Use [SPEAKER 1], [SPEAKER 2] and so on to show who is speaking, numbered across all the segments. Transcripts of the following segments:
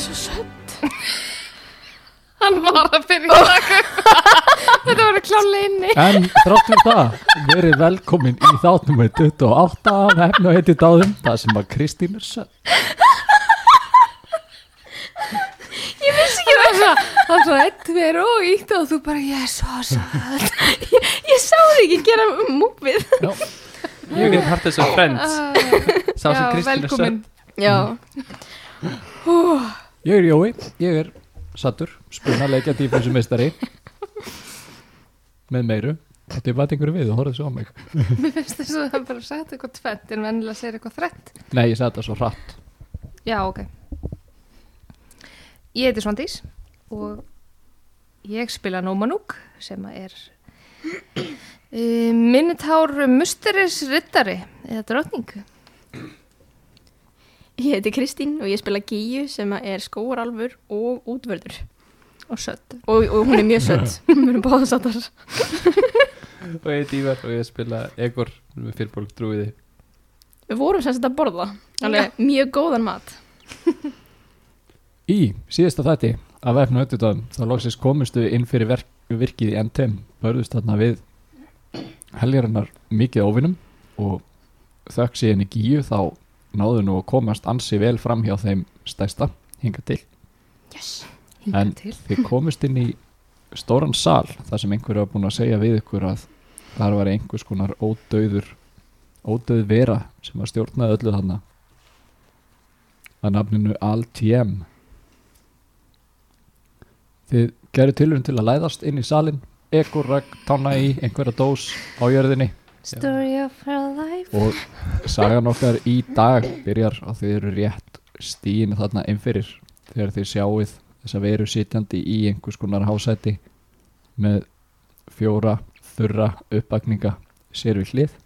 [SPEAKER 1] svo sött
[SPEAKER 2] Hann var að byrja að taka upp Þetta var að klála inni
[SPEAKER 3] En þráttum það, verið velkomin í þáttum með 28 af hefn og heiti dáðum, það sem að Kristín er sönd.
[SPEAKER 2] Hann
[SPEAKER 1] um
[SPEAKER 2] svo, hann svo eitt mér og ítt og þú bara ég er svo svo
[SPEAKER 1] Ég sá þig ekki gera múfið
[SPEAKER 3] Já,
[SPEAKER 4] You get hurt as a friend Sá sem Kristín er
[SPEAKER 2] Ah, velkomin
[SPEAKER 4] sörd
[SPEAKER 1] Já,
[SPEAKER 3] ég er Jói, ég er sattur, spuna leikjandi í þessu meistari, með meiru. Þetta er bara einhverju við, þú horfðu svo á mig.
[SPEAKER 2] Mér finnst þess að það bara sagt eitthvað tvent en vennilega segir eitthvað þrett
[SPEAKER 3] Nei, ég sagði þetta svo hratt.
[SPEAKER 2] Já, ok Ég heiti Svandís og ég spila Nómanúk sem að er uh, Minnitár Musteris Rittari eða drotning
[SPEAKER 1] ég heiti Kristín og ég spila Gíu sem að er skóralfur og útvörður
[SPEAKER 2] og sött
[SPEAKER 1] og, og hún er mjög sött, við erum báða sattar
[SPEAKER 4] Og ég heiti Ívar og ég spila Egor með fyrirbólk drúiði
[SPEAKER 1] Við vorum sem sagt að borða alveg mjög góðan mat
[SPEAKER 3] Í síðasta þætti af hefn og heiti dáðum, þá loksist komistu inn fyrir verk, virkið í NTM, börðust þarna við helgarinnar mikið óvinum og þökk síðan í gíu þá náðu nú að komast ansi vel fram hjá þeim stæsta hinga til.
[SPEAKER 2] Hinga
[SPEAKER 3] En-
[SPEAKER 2] til
[SPEAKER 3] Þið komist inn í stóran sal þar sem einhverju var búin að segja við ykkur að þar var einhvers konar ódauður ódauð vera sem var stjórnaði öllu þarna að nafninu Al-TM Þið gerðu tilurinn til að læðast inn í salin ekurrak, tána í einhverja dós á jörðinni
[SPEAKER 2] Story of her life
[SPEAKER 3] og sagan okkar í dag byrjar á því þið eru rétt stíin þarna innfyrir þegar þið sjáuð þess að veru sitjandi í einhvers konar hásæti með fjóra þurra uppakninga sér við hlið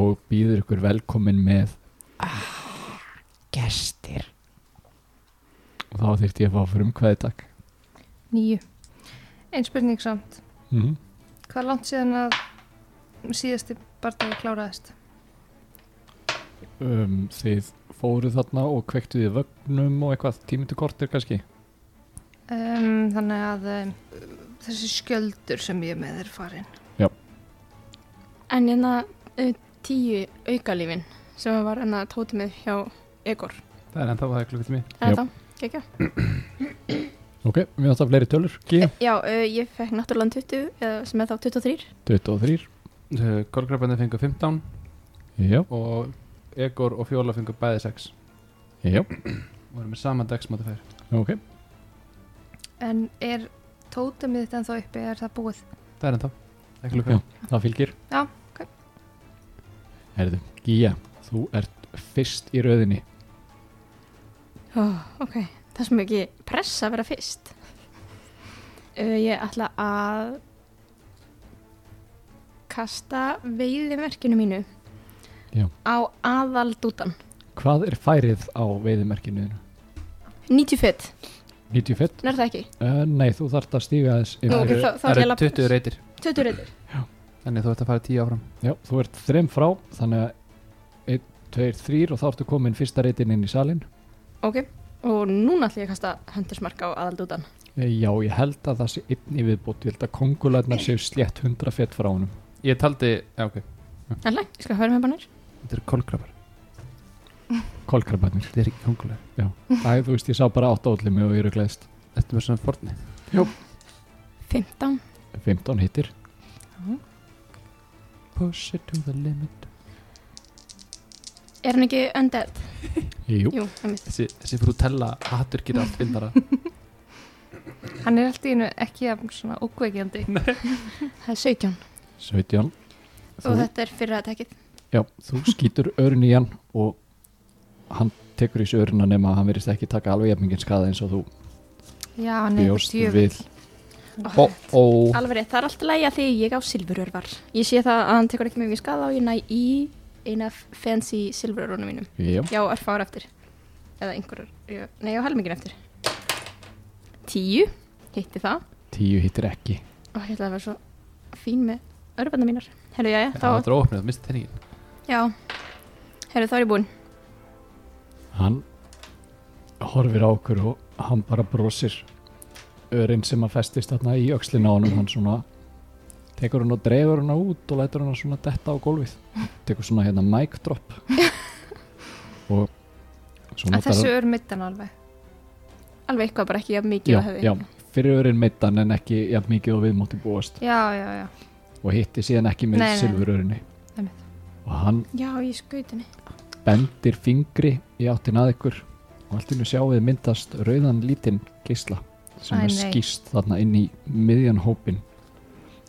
[SPEAKER 3] og býður ykkur velkomin með gestir og þá þyrfti ég að fá frumkvæði takk
[SPEAKER 2] Nýju Einn spurning samt
[SPEAKER 3] mm -hmm.
[SPEAKER 2] Hvað er langt síðan að síðasti bardagi kláraðist?
[SPEAKER 3] um, þið fóruð þarna og kvektuð í vögnum og eitthvað tímindu kortir kannski
[SPEAKER 2] Um, þannig að um, þessi skjöldur sem ég er með er farin.
[SPEAKER 1] En hérna uh, tíu aukalífin sem var hérna tóti með hjá Egor
[SPEAKER 4] Það er ennþá að það er klukkutími
[SPEAKER 1] Er
[SPEAKER 3] Já.
[SPEAKER 1] það, ekki?
[SPEAKER 3] ok, við áttum fleiri tölur Gíu
[SPEAKER 1] Já, uh, ég fekk náttúrulega 20 eða sem er þá 23
[SPEAKER 3] 23
[SPEAKER 4] Uh, Kolgrafandi fengur 15
[SPEAKER 3] já,
[SPEAKER 4] og Egor og Fjóla fengur bæði 6
[SPEAKER 3] já,
[SPEAKER 4] og erum með sama dexmodifier
[SPEAKER 3] ok
[SPEAKER 2] En er tótemið þetta ennþá uppi eða er það búið?
[SPEAKER 4] Það er ennþá Það er klukkutími
[SPEAKER 3] það fylgir
[SPEAKER 2] Já, ok.
[SPEAKER 3] Herðu, Gíja, þú ert fyrst í rauðinni
[SPEAKER 1] Oh, ok, það sem ekki pressa að vera fyrst. Uh, ég ætla að kasta veiðimerkinu mínu
[SPEAKER 3] Já.
[SPEAKER 1] á aðaldútan.
[SPEAKER 3] hvað er færið á veiðimerkinu þínu?
[SPEAKER 1] 90 fett,
[SPEAKER 3] 90 fett?
[SPEAKER 1] nær það ekki?
[SPEAKER 3] Uh, nei, þú þarft að stíga þess
[SPEAKER 1] Nú, ok,
[SPEAKER 3] yfir
[SPEAKER 1] þá- þá
[SPEAKER 4] Það
[SPEAKER 1] ætla ég
[SPEAKER 4] eru
[SPEAKER 1] að
[SPEAKER 4] 20 reytir
[SPEAKER 1] 20 reyður.
[SPEAKER 4] Þannig þú ert að fara 10 áfram
[SPEAKER 3] já, þú ert þrem frá þannig að 1, 2, 3 og þá ertu komin fyrsta reytin inn í salin
[SPEAKER 1] Ok, og núna ætla ég að kasta höndursmark á aðaldútan.
[SPEAKER 3] Eh, já, ég held að það sé einn í viðbútt ég held að kongularnar séu slétt 100 fett frá honum
[SPEAKER 4] Ég taldi, já ok,
[SPEAKER 1] Alla, ég skal höra með bara nær.
[SPEAKER 4] þetta eru kolgrafar
[SPEAKER 3] kolkrabarnir,
[SPEAKER 4] Þetta er ekki kongulegar
[SPEAKER 3] það þú veist, ég sá bara 8 óllimi og ég eru gleðst
[SPEAKER 4] Þetta er svona forni
[SPEAKER 1] 15.
[SPEAKER 3] 15 hittir
[SPEAKER 4] Push it to the limit
[SPEAKER 1] Er hann ekki undead?
[SPEAKER 3] jú,
[SPEAKER 1] Jú, það mitt.
[SPEAKER 4] Þessi, þessi frútella hattur geta allt fyndara
[SPEAKER 2] Hann er alltaf einu ekki jafn svona ókveikjandi.
[SPEAKER 1] Það er 17.
[SPEAKER 3] 17 Þú-
[SPEAKER 1] Og þetta er fyrra aðtekið.
[SPEAKER 3] Já, þú skýtur örn í hann og hann tekur í sig örna nema að hann verist ekki taka alveg jafningin skada eins og þú
[SPEAKER 2] Já, hann er
[SPEAKER 3] bjóst við.
[SPEAKER 1] Oh.
[SPEAKER 3] Ó, ó,
[SPEAKER 1] Alveg rétt, það er alltaf lægja því ég á silfurörvar. Ég sé það að hann tekur ekki mjög mikið skada og ég næ í eina f- fancy silfurörunum mínum.
[SPEAKER 3] já,
[SPEAKER 1] Já, örf ára eftir. Eða einhverjar, já, nei, já, helmingin eftir. Tíu, hitti það.
[SPEAKER 3] tíu hittir ekki.
[SPEAKER 1] Og ég ætlaði að vera svo fín með örfarnar mínar. Herru, já, já,
[SPEAKER 4] Það
[SPEAKER 1] þá,
[SPEAKER 4] er óöfnið, það misti tenningin
[SPEAKER 1] já. Herru, þá er ég búinn.
[SPEAKER 3] Hann horfir á okkur og hann bara brosir örinn sem að festist þarna í öxlina á honum hann svona tekur hann og dregur hann út og lætur hann svona detta á gólfið tekur svona hérna mic drop og svo
[SPEAKER 2] Að
[SPEAKER 3] notar
[SPEAKER 2] þessu
[SPEAKER 3] hann-
[SPEAKER 2] er mittan alveg.
[SPEAKER 1] Alveg eitthvað bara ekki jafn mikið
[SPEAKER 3] já,
[SPEAKER 1] og hefði.
[SPEAKER 3] já, fyrir örinn meittan en ekki jafn mikið og við móti búast
[SPEAKER 2] Já, já, já.
[SPEAKER 3] og hitti síðan ekki með
[SPEAKER 2] Nei, nei.
[SPEAKER 3] silfurörinni
[SPEAKER 2] Einmitt.
[SPEAKER 3] og hann
[SPEAKER 1] Já, í skautinni.
[SPEAKER 3] bendir fingri í áttin að ykkur og allt innu sjáum við myndast rauðan lítinn geisla sem
[SPEAKER 2] Æ,
[SPEAKER 3] er
[SPEAKER 2] nei.
[SPEAKER 3] skýst þarna inn í miðjan hópin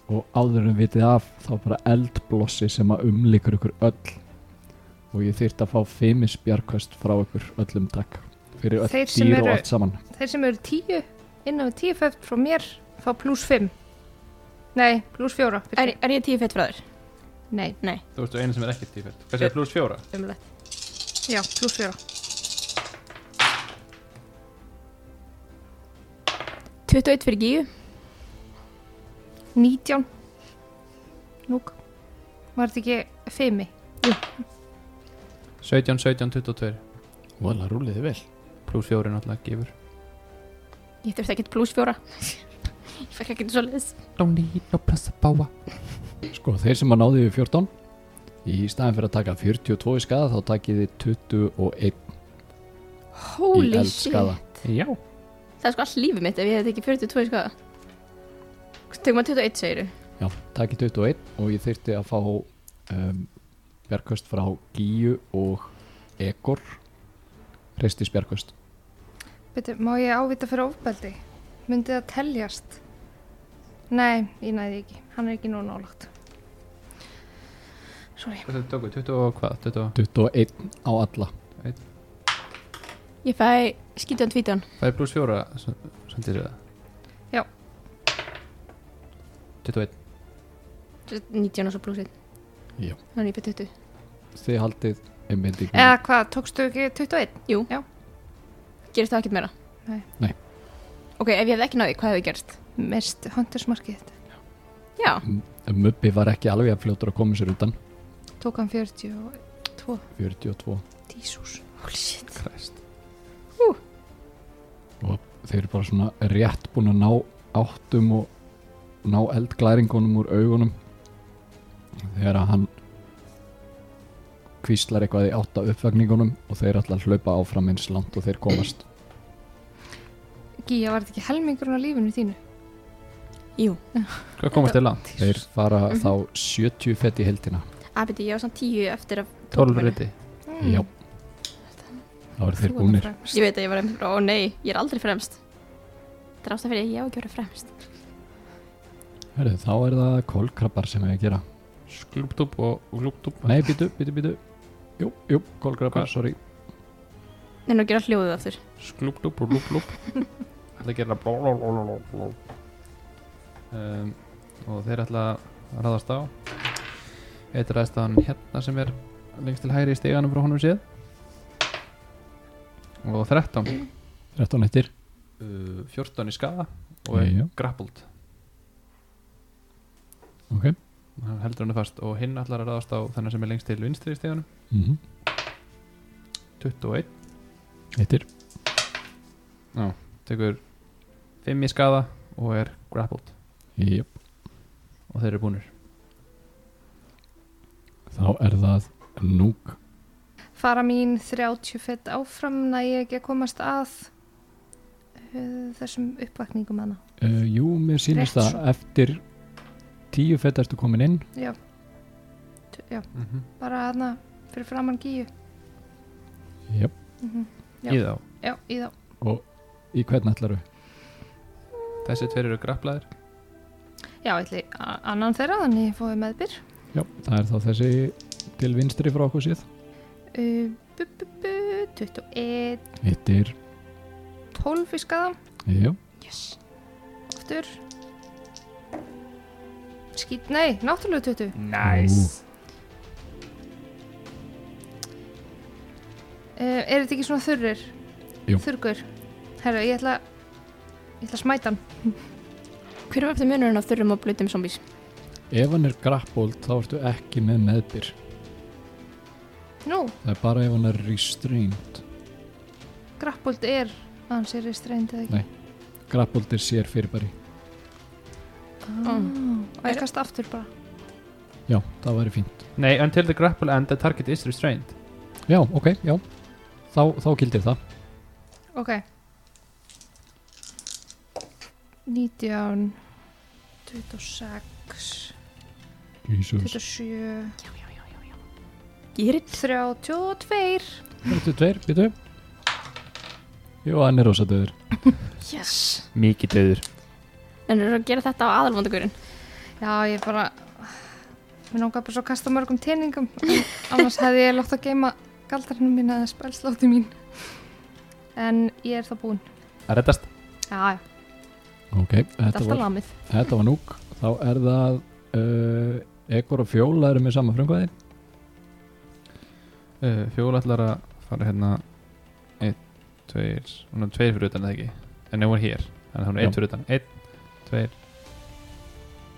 [SPEAKER 3] og áður en vitið af þá bara eldblossi sem að umlikur ykkur öll og ég þyrt að fá fimis bjarköst frá ykkur öllum takk fyrir öll
[SPEAKER 2] Þeir sem
[SPEAKER 3] dýr og
[SPEAKER 2] eru-
[SPEAKER 3] allt saman
[SPEAKER 2] Þeir sem eru tíu, innan við tíu feft frá mér, fá pluss fimm. Nei, pluss fjóra. fyrir-
[SPEAKER 1] Er, er ég tíu fett frá þér?
[SPEAKER 2] Nei,
[SPEAKER 4] Þú veist, þú einu sem er ekki tífært. Hvað segir pluss fjóra?
[SPEAKER 2] umlega. Já, pluss fjóra.
[SPEAKER 1] 21 fyrir gíu.
[SPEAKER 2] 19. Núk. Var þetta ekki fimmi?
[SPEAKER 4] 17, 17, 22.
[SPEAKER 3] Vala, rúliði vel
[SPEAKER 4] Pluss fjóri náttúrulega gefur.
[SPEAKER 1] Ég þurfti ekkert pluss fjóra. ég fekk ekkert svo leiðis.
[SPEAKER 4] Don't need no plus a báa.
[SPEAKER 3] Sko, þeir sem að náðu yfir 14 í staðin fyrir að taka 42 í skada þá takið þið 21 í
[SPEAKER 1] Holy shit.
[SPEAKER 3] eldskaða Já
[SPEAKER 1] Það er sko allt lífið mitt ef ég hefði ekki 42 í skada. sko. Tökum að 21 segiru.
[SPEAKER 3] Já, takk í 21 og ég þyrfti að fá um, bjarköst frá Gíu og Egor Reistis bjarköst
[SPEAKER 2] Betur, má ég ávita fyrir ofbeldi? Myndi það teljast? Nei, ég næði ekki. Hann er ekki nú nálagt. Sorry.
[SPEAKER 4] Hvað þetta tóku? 20 og hvað? 20 og...
[SPEAKER 3] 21 á alla
[SPEAKER 1] Ég fæ skítjón tvítjón.
[SPEAKER 4] Það er pluss fjóra, sendið sér það.
[SPEAKER 2] Já.
[SPEAKER 4] 21.
[SPEAKER 1] 19 og svo plussinn.
[SPEAKER 3] Já.
[SPEAKER 1] Þannig ég fæ 20.
[SPEAKER 3] Þið haldið einmitt í
[SPEAKER 2] Eða hvað, tókstu ekki 21?
[SPEAKER 1] Gerist það ekkert meira?
[SPEAKER 2] Nei.
[SPEAKER 3] Nei.
[SPEAKER 1] Ok, ef ég hefði ekki náði, hvað hefði gerst?
[SPEAKER 2] Mest huntersmarkið þetta.
[SPEAKER 1] Já.
[SPEAKER 3] Mubbi var ekki alveg að fljótur að koma sér undan
[SPEAKER 2] Tók hann 42.
[SPEAKER 3] 42
[SPEAKER 2] Dísús.
[SPEAKER 1] Holy shit.
[SPEAKER 4] Kræst.
[SPEAKER 3] Þeir eru bara svona rétt búin að ná áttum og ná eldglæringunum úr augunum þegar að hann kvíslar eitthvað í átta uppvagningunum og þeir ætla að hlaupa áfram eins langt og þeir komast
[SPEAKER 2] Gíja, var þetta ekki helmingurinn á lífinu þínu?
[SPEAKER 1] Jú.
[SPEAKER 4] Hvað komast þér langt?
[SPEAKER 3] Þeir fara þá 70 fett í heldina
[SPEAKER 1] Abiti, ég á samt 10 eftir að...
[SPEAKER 4] 12 riti.
[SPEAKER 2] Mm.
[SPEAKER 3] Já Þá eru þeir
[SPEAKER 2] Þú
[SPEAKER 3] búnir
[SPEAKER 2] ert að fremst.
[SPEAKER 1] Ég veit að ég var einmitt bara, ó nei, ég er aldrei fremst. Það er ástæð fyrir að ég á ekki að vera fremst.
[SPEAKER 3] Herðu, Þá er það kólkrabbar sem við að gera
[SPEAKER 4] Sklúptúp og glúptúp.
[SPEAKER 3] Nei, býtu, býtu, býtu Jú, jú, kólkrabbar,
[SPEAKER 4] Hvað?
[SPEAKER 3] sorry
[SPEAKER 1] Nei, nú gera hljóðið aftur.
[SPEAKER 4] Sklúptúp og glúptúp. Það gerir það blólólólólólól. Um, og þeir ætla að ráðast á. Eitt ræðst á hann hérna sem er lengst til hægri í steganum frá honum séð. Og 13.
[SPEAKER 3] 13 eftir
[SPEAKER 4] Uh, 14 í skaða og er
[SPEAKER 3] Já.
[SPEAKER 4] grappled.
[SPEAKER 3] Ok
[SPEAKER 4] Hann heldur hann fast og hinn ætlar að ráðast á þennan sem er lengst til vinstri í steganum.
[SPEAKER 3] mm
[SPEAKER 4] 21.
[SPEAKER 3] Eftir
[SPEAKER 4] tekur 5 í skada og er grappled
[SPEAKER 3] Jú
[SPEAKER 4] og þeir eru búnir
[SPEAKER 3] Þá er það núk
[SPEAKER 2] Fara mín 30 fett áfram, næ ég ekki að komast að uh, þessum uppvakningum hana.
[SPEAKER 3] uh, Jú, mér sýnist
[SPEAKER 2] Rétt
[SPEAKER 3] það
[SPEAKER 2] svo.
[SPEAKER 3] eftir 10 fett ertu komin inn
[SPEAKER 2] Já,
[SPEAKER 4] mm -hmm.
[SPEAKER 2] bara hana fyrir framann Gíju.
[SPEAKER 3] Jú
[SPEAKER 2] Mm Já.
[SPEAKER 4] í þá
[SPEAKER 2] Já, í þá.
[SPEAKER 3] Og í hvern ætlaru?
[SPEAKER 4] þessi tveir eru grapplaðir
[SPEAKER 2] Já, ætli a- annan þeirra, þannig fóði meðbyr.
[SPEAKER 3] Já, það er þá þessi til vinstri frá okkur síð
[SPEAKER 2] Uh, bu, bu, bu, 21,
[SPEAKER 3] Eftir
[SPEAKER 2] 12 í skaða,
[SPEAKER 3] Jú
[SPEAKER 1] Yes.
[SPEAKER 2] aftur. Skýt, nei, náttúrulega 20.
[SPEAKER 3] Mm. Nice.
[SPEAKER 2] Uh, er þetta ekki svona þurrir?
[SPEAKER 3] Jú.
[SPEAKER 2] Þurrgur. Herra, ég ætla, ég ætla að smæta hann.
[SPEAKER 1] Hver var eftir munurinn á þurrum og blutum zombies?
[SPEAKER 3] Ef hann er grappóld þá ertu ekki með meðbyr
[SPEAKER 2] Nú,
[SPEAKER 3] Það er bara ef hann er restrained
[SPEAKER 2] grapp grappold er að hann sé restreind eða ekki
[SPEAKER 3] Nei. Grappold er sér fyrirbæri
[SPEAKER 2] ah, ég kasta aftur bara
[SPEAKER 3] Já, það væri fínt
[SPEAKER 4] Nei, until the grapple end, the target is restrained
[SPEAKER 3] Já, ok, já Þá, þá gildir það
[SPEAKER 2] ok 19 26
[SPEAKER 3] Jesus
[SPEAKER 2] 27
[SPEAKER 1] Gýrit.
[SPEAKER 2] 32
[SPEAKER 3] Þetta er tveir, býtu Jú, hann er rosa döður
[SPEAKER 1] Yes.
[SPEAKER 4] Mikið döður
[SPEAKER 1] En eru að gera þetta á aðalvondagurinn?
[SPEAKER 2] já ég bara mér langar bara svo að kasta mörgum teiningum en annars hefði ég lótt að geima galdarinn mín eða spelslóti mín en ég er það búin
[SPEAKER 4] Að reddast
[SPEAKER 2] já, já,
[SPEAKER 3] Ok,
[SPEAKER 2] þetta er
[SPEAKER 3] þetta
[SPEAKER 2] alltaf
[SPEAKER 3] var,
[SPEAKER 2] lamið
[SPEAKER 3] þetta var núk Þá er það uh, Egor og Fjóla eru með sama frumkvæði
[SPEAKER 4] uh, Fjóla ætlar að fara hérna Einn, tveir Hún er tveir fyrir utan eða ekki En hún er hér Þannig að hún er
[SPEAKER 3] Já.
[SPEAKER 4] einn fyrir utan Einn, tveir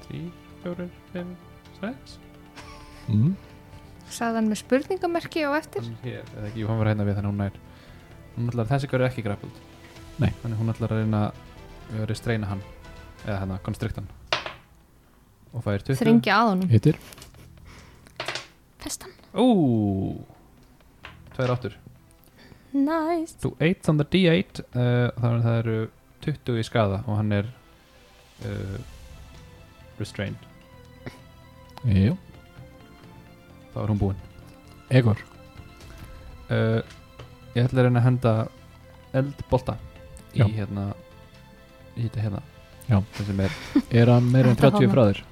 [SPEAKER 4] Trí, fjórir, fimm, sex
[SPEAKER 3] mm.
[SPEAKER 2] sagði hann með spurningamerki á eftir
[SPEAKER 4] Hún er hér Eða ekki, jú, hún var hérna við þannig að hún nær Hún ætlar, þessi hver er ekki grappled
[SPEAKER 3] Nei.
[SPEAKER 4] Þannig að hún ætlar að reyna að restreina hann Eða hérna, konstriktan Og fær 20
[SPEAKER 2] þringja að honum
[SPEAKER 3] Hittir
[SPEAKER 1] Pestan.
[SPEAKER 4] Ú Tveir áttur
[SPEAKER 1] Nice.
[SPEAKER 4] Þú 8 on the D8 uh, þannig að það eru 20 í skada og hann er uh, restrained
[SPEAKER 3] Jú,
[SPEAKER 4] þá er hún búin
[SPEAKER 3] Egor
[SPEAKER 4] uh, Ég ætla að reyna að henda eldbolta í
[SPEAKER 3] Já.
[SPEAKER 4] hérna í þetta hérna
[SPEAKER 3] Já.
[SPEAKER 4] það sem er
[SPEAKER 3] Er hann meira en
[SPEAKER 1] Þetta
[SPEAKER 3] 30
[SPEAKER 1] hafði.
[SPEAKER 3] frá þér?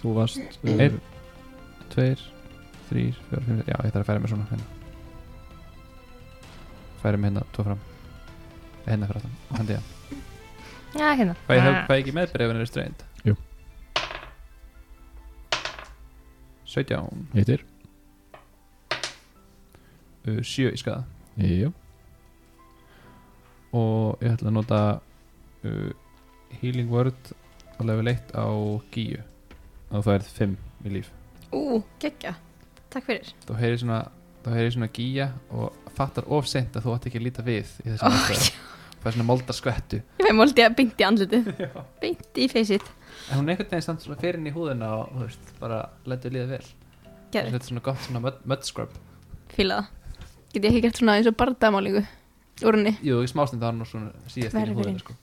[SPEAKER 3] Þú varst uh,
[SPEAKER 4] Einn. 2, 3, 4, 5 já, ég ætla að færa mig svona hérna færa mig hérna, tvo fram hérna fyrir aftan, og hendi ég hann
[SPEAKER 2] já, hérna
[SPEAKER 4] Fæ ég hef- fæ ég ekki meðbreyfin er restrained
[SPEAKER 3] Jú.
[SPEAKER 4] 17
[SPEAKER 3] Hittir
[SPEAKER 4] uh, 7 í skada
[SPEAKER 3] Jú,
[SPEAKER 4] og ég ætla að nota uh, healing word á level 1 á gíu og það er 5 í líf
[SPEAKER 1] Ú, geggja. Takk fyrir.
[SPEAKER 4] þá heyri svona þá heyri svona gíja og fattar of seint að þú átt ekki að líta við í þessum aðstæðum það er svona molda skvettu
[SPEAKER 1] Ég fæði móldi að beint í andlitið. beint í feysið.
[SPEAKER 4] en hún einhvern veginn samt svona fyrir inn í húðina og þú veist, bara letur líða vel
[SPEAKER 1] Gæði.
[SPEAKER 4] þetta er svona gott svona mud, mud scrub
[SPEAKER 1] Fílaða. Get ég ekki gert svona eins og bardamálingu úr henni?
[SPEAKER 4] jú, í smástund þá er nú svona síðast inn í
[SPEAKER 1] Verður inn.
[SPEAKER 4] húðina sko.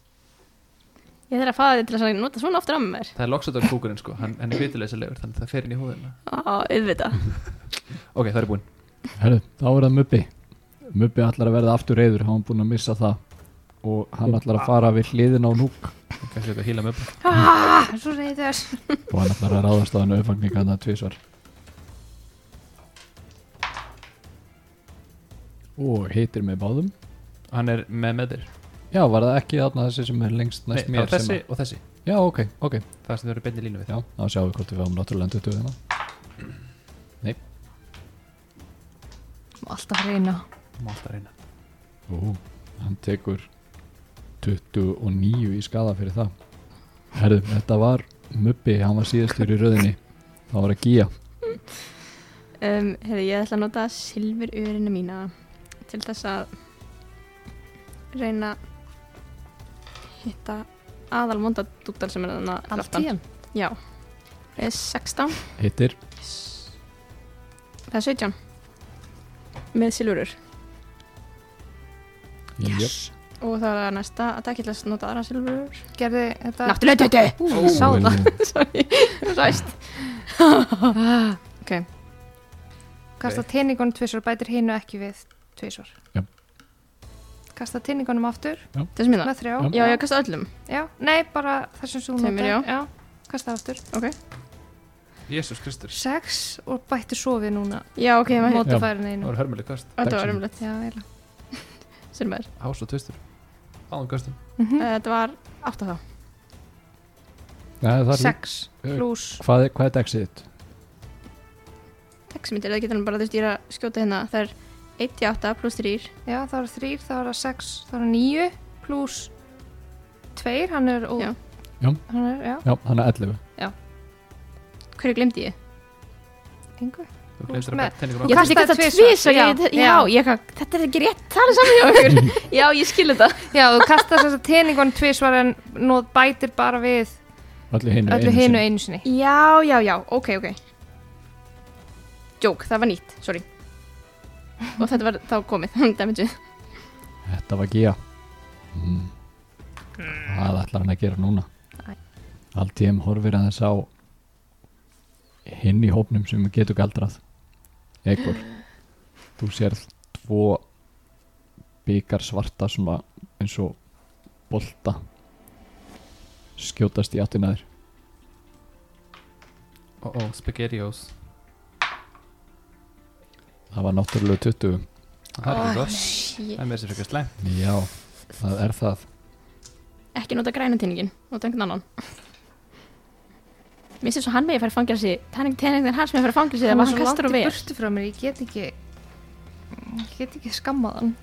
[SPEAKER 1] Ég þarf að faða þig til þess að nota svona ofta á mér.
[SPEAKER 4] það er loksatór kúkurinn sko, hann, hann er vituleysilegur þannig að það fyrir inn í húðina
[SPEAKER 1] Á, auðvitað.
[SPEAKER 4] ok, það er búin
[SPEAKER 3] herðu, þá er það Mubbi Mubbi ætlar að verða aftur reyður Hann búin að missa það Og hann ætlar að fara við hliðin á núk
[SPEAKER 4] kannski þetta hýla möbla
[SPEAKER 2] ah, svo reyður
[SPEAKER 3] Og hann ætlar að ráðast á hann auðvangning hann að tvísvar Og hittir með báðum
[SPEAKER 4] hann er með með þér
[SPEAKER 3] Já, var það ekki þarna þessi sem er lengst
[SPEAKER 4] Nei,
[SPEAKER 3] næst
[SPEAKER 4] það
[SPEAKER 3] mér
[SPEAKER 4] var þessi
[SPEAKER 3] sem
[SPEAKER 4] og þessi
[SPEAKER 3] að Já, ok, ok
[SPEAKER 4] Það sem þau eru beinni línu við
[SPEAKER 3] Já, þá sjáum við hvort við fáum náttúrulega 20 hérna
[SPEAKER 2] alltaf reyna
[SPEAKER 4] Má alltaf reyna
[SPEAKER 3] Ú, hann tekur 29 í skada fyrir það Herðu, þetta var Mubbi, hann var síðastur í röðinni Það var að gíja
[SPEAKER 1] Um, Herði, ég ætla að nota silfururinu mína til þess að reyna að hitta aðal mondadúttal sem er þarna fyrir
[SPEAKER 2] allt í hann
[SPEAKER 1] aftan. Já. Eh, 16.
[SPEAKER 3] Hittir,
[SPEAKER 1] Yes. Það er 17. Með silfurur.
[SPEAKER 3] yes.
[SPEAKER 1] Og það er næsta að það getast að nota aðra silfurur.
[SPEAKER 2] gerði þetta
[SPEAKER 1] Náttúrulega þetta!
[SPEAKER 2] Ú, ég sá það
[SPEAKER 1] Sorry, ræst.
[SPEAKER 2] Kasta teiningunum tvisvar, bætir hinu ekki við tvisvar.
[SPEAKER 3] Já.
[SPEAKER 2] Kasta teiningunum aftur
[SPEAKER 1] Þessum minna.
[SPEAKER 2] með þrjá.
[SPEAKER 1] Já, ég kasta öllum.
[SPEAKER 2] Já, nei, bara þessum sem þú
[SPEAKER 1] Tveimur,
[SPEAKER 2] notar. já. Kasta aftur.
[SPEAKER 1] Ok.
[SPEAKER 4] Jésús Kristur
[SPEAKER 2] Sex og bættu sofið núna.
[SPEAKER 1] Já, ok, maður.
[SPEAKER 3] Já.
[SPEAKER 1] hérna.
[SPEAKER 2] Móta færinu
[SPEAKER 4] Það
[SPEAKER 2] einu.
[SPEAKER 4] voru hörmuleg kast
[SPEAKER 1] Þetta
[SPEAKER 3] Takk
[SPEAKER 1] var
[SPEAKER 3] sem-
[SPEAKER 1] umlegt.
[SPEAKER 2] Já, eiginlega.
[SPEAKER 1] Sem er.
[SPEAKER 4] Hás og tvistur Áðan kastum
[SPEAKER 1] Eh, Þetta var 8 þá.
[SPEAKER 3] Nei, það er líka
[SPEAKER 2] Sex
[SPEAKER 3] Eh,
[SPEAKER 2] pluss.
[SPEAKER 3] Hvað er, hvað er dexið þitt?
[SPEAKER 1] Textmyndir, það getur hann bara þú veist ég er að skjóta hérna það er 1 til 8 pluss 3
[SPEAKER 2] Já, það var þrýr, það var sex, það var níu pluss tveir, hann er og...
[SPEAKER 1] Já.
[SPEAKER 3] Já.
[SPEAKER 2] Hann er, já,
[SPEAKER 3] Já, hann er 11
[SPEAKER 1] hverju glemdi ég?
[SPEAKER 2] engu.
[SPEAKER 4] Þú glemtir að
[SPEAKER 2] með-
[SPEAKER 4] bæta tenningur
[SPEAKER 2] Þú
[SPEAKER 1] Ég þurfti
[SPEAKER 2] kastaði
[SPEAKER 1] ekki þetta
[SPEAKER 2] tvisvar,
[SPEAKER 1] tvís
[SPEAKER 2] já,
[SPEAKER 1] já, já,
[SPEAKER 2] já.
[SPEAKER 1] ég eitthvað, þetta er ekki rétt það er saman hjá okkur Já, ég skil þetta
[SPEAKER 2] Já, þú kastar þess að teiningun tvisvar en nóð bætir bara við
[SPEAKER 3] Allir hinu
[SPEAKER 2] öllu
[SPEAKER 3] einu
[SPEAKER 2] hinu
[SPEAKER 3] sinni.
[SPEAKER 2] einu sinni.
[SPEAKER 1] Já, já, já, ok, ok Jók, það var nýtt, sorry Og þetta var þá komið, damageið
[SPEAKER 3] Þetta var Gia mm.
[SPEAKER 4] Mm.
[SPEAKER 3] Hvað ætlar hann að gera núna?
[SPEAKER 1] Æ.
[SPEAKER 3] Allt ég um horfir að þess á hinn í hópnum sem getur galdrað Egor Þú sérð tvo byggar svarta svona eins og bolta skjótast í áttina að þér
[SPEAKER 4] Oh oh, spaghettios
[SPEAKER 3] Það var náttúrulega 20
[SPEAKER 4] Það er ekki gott
[SPEAKER 1] Shit.
[SPEAKER 4] Það er með þessi frekar slæm
[SPEAKER 3] Já, það er það
[SPEAKER 1] Ekki nota græna tíningin, nota einhvern annan Mér sé svo hann megið færi fangelsi Tæning tíningin hans megið færi fangelsi Það var hann kastar og
[SPEAKER 2] í
[SPEAKER 1] veð
[SPEAKER 2] burtu frá mér, ég get ekki, ég get ekki skammað hann.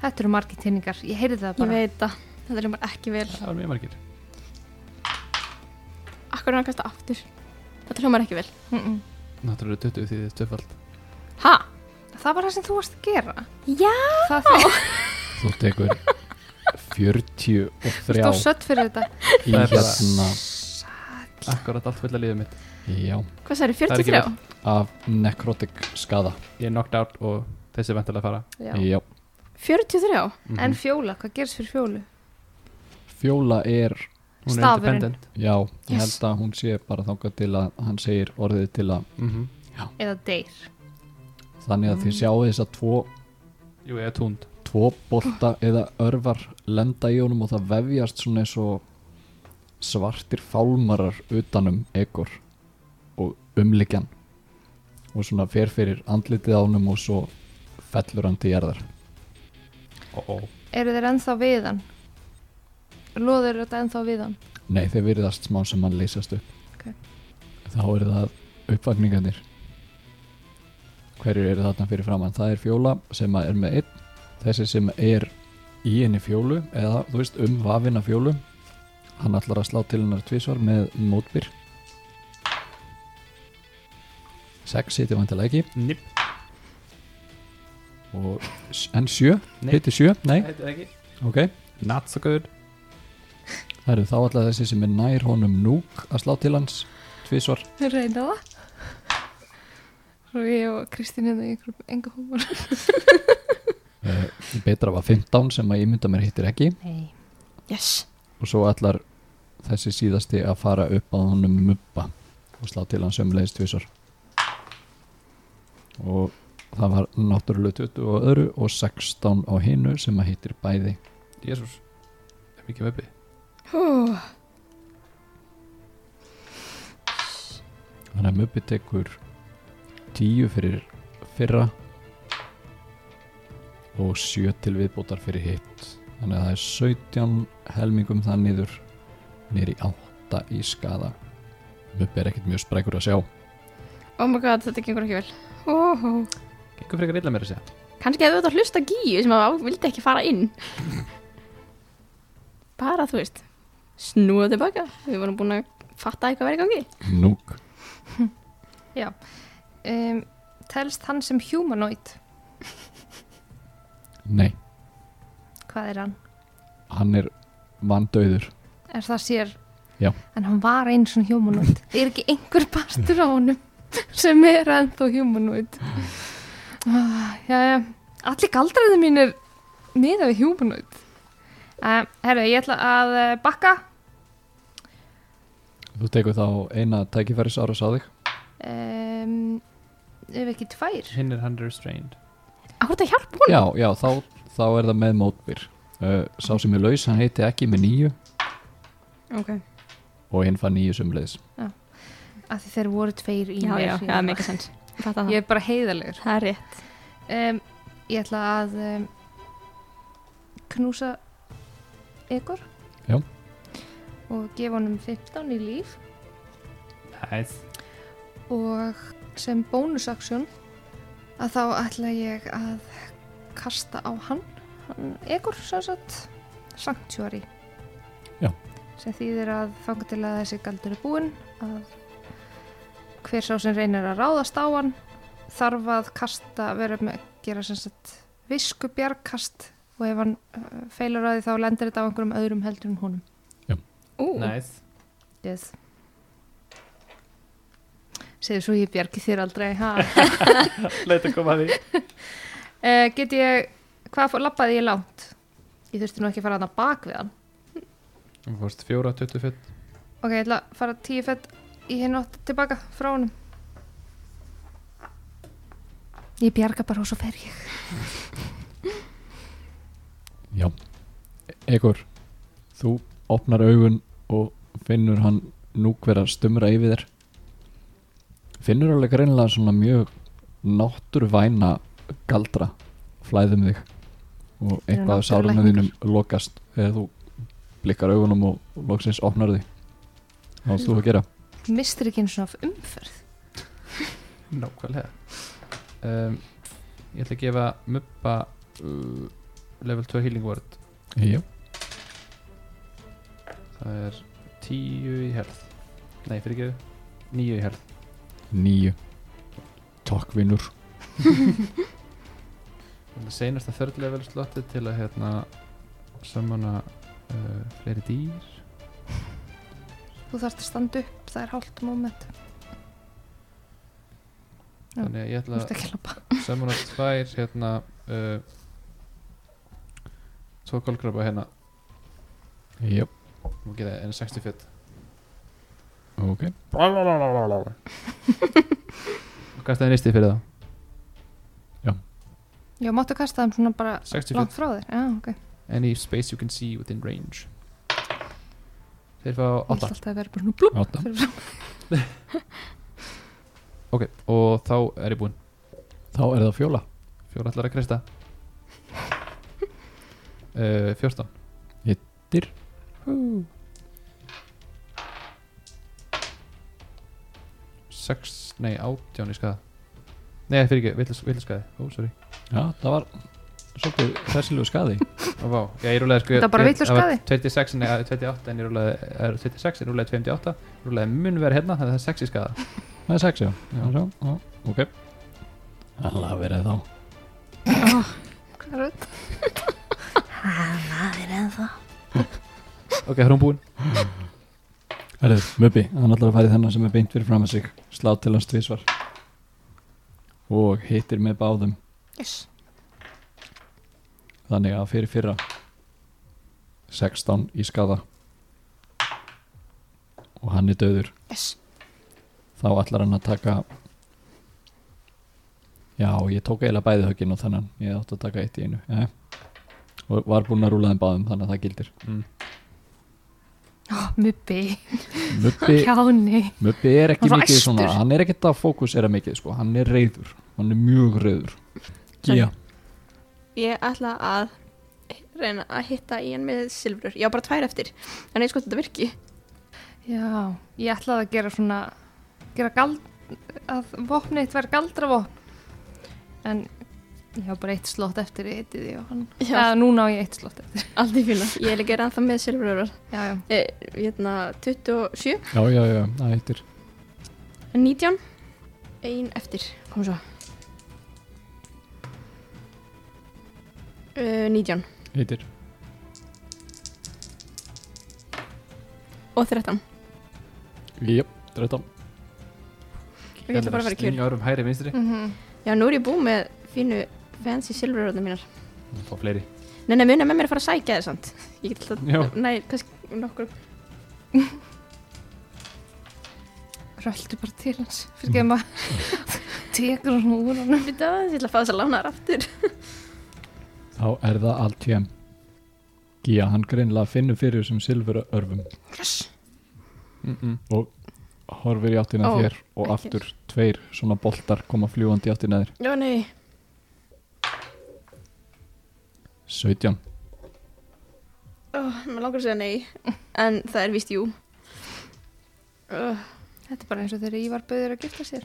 [SPEAKER 2] Þetta eru margir teiningar, ég heyrði það
[SPEAKER 1] Ég
[SPEAKER 2] bara.
[SPEAKER 1] veit það, þetta er bara ekki vel
[SPEAKER 4] Það var mjög margir
[SPEAKER 1] Akkur er hann að kasta aftur Þetta hljómar ekki vel
[SPEAKER 2] Mm -mm.
[SPEAKER 4] Náttúrulega 20 því þið er stöfald
[SPEAKER 1] Ha?
[SPEAKER 2] Það var það sem þú varst að gera.
[SPEAKER 1] Já
[SPEAKER 2] Það þegar
[SPEAKER 3] Þú tekur 43
[SPEAKER 2] þú stóð sött fyrir þetta.
[SPEAKER 3] í
[SPEAKER 4] Það er bara-
[SPEAKER 3] hérna
[SPEAKER 4] Akkurat allt fulla liðið mitt
[SPEAKER 3] Já,
[SPEAKER 1] Hvað sagði,
[SPEAKER 4] er ekki
[SPEAKER 1] 43?
[SPEAKER 3] af nekrotik skada
[SPEAKER 4] Ég er knocked out og þessi er vantilega að fara
[SPEAKER 2] Já.
[SPEAKER 3] Já,
[SPEAKER 1] 43?
[SPEAKER 4] Mhm.
[SPEAKER 2] En fjóla, hvað gerst fyrir fjólu?
[SPEAKER 3] fjóla er
[SPEAKER 4] Hún er
[SPEAKER 2] stafurinn.
[SPEAKER 4] independent
[SPEAKER 3] Já, ég
[SPEAKER 1] Yes.
[SPEAKER 3] held að hún sé bara þangað til að hann segir orðið til að
[SPEAKER 4] Mhm.
[SPEAKER 2] Eða deyr.
[SPEAKER 3] þannig að þið sjáu þess að tvo,
[SPEAKER 4] Jú, ég er túnd
[SPEAKER 3] tvo bolta eða örvar lenda í honum og það vefjast svona eins og svartir fálmarar utanum ekor og umlikjan og svona fer fyrir andlitið á honum og svo fellur hann til jarðar
[SPEAKER 4] Oh oh
[SPEAKER 2] Eru þeir ennþá við hann? Lóður eru þetta ennþá við hann?
[SPEAKER 3] Nei, þeir virðast smá sem hann leysast upp
[SPEAKER 2] Ok.
[SPEAKER 3] Þá eru það uppvakningarnir Hverjir eru þarna fyrir framann? Það er fjóla sem að er með einn Þessi sem er í henni fjólu eða þú veist um vafina fjólu Hann ætlar að slá til hennar tvísvar með mótbyr Sex hittir vantilega ekki
[SPEAKER 4] Nip
[SPEAKER 3] og, En sjö?
[SPEAKER 4] Nei.
[SPEAKER 3] Hittir sjö? Nei?
[SPEAKER 4] Þetta er ekki
[SPEAKER 3] Ok
[SPEAKER 4] Not so good
[SPEAKER 3] Það eru þá alltaf þessi sem er nær honum núk að slá til hans tvísvar
[SPEAKER 2] reyna það og ég og Kristín hérna í einhverjum enga hómar
[SPEAKER 3] uh, betra var 15 sem að ég mynda mér hittir ekki
[SPEAKER 2] Nei.
[SPEAKER 1] Yes
[SPEAKER 3] og svo ætlar þessi síðasti að fara upp að honum mubba og slá til hann sömulegist tvisar og það var náttúrulega 20 og öðru og 16 á hinu sem að hittir bæði
[SPEAKER 4] Jésús Er mikið veppi
[SPEAKER 1] Hú.
[SPEAKER 3] þannig að mubbi tekur 10 fyrir fyrra og 7 til viðbótar fyrir hitt þannig að það er 17 helmingum það niður niður í 8 í skada mubbi er ekkert mjög sprækur að sjá
[SPEAKER 1] Oh my god, þetta gengur ekki vel oh, oh.
[SPEAKER 4] Gengur frekar illa mér að segja
[SPEAKER 1] Kannski hefðu þetta hlusta gíu sem að vildi ekki fara inn Bara, þú veist Snúa tilbaka Við vorum búin að fatta eitthvað verið gangi
[SPEAKER 3] núk
[SPEAKER 2] um, telst hann sem humanoid
[SPEAKER 3] Nei,
[SPEAKER 2] hvað er hann?
[SPEAKER 3] hann er vandauður.
[SPEAKER 2] er það sér?
[SPEAKER 3] Já.
[SPEAKER 2] en hann var eins og humanoid er ekki einhver partur á honum sem er ennþá humanoid ah, jæja allir galdraði mínir miða við humanoid uh, herru, ég ætla að eh, bakka
[SPEAKER 3] Þú tekur þá eina tækifæris áras á þig.
[SPEAKER 2] um, ef ekki tvær
[SPEAKER 4] Hinn er hann restrained
[SPEAKER 1] Akkur þetta hjálp hún
[SPEAKER 3] Já, já, þá, þá er það með mótbyr. Uh, sá sem er laus, hann heiti ekki með nýju
[SPEAKER 1] okay.
[SPEAKER 3] og hinn fann nýju sömulegis.
[SPEAKER 2] af því þeir voru tveir í
[SPEAKER 1] Já,
[SPEAKER 2] mér
[SPEAKER 1] já,
[SPEAKER 2] ég
[SPEAKER 1] það er
[SPEAKER 2] bara-
[SPEAKER 1] mikið sens Fatta það
[SPEAKER 2] Ég er bara heiðalegur.
[SPEAKER 1] Það er rétt
[SPEAKER 2] Um, ég ætla að um, knúsa Egor.
[SPEAKER 3] Já.
[SPEAKER 2] Og gefa honum 15 í líf
[SPEAKER 4] Nice
[SPEAKER 2] og sem bónusaksjón að þá ætla ég að kasta á hann, hann Egor svo satt, sanctuary.
[SPEAKER 3] Já.
[SPEAKER 2] Sem þýðir að þanga til að þessi galdur er búinn að hver sá sem reynir að ráðast á hann þarf að kasta, vera með gera sem sagt viskubjarkast og ef hann uh, feilur að því þá lendir þetta á einhverjum öðrum heldur en honum
[SPEAKER 1] Ú,
[SPEAKER 4] Næs
[SPEAKER 2] yes. segðu svo ég bjargi þér aldrei ha?
[SPEAKER 4] Leit að koma að því
[SPEAKER 2] uh, get ég, hvað fór, labbaði ég langt ég þurfti nú ekki að fara hann að bak við hann
[SPEAKER 4] Þú fórst fjóra, tuttu fett
[SPEAKER 2] ok, ég ætla að fara tíu fett í hinn átt tilbaka frá honum ég bjarga bara og svo fer ég
[SPEAKER 3] Já Egor, þú opnar augun og finnur hann núk vera að stumra yfir þér Finnur alveg reynilega svona mjög náttúrvæna galdra flæðum þig og eitthvað af sárunum þínum
[SPEAKER 2] náttúrulækningar.
[SPEAKER 3] lokast þegar þú blikkar augunum og loksins opnar því Hvað átt þú að gera?
[SPEAKER 2] mistur ekki eins og af umferð
[SPEAKER 4] Nákvæmlega um, Ég ætla að gefa Mubba uh, level 2 healing word
[SPEAKER 3] Já,
[SPEAKER 4] Það er 10 í herð Nei, fyrir ekki 9 í herð
[SPEAKER 3] nýju Takk vinnur
[SPEAKER 4] Það seinasta þörd level slotti til að hérna samana uh, fleiri dýr
[SPEAKER 2] Þú þarfst að standa upp, það er hálft moment Já.
[SPEAKER 4] Þannig að
[SPEAKER 2] Þú
[SPEAKER 4] ég ætla
[SPEAKER 2] ert ekki að lappa
[SPEAKER 4] að samana tvær hérna uh, Tvo gólgröpa hérna
[SPEAKER 3] Já,
[SPEAKER 4] Nú geta enn 60 fett
[SPEAKER 3] ok
[SPEAKER 4] Og kastaði nýsti fyrir það
[SPEAKER 2] Já, máttu kasta þeim svona bara
[SPEAKER 4] 60 fett
[SPEAKER 2] langt frá þér Já, ok Ég
[SPEAKER 4] Any space you can see within range Þeir fá
[SPEAKER 2] ætla
[SPEAKER 4] 8
[SPEAKER 2] alltaf að vera bara svona blúpp
[SPEAKER 3] Átta
[SPEAKER 2] fyrir fram
[SPEAKER 4] Ok, og þá er ég búinn
[SPEAKER 3] Þá er það fjóla
[SPEAKER 4] Fjóra allar að kreista uh, 14
[SPEAKER 3] Hittir.
[SPEAKER 4] Hú. 6, nei 18 í skaða Nei, fyrir ekki, villis, villiskaði Ó, sorry
[SPEAKER 3] Já, það var svolítið þessilegu skaði
[SPEAKER 4] Ó, vá Já, ég rúlaði sko
[SPEAKER 2] Þetta var bara vitlaus
[SPEAKER 4] það var
[SPEAKER 2] skaði.
[SPEAKER 4] 26, nei, eh, 28 en ég rúlaði eh, 26, ég rúlaði 28 Rúlaði mun verið hérna, þannig að það er 6 í skaða
[SPEAKER 3] Það er sex, já, já. já, já. Ok Alla verið þá
[SPEAKER 2] Hvað er þetta?
[SPEAKER 4] Ok, það er hún búinn
[SPEAKER 3] Herrið, Möbbi, hann allar að fara í þennan sem er beint fyrir fram að sig Slá til hans tvísvar Og hittir með báðum
[SPEAKER 2] Yes
[SPEAKER 3] Þannig að fyrir fyrra 16 í skada Og hann er döður
[SPEAKER 2] Yes
[SPEAKER 3] Þá allar hann að taka Já, ég tók eiginlega bæði högin og þannan Ég átti að taka eitt í einu ja. Og var búinn að rúla þeim báðum Þannig að það gildir
[SPEAKER 2] Ó, mubbi
[SPEAKER 3] Möbbi
[SPEAKER 2] Hjáni
[SPEAKER 3] Möbbi er ekki
[SPEAKER 2] Hann er svo
[SPEAKER 3] mikið
[SPEAKER 2] æstur.
[SPEAKER 3] svona, hann er ekkert að fókusera mikið sko, hann er reyður, hann er mjög reyður.
[SPEAKER 1] Sorry. ég ætla að reyna að hitta í hann með silfrur ég á bara tvær eftir, en ég sko þetta virki
[SPEAKER 2] Já, ég ætlaði að gera svona Gera gald Að vopnið þitt væri galdravopn En ég á bara eitt slott eftir í eitið því og hann
[SPEAKER 1] Já.
[SPEAKER 2] Eða núna á ég eitt slott eftir
[SPEAKER 1] allt í fíla, ég er líka er ennþá með silfrur
[SPEAKER 2] Já, já
[SPEAKER 1] e, hérna 27,
[SPEAKER 3] Já, já, já, það heitir.
[SPEAKER 1] 19 ein eftir, kom svo Uh, 19
[SPEAKER 3] Heitir.
[SPEAKER 1] og 13
[SPEAKER 3] Jáp, 13.
[SPEAKER 1] Ég ætla bara að vera kjör.
[SPEAKER 4] Stinga árum hæri vinstri
[SPEAKER 2] mm
[SPEAKER 1] Já, nú er ég búið með fínu fancy silfurröðna mínar
[SPEAKER 4] Fá fleiri
[SPEAKER 1] Nei, nei, muna með mér að fara að sækja þér samt Ég get
[SPEAKER 4] Já.
[SPEAKER 1] alltaf, nei, kannski nokkur
[SPEAKER 2] röldu bara til hans fyrir ekki að maður tekur hann úr hann
[SPEAKER 1] Við það, ég ætla að fá þess að lána þér aftur
[SPEAKER 3] Þá er það allt hjá. Gía, hann greinlega finnur fyrir þessum silfura örfum
[SPEAKER 1] Yes
[SPEAKER 4] mm -mm.
[SPEAKER 3] horfir í áttina
[SPEAKER 1] Ó,
[SPEAKER 3] þér og
[SPEAKER 1] ekki.
[SPEAKER 3] aftur tveir svona boltar koma fljúandi í áttina þér.
[SPEAKER 1] Já, nei,
[SPEAKER 3] 17.
[SPEAKER 1] Ó, maður langar að segja nei En það er víst jú uh,
[SPEAKER 2] þetta er bara eins og þegar Ívar bauður að gifta sér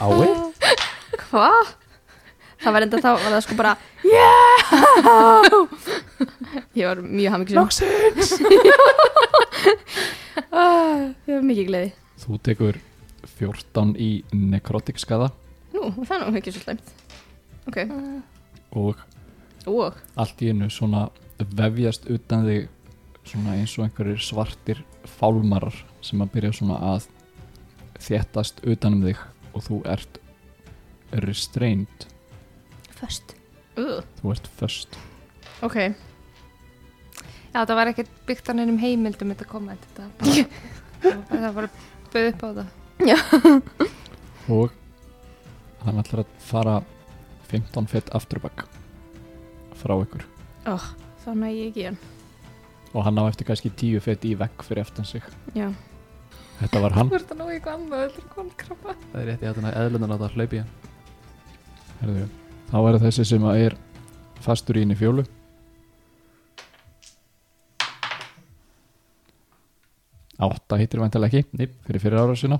[SPEAKER 3] Ái?
[SPEAKER 1] Hva? Það var enda þá, var það sko bara Yeah Ég var mjög hamingisum Loksins Ah, Það er mikið gleði.
[SPEAKER 3] Þú tekur 14 í nekrotik skada
[SPEAKER 1] Nú, það er nú ekki svo slæmt. Ok,
[SPEAKER 3] og
[SPEAKER 1] og
[SPEAKER 3] allt í einu svona vefjast utan þig svona eins og einhverjir svartir fálmarar sem að byrja svona að þéttast utan um þig og þú ert restrained,
[SPEAKER 2] Föst.
[SPEAKER 1] uh,
[SPEAKER 3] þú ert föst
[SPEAKER 1] ok,
[SPEAKER 2] Já, það var ekkert byggt á neinum heimildum þetta komment. Þetta var bara, það var bara bauð upp á það.
[SPEAKER 3] og hann ætlar að fara 15 fett afturbakk frá ykkur
[SPEAKER 1] þá næ ég ekki í hann.
[SPEAKER 3] og hann á eftir kannski 10 fett í vegg fyrir eftir sig
[SPEAKER 1] Já,
[SPEAKER 3] þetta var hann
[SPEAKER 2] Þú ert að ná í eitthvað annað, þetta er konkrabba.
[SPEAKER 4] Það er rétt í að eðlunar að það hlaupi hann
[SPEAKER 3] Herðu, þá er það þessi sem að er fastur í henni fjólu Átta heitir væntalega ekki Nei. fyrir fyrir ára sinna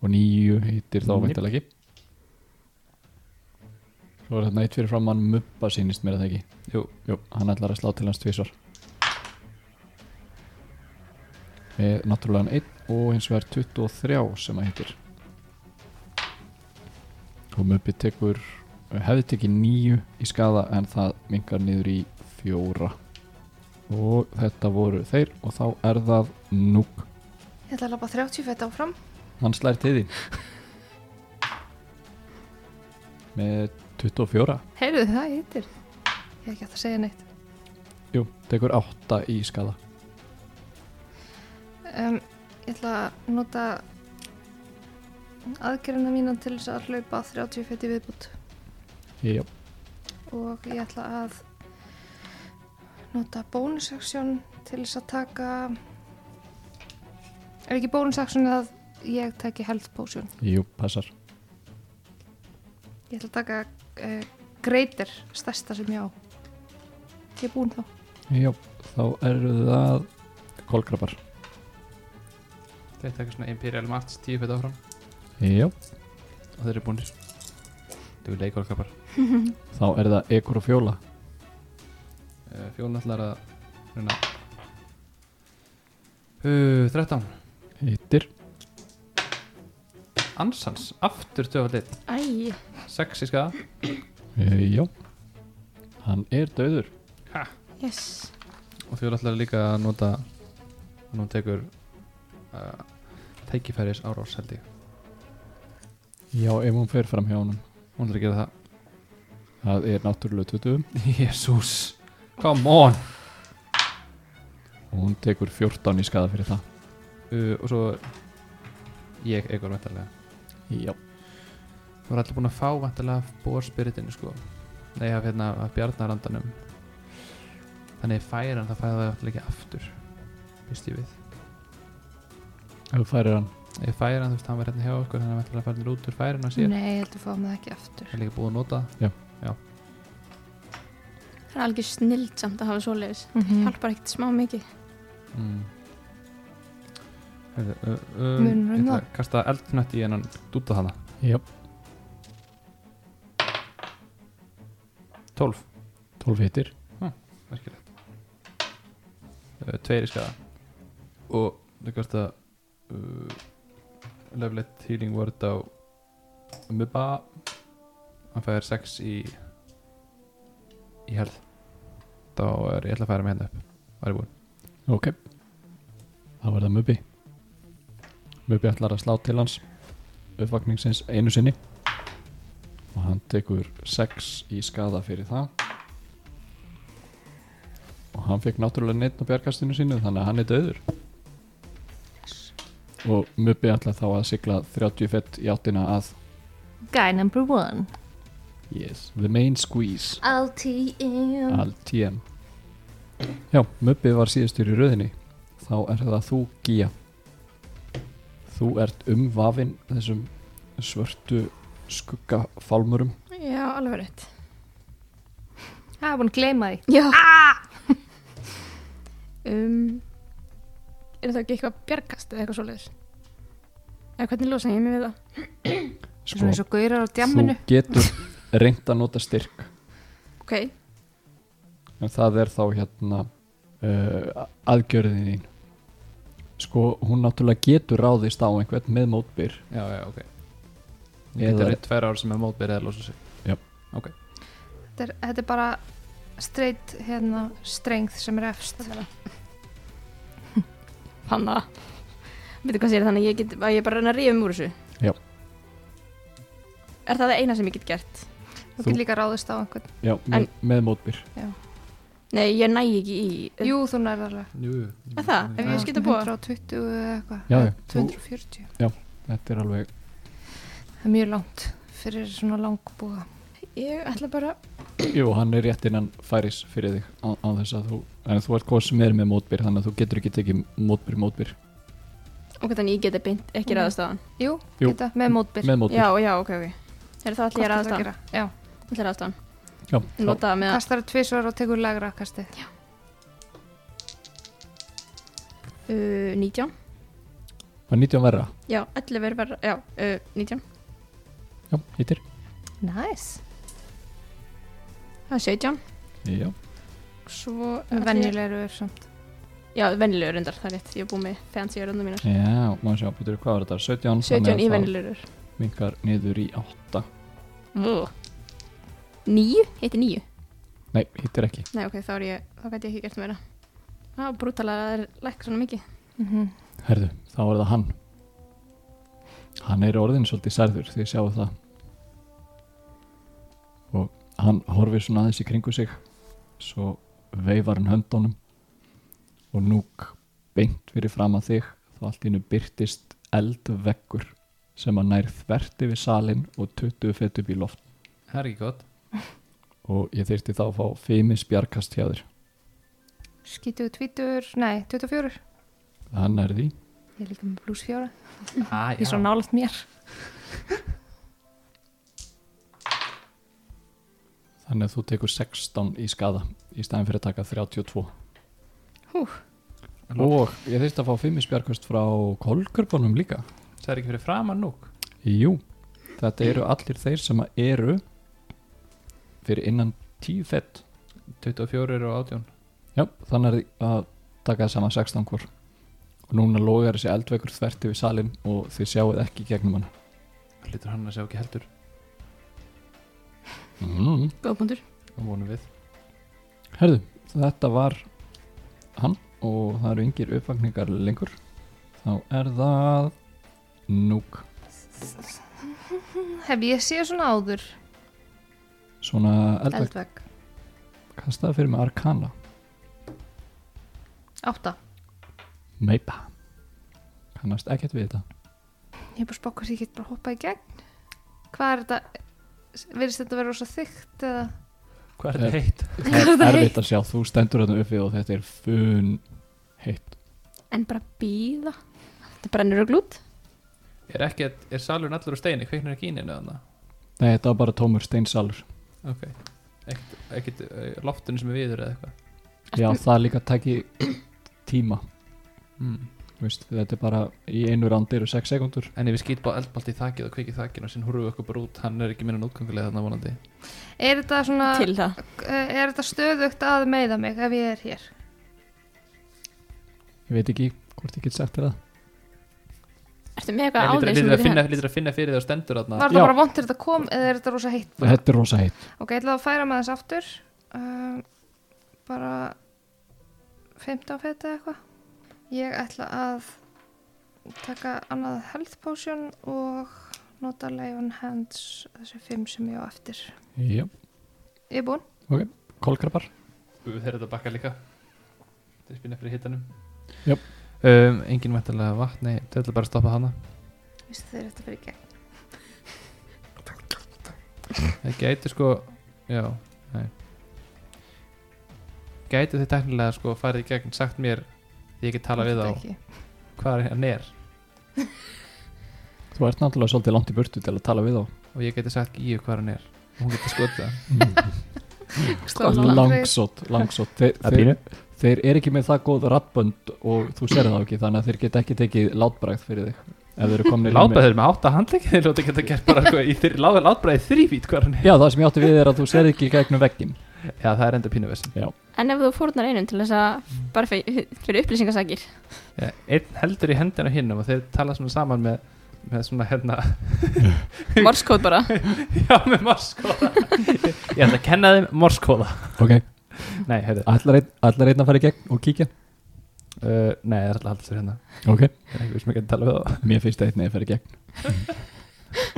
[SPEAKER 3] og níu heitir þá
[SPEAKER 4] Nei.
[SPEAKER 3] væntalega ekki Svo er þetta eitt fyrir fram hann mubba sýnist mér að það ekki Jú, Jú hann ætlar að slá til hans tvisvar með náttúrulegan 1 og hins vegar 23 sem að heitir og Mubbi tekur hefði tekið nýju í skada en það mingar niður í fjóra og þetta voru þeir og þá er það núk
[SPEAKER 2] Ég ætla að lafa 30 fett áfram.
[SPEAKER 3] hann slær til því með 24
[SPEAKER 2] Heyrðu það, ég heitir. Ég hef ekki átt að segja neitt.
[SPEAKER 3] jú, tekur 8 í skada
[SPEAKER 2] Um, ég ætla að nota aðgerðina mína til þess að hlaupa 30 fett í viðbútt.
[SPEAKER 3] jú,
[SPEAKER 2] og ég ætla að nota bónusaksjón til þess að taka er ekki bónusaksjón að ég taki health potion
[SPEAKER 3] jú, passar
[SPEAKER 2] ég ætla að taka uh, greater, stærsta sem ég á ég er búin þá
[SPEAKER 3] jú, þá eru það kolkrabar
[SPEAKER 4] Þeir taka svona Imperial Mats 10 fett áfram
[SPEAKER 3] jú,
[SPEAKER 4] og þeir eru búinir Þú er leikorkapar
[SPEAKER 3] þá er það ekkur og fjóla
[SPEAKER 4] Fjólun Eh, ætlar að reyna uh, 13
[SPEAKER 3] heitir
[SPEAKER 4] Ansans, aftur töfaldið
[SPEAKER 1] æj,
[SPEAKER 4] 6 í skada
[SPEAKER 3] jú, hann er döður
[SPEAKER 1] yes,
[SPEAKER 4] og Fjólun ætlar líka að nota hann hún tekur uh, tækifæris árás held ég
[SPEAKER 3] já, ef hún fer fram hjá honum
[SPEAKER 4] Hún ætlar að gera það
[SPEAKER 3] Það er náttúrulega 20
[SPEAKER 4] Jésús, come on
[SPEAKER 3] og hún tekur 14 í skada fyrir það.
[SPEAKER 4] uh, og svo ég eitthvað vantarlega
[SPEAKER 3] Já.
[SPEAKER 4] Þú er allir búin að fá vantarlega af bórspiritinu sko Nei, af hérna, af bjarnarandanum Þannig færi hann, það fæði það allir ekki aftur Vist ég við
[SPEAKER 3] Þú færir hann.
[SPEAKER 4] Ef færi hann, þú veist, hann var hérna hjá okkur Þannig að vantarlega færi hann út úr færinu og síðan
[SPEAKER 2] nei, ég heldur fáum það ekki aftur
[SPEAKER 4] Það er líka búið að nota það.
[SPEAKER 1] það er algjör snild samt að hafa svoleiðis. Hjálpar ekkert smá mikið.
[SPEAKER 4] mm. Heyrðu, uh,
[SPEAKER 2] Munar um
[SPEAKER 4] ég ætla að Kasta eldfnött í hennan dúta þarna
[SPEAKER 3] Já.
[SPEAKER 4] 12,
[SPEAKER 3] 12 hittir.
[SPEAKER 4] merkilegt uh, Tveir í skada Og það kasta uh, Levelet healing word á Mubba Hann fær 6 í Í held Þá er ég ætla að færa mig hérna upp Var ég búinn
[SPEAKER 3] Ok. Það var það Mubi. Mubi ætlar að slá til hans uppvakningsins einu sinni og hann tekur 6 í skada fyrir það. Og hann fekk náttúrulega neitt á bjargastinu sínu þannig að hann er döður. Og Mubi ætlar þá að sigla 30 fett í áttina að
[SPEAKER 2] guy number one
[SPEAKER 3] Yes, the main squeeze
[SPEAKER 2] LTM
[SPEAKER 3] LTM Já, Mubbi var síðastur í röðinni þá er það þú Gía Þú ert umvafinn þessum svörtu skuggafálmurum
[SPEAKER 1] Já, alveg rétt.
[SPEAKER 2] það er búin að gleyma því
[SPEAKER 1] Já. Um, er það ekki eitthvað bjargast eða eitthvað svoleiðis? Eða hvernig losa ég mig við það?
[SPEAKER 2] svona eins og gaurar á djamminu
[SPEAKER 3] sko. þú getur reynd að nota styrk
[SPEAKER 1] Ok,
[SPEAKER 3] en það er þá hérna uh, aðgjörðin þín sko hún náttúrulega getur ráðist á einhvern með mótbyr
[SPEAKER 4] Já, já, ok Þú
[SPEAKER 3] Eða-
[SPEAKER 4] getur verið tveir ár sem er mótbyrðið að losa sig
[SPEAKER 2] Þetta er, þetta er bara straight hérna, strength sem er efst
[SPEAKER 1] Panna Veitu hvað sér þannig að ég, get, að ég bara reyna að rífa mig úr þessu
[SPEAKER 3] Já.
[SPEAKER 1] Er það það eina sem ég get gert?
[SPEAKER 2] þú getur líka ráðist á einhvern
[SPEAKER 3] já, með,
[SPEAKER 1] En-
[SPEAKER 3] með mótbyr
[SPEAKER 1] Nei, ég næ ekki í
[SPEAKER 2] Jú, þú nærðarlega
[SPEAKER 4] Jú, jú
[SPEAKER 1] Er það? Ef
[SPEAKER 4] Já.
[SPEAKER 1] ég skita búa?
[SPEAKER 2] 120 eða eitthvað
[SPEAKER 3] Já,
[SPEAKER 2] eða
[SPEAKER 3] já.
[SPEAKER 2] 240
[SPEAKER 3] þetta er alveg
[SPEAKER 2] Það er mjög langt fyrir svona langbúa
[SPEAKER 1] Ég ætla bara
[SPEAKER 3] jú, hann er rétt innan færis fyrir þig á, á þess að þú en þú ert hvað sem er með mótbyr þannig að þú getur ekki tekið mótbyr mótbyr
[SPEAKER 1] Ok, þannig ég geti beint ekki ráðast á hann
[SPEAKER 2] Jú,
[SPEAKER 3] Jú.
[SPEAKER 2] Þetta, með mótbyr
[SPEAKER 3] með mótbyr
[SPEAKER 1] Já, já, ok, ok Er það allir ég ráðast á hann?
[SPEAKER 2] Já,
[SPEAKER 1] Ég ætla að ráðast á hann
[SPEAKER 3] já, þá-
[SPEAKER 1] Nota það með að
[SPEAKER 2] kastar það tvisvar og tekur lagra kastið
[SPEAKER 1] uh, 19
[SPEAKER 3] var 19 verra
[SPEAKER 1] Já, 11 er bara, já, uh, 19
[SPEAKER 3] já, hittir
[SPEAKER 2] Nice
[SPEAKER 1] Það er 17
[SPEAKER 3] já,
[SPEAKER 1] Svo ætla ég-
[SPEAKER 2] Venjulegur er samt
[SPEAKER 1] Já, venjulegur reyndar, það er rétt Ég er búin með fancy röndum mínar
[SPEAKER 3] já má sjá, betur hvað var þetta 17 þannig
[SPEAKER 1] 17
[SPEAKER 3] að
[SPEAKER 1] í
[SPEAKER 3] þá
[SPEAKER 1] venjulegur
[SPEAKER 3] minkar niður í 8
[SPEAKER 1] Vó. 9? Heitir 9?
[SPEAKER 3] nei, hittir ekki
[SPEAKER 1] Nei, ok, þá er ég, þá gæti ég ekki gert meira. Það var brútalega að það er lækka svona mikið.
[SPEAKER 2] mm
[SPEAKER 3] Herðu, þá er það hann Hann er orðin svolítið særður því sjáu það og hann horfir svona aðeins í kringu sig svo veifar hann höndunum og núk beint fyrir fram að þig þá allt í innu byrtist eldveggur sem að nær þvert yfir salin og 20 fett upp í loft
[SPEAKER 4] Það er ekki gott
[SPEAKER 3] og ég þyrfti þá að fá fimis bjarkast hjá þér
[SPEAKER 2] Skítuðu tvítur, nei, 24
[SPEAKER 3] hann er því
[SPEAKER 2] Ég er líka með pluss fjóra
[SPEAKER 4] Æ,
[SPEAKER 2] Ég er svo nálaðt mér
[SPEAKER 3] þannig að þú tekur 16 í skada í staðin fyrir að taka 32
[SPEAKER 1] Hú.
[SPEAKER 3] og ég þyrst að fá 5 spjarkvöst frá kolkurbanum líka
[SPEAKER 4] Það er ekki fyrir framan núk
[SPEAKER 3] jú, þetta eru allir þeir sem að eru fyrir innan 10 fett
[SPEAKER 4] 24 og 18
[SPEAKER 3] já, þannig er því að taka það sama 16 hvort og núna logar þessi eldveikur þvert yfir salin og þið sjáuð ekki gegnum hana
[SPEAKER 4] Lítur hann að sjá ekki heldur
[SPEAKER 3] mm.
[SPEAKER 1] Góðbundur.
[SPEAKER 4] og vonum við
[SPEAKER 3] herðu, þetta var hann og það eru yngir uppvakningar lengur þá er það núk
[SPEAKER 2] Hef ég séð svona áður
[SPEAKER 3] Svona eldvegg
[SPEAKER 2] Eldvegg
[SPEAKER 3] kastaði fyrir mig Arkana
[SPEAKER 2] Átta
[SPEAKER 3] Meipa Kannast ekkert við þetta
[SPEAKER 2] Ég er bara spokk að ég get bara hoppað í gegn Hvað er þetta? Verðist þetta vera rosa þykkt eða?
[SPEAKER 4] Hvað
[SPEAKER 3] er þetta
[SPEAKER 4] heitt?
[SPEAKER 3] Það er erfitt að sjá, þú stendur þarna uppið og þetta er fun heitt
[SPEAKER 1] En bara býða. Þetta brennur og glút.
[SPEAKER 4] Er, ekki, er salurinn allur úr steini? Kveiknir ekki íninu þannig?
[SPEAKER 3] Nei, þetta var bara tómur steinsalur
[SPEAKER 4] Ok Ekkert, ekkert eh, loftinu sem er viður eða eitthvað
[SPEAKER 3] Já, það líka tæki tíma
[SPEAKER 4] mm.
[SPEAKER 3] Þú veist, Þetta er bara í einu randir og sex sekundur
[SPEAKER 4] En ef við skýt bara eldbalt í þakið og kveikið þakinu og sinn húrum við okkur bara út, hann er ekki minna útgangulega þannig vonandi
[SPEAKER 2] Er þetta svona
[SPEAKER 4] Ah.
[SPEAKER 2] eh,
[SPEAKER 1] Til það.
[SPEAKER 2] Er þetta stöðugt að meiða mig ef ég er hér?
[SPEAKER 3] Ég veit ekki hvort ég get sagt þér það
[SPEAKER 1] Ertu með
[SPEAKER 4] Nei,
[SPEAKER 1] eitthvað hérna? á þig
[SPEAKER 4] lítur-
[SPEAKER 1] sem
[SPEAKER 4] lítur að
[SPEAKER 1] getur
[SPEAKER 4] finna-
[SPEAKER 1] hægt?
[SPEAKER 4] Lítur að finna fyrir það og stendur þarna
[SPEAKER 2] Var
[SPEAKER 3] Já.
[SPEAKER 2] þetta bara vondt þetta kom eða er þetta rosa heitt?
[SPEAKER 3] Þetta er rosa heitt
[SPEAKER 2] Ok, ég ætla að færa maður þess aftur uh, Bara 15 feta eða eitthvað Ég ætla að taka annað health potion og nota lay on hands þessi fimm sem ég á eftir
[SPEAKER 3] Já,
[SPEAKER 2] Ég er búinn
[SPEAKER 3] kolkrabbar
[SPEAKER 4] Ú, Þeir eru að bakka líka Þeir spinna fyrir hittanum
[SPEAKER 3] Jöp.
[SPEAKER 4] um, Engin væntalega vatn, nei, þau ætla bara að stoppa hana
[SPEAKER 2] Vistu þeir þetta fyrir gegn
[SPEAKER 4] Það gæti sko, já, nei Gæti þau teknilega sko farið í gegn sagt mér Ég get tala við á
[SPEAKER 2] Ekki.
[SPEAKER 4] hvað hann er
[SPEAKER 3] Þú ert náttúrulega svolítið langt í burtu til að tala við þá
[SPEAKER 4] Og ég geti sagt í hvað hann er Og hún geti skotið hann
[SPEAKER 2] Slá langri-
[SPEAKER 3] Langsótt, langsótt Þeir, þeir, þeir eru ekki með það góð rattbönd og þú sér það ekki þannig að þeir geta ekki tekið látbræð fyrir þig ef þeir eru komni
[SPEAKER 4] Láta þeir með átta handleggi Þeir láta geta gert bara eitthvað í þyrri Láta látbræði þrývít hvað hann er
[SPEAKER 3] Já, það sem ég átti við er að þú sér ekki í gegnum veggin
[SPEAKER 4] Já, það er enda pínu vesinn
[SPEAKER 1] En ef þú fórnar einum til þess að bara fyrir, fyrir upplýsingasakir
[SPEAKER 4] Einn heldur í hendina hinnum og þeir tala svona saman með, með svona hérna
[SPEAKER 1] Morskóð bara
[SPEAKER 4] Já, með morskóla Ég ætla að kenna þeim morskóla
[SPEAKER 3] Ok,
[SPEAKER 4] Nei, heyrðu
[SPEAKER 3] allar einn, allar einn að fara í gegn og kíkja
[SPEAKER 4] uh, Nei, það er alltaf haldið sér hérna
[SPEAKER 3] Ok,
[SPEAKER 4] Ég er ekki viss sem ekki að tala við það
[SPEAKER 3] mér finnst að einn að fara í gegn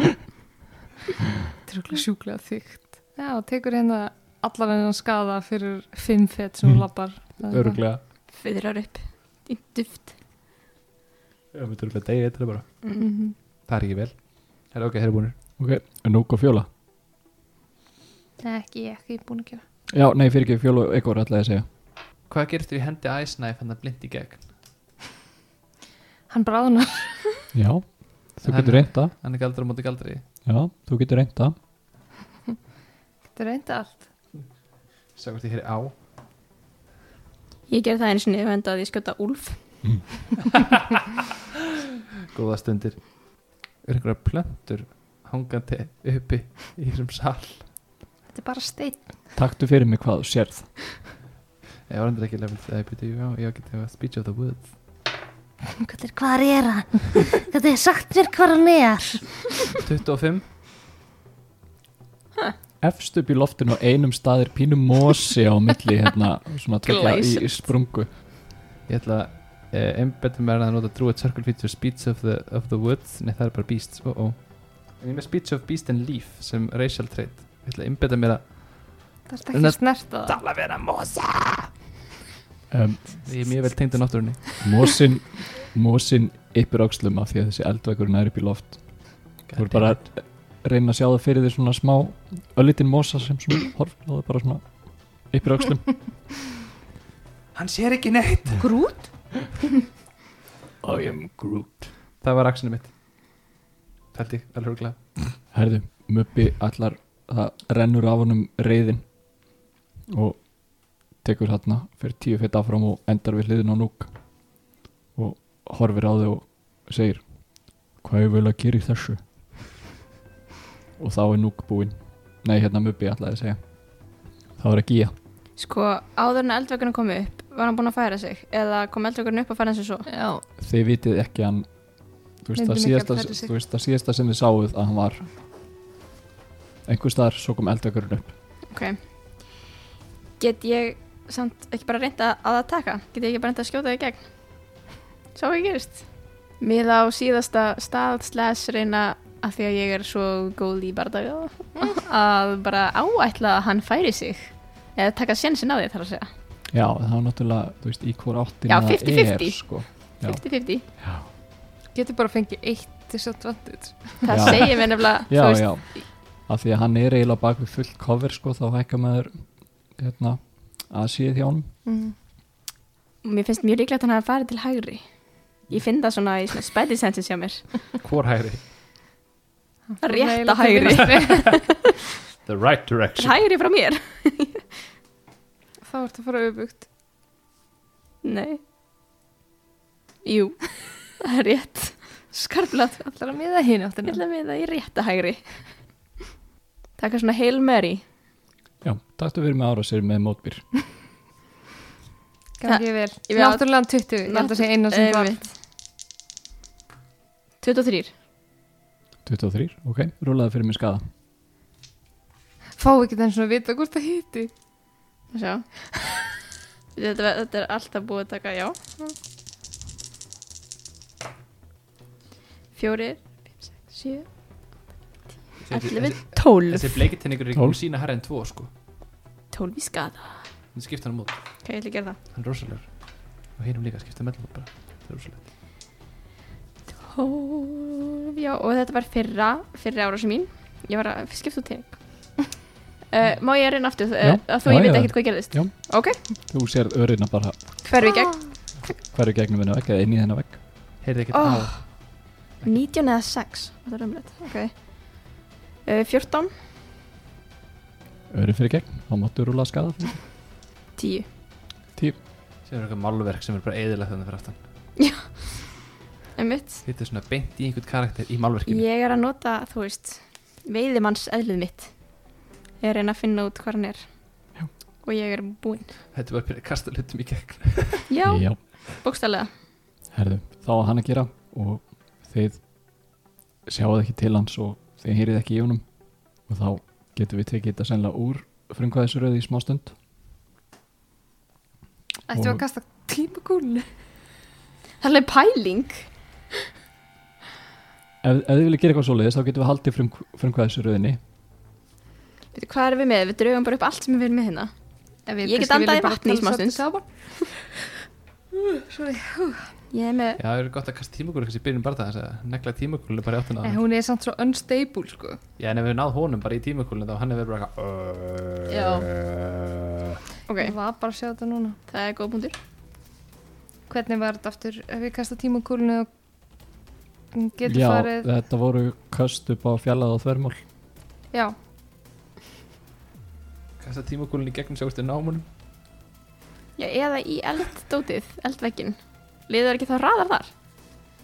[SPEAKER 2] Þetta er okkur sjúklega þygt. Já, tekur hérna allar hennan skada fyrir fimm fett sem hún
[SPEAKER 3] Mm.
[SPEAKER 2] lappar.
[SPEAKER 4] Öruglega
[SPEAKER 1] Fyðrar upp í duft
[SPEAKER 4] Já, við þurfum að degja þetta bara
[SPEAKER 2] Mhm.
[SPEAKER 4] Það er ekki vel Heyrðu, ok, þeir eru búinir
[SPEAKER 3] Ok, núk og fjóla
[SPEAKER 2] Nei, ekki ég, ekki ég er búin að gera.
[SPEAKER 3] Já, nei, fyrir ekki fjóla og ekkur allar að segja
[SPEAKER 4] Hvað gerstu í hendi æsnæf hann að blind í gegn?
[SPEAKER 2] Hann bráðnar.
[SPEAKER 3] Já, þú
[SPEAKER 4] Hann-
[SPEAKER 3] getur reynda
[SPEAKER 4] Hann er galdra á móti galdri
[SPEAKER 3] Já, þú getur reynda
[SPEAKER 2] Þetta er reyndi allt.
[SPEAKER 4] Sjá hvort ég heyri á
[SPEAKER 1] Ég ger það einu sinni ef enda að ég skjóta úlf
[SPEAKER 4] Góða stundir Er einhverja plöntur hangandi uppi í þessum sal?
[SPEAKER 2] Þetta er bara stein.
[SPEAKER 3] Taktu fyrir mig hvað þú sérð
[SPEAKER 4] Ég var endur ekki level þegar ég byrja, já, ég geti að speech of the woods.
[SPEAKER 5] Hvað er, hvar er hann? Hvað er sagt mér hvar hann er?
[SPEAKER 4] 25,
[SPEAKER 3] Efst upp í loftinu á einum staðir pínum mosi á milli hérna svona tvekja í, í sprungu
[SPEAKER 4] ég ætla að eh, einbetta mér að nota druid circle feature speech of the, of the woods, nei það er bara beasts, ó ó. En ég er með speech of beast and leaf sem racial trait. Ég ætla að einbetta mér að
[SPEAKER 2] Það er
[SPEAKER 4] En
[SPEAKER 2] ekki
[SPEAKER 4] það-
[SPEAKER 2] snert að það.
[SPEAKER 4] tala við hann mosa.
[SPEAKER 3] um,
[SPEAKER 4] Ég er mjög vel tengd á náttúrunni.
[SPEAKER 3] Mosin Mosin yppir öxlum af því að þessi eldvegurinn er upp í loft Þú er bara að reyna að sjá það fyrir því svona smá öllitinn mosa sem svona horf og það er bara svona yppir öxlum
[SPEAKER 4] Hann sér ekki neitt.
[SPEAKER 2] Grút?
[SPEAKER 3] I am Groot
[SPEAKER 4] Það var aksinu mitt. Tælti, alveg huglega.
[SPEAKER 3] Herðu, Muppi allar það rennur af honum reyðin og tekur þarna fyrir tíu fett áfram og endar við hliðin á núk og horfir á þau og segir hvað ég vil að gera í þessu og þá er núk búinn nei hérna Muppi allar að segja þá er að gíja
[SPEAKER 1] Sko, áður en eldvökunum kom upp var hann búinn að færa sig eða kom eldvökunum upp að færa sig svo
[SPEAKER 2] Já.
[SPEAKER 3] þið vitið ekki hann þú veist,
[SPEAKER 2] Myndum ekki
[SPEAKER 3] það
[SPEAKER 2] að
[SPEAKER 3] síðasta,
[SPEAKER 2] færa sig.
[SPEAKER 3] þú veist það síðasta sem þið sáuð að hann var einhvers staðar svo kom eldökurinn upp
[SPEAKER 1] Ok Get ég samt ekki bara reynda að að taka? Get ég ekki bara reynda að skjóta þau í gegn? Sá hvað gerist Miða á síðasta stað slæs reyna að því að ég er svo góð í bardaga að bara áætla að hann færi sig eða taka sjensin á því þar að segja
[SPEAKER 3] Já, það var náttúrulega, þú veist, í hvora áttin
[SPEAKER 1] Já,
[SPEAKER 3] það
[SPEAKER 1] 50-50.
[SPEAKER 3] er, sko. Já.
[SPEAKER 1] 50-50
[SPEAKER 2] Getur bara fengið eitt disadvantage.
[SPEAKER 1] Það
[SPEAKER 3] Já.
[SPEAKER 1] segir mér nefnilega
[SPEAKER 3] Já,
[SPEAKER 1] þú veist,
[SPEAKER 3] já, af því að hann er eiginlega bak við fullt cover, sko, þá hækka maður, hérna, að síðið hjá honum.
[SPEAKER 2] Mm.
[SPEAKER 1] Mér finnst mjög líklegt að hann hafi farið til hægri Ég finn það svona í svona spidey senses hjá mér
[SPEAKER 4] Hvor hægri?
[SPEAKER 1] Rétt að hægri
[SPEAKER 4] The right direction.
[SPEAKER 1] Hægri frá mér
[SPEAKER 2] Þá ertu að fara auðvugt.
[SPEAKER 1] Nei Jú, það er rétt Skarflat
[SPEAKER 2] Allar að miða hinn
[SPEAKER 1] Ég
[SPEAKER 2] áttina.
[SPEAKER 1] ætla með það í rétta hægri Takk að svona Hail Mary
[SPEAKER 3] Já, taktu fyrir með ára sér með mótbyr.
[SPEAKER 2] Gangið vel.
[SPEAKER 1] Ég veit-
[SPEAKER 2] Náttúrulega 20. Ég held að sé eina sem var.
[SPEAKER 1] Einmitt. 23
[SPEAKER 3] 23, ok, rúlaði fyrir mig skada.
[SPEAKER 2] Fá ekki þenn svona að vita hvort það hitti.
[SPEAKER 1] Sjá þetta, var- þetta er alltaf búið að taka, já Fjórir fimm, sex, Sjö, ellefu, tólf
[SPEAKER 4] Þessi bleikitinningur er ekki
[SPEAKER 3] Tólf.
[SPEAKER 4] um sína herra en tvo, sko.
[SPEAKER 1] Tólf í skada
[SPEAKER 4] Þú skipta hann um út.
[SPEAKER 1] Ok, ég ætla að gera það
[SPEAKER 4] Hann er rosalegur Og hinum líka skipta mellum bara Það er rosalegt
[SPEAKER 1] Tólf, já, og þetta var fyrra fyrra ára sem mín Ég var að skipta út til uh, Má ég reyna aftur uh,
[SPEAKER 3] Já.
[SPEAKER 1] að þú
[SPEAKER 3] Já,
[SPEAKER 1] ég veit
[SPEAKER 3] já.
[SPEAKER 1] ekkert hvað gerðist
[SPEAKER 3] Já.
[SPEAKER 1] Ok,
[SPEAKER 3] Þú sérð örina bara
[SPEAKER 1] hverfi í gegn
[SPEAKER 3] hverju gegnum hennar vekk eða inn í hennar vekk.
[SPEAKER 4] Heyrði ekkert
[SPEAKER 1] Oh.
[SPEAKER 4] á
[SPEAKER 1] 19 eða 6 Þetta er umrætt, ok uh, 14,
[SPEAKER 3] Örin fyrir gegn, þá máttu rúlaði skada. fyrir mig.
[SPEAKER 1] 10
[SPEAKER 4] Sér er eitthvað málverk sem er bara eðilegt þannig fyrir aftan
[SPEAKER 1] Einmitt.
[SPEAKER 4] Þetta er svona beint í einhvern karakter í málverkinu
[SPEAKER 1] Ég er að nota, þú veist veiðimanns eðlið mitt Ég er að reyna að finna út hvað hann er
[SPEAKER 3] Já.
[SPEAKER 1] og ég er búinn
[SPEAKER 4] Þetta er bara að byrja að kasta hlutum í gegn
[SPEAKER 1] já,
[SPEAKER 3] Já.
[SPEAKER 1] bókstælega
[SPEAKER 3] Herðu, þá að hann að gera og þið sjáðu ekki til hans og þið heyrið ekki í honum og þá getum við tekið þetta sennilega úr frumkvæðisröði í smá stund.
[SPEAKER 2] Ættu
[SPEAKER 3] Og-
[SPEAKER 2] að kasta tímakúlu?
[SPEAKER 1] það er alveg pæling
[SPEAKER 3] Ef, ef þið viljið gera eitthvað svoleiðis þá getum við haldið frum, frumkvæðisröðinni.
[SPEAKER 1] Veitu, hvað erum við með, við draugum bara upp allt sem við erum með hérna Ég get andað í vatni í Uh, smá stund.
[SPEAKER 2] Sorry.
[SPEAKER 1] ég er með,
[SPEAKER 4] Já, það eru gott að kasta tímakúlu kannski í byrjun bara þess að negla tímakúlu bara í áttina
[SPEAKER 2] En
[SPEAKER 4] að
[SPEAKER 2] hún er samt svo unstable, sko.
[SPEAKER 4] Já, en ef við náð honum bara í tímakúlinu þá hann er verið bara eitthvað
[SPEAKER 1] já ok,
[SPEAKER 2] Ég var bara að sjá þetta núna.
[SPEAKER 1] Eh, mm. það er góð búndur
[SPEAKER 2] Hvernig var þetta aftur? Ef ég kasta tímakúlinu og getur
[SPEAKER 3] Já,
[SPEAKER 2] farið...
[SPEAKER 3] þetta voru köst upp á fjallað og þvermál. eh.
[SPEAKER 2] Já,
[SPEAKER 4] Kasta tímakúlinu í gegnum sjáustu námunum
[SPEAKER 1] já, eða í elddótið, eldvekkin liður ekki þá raðar þar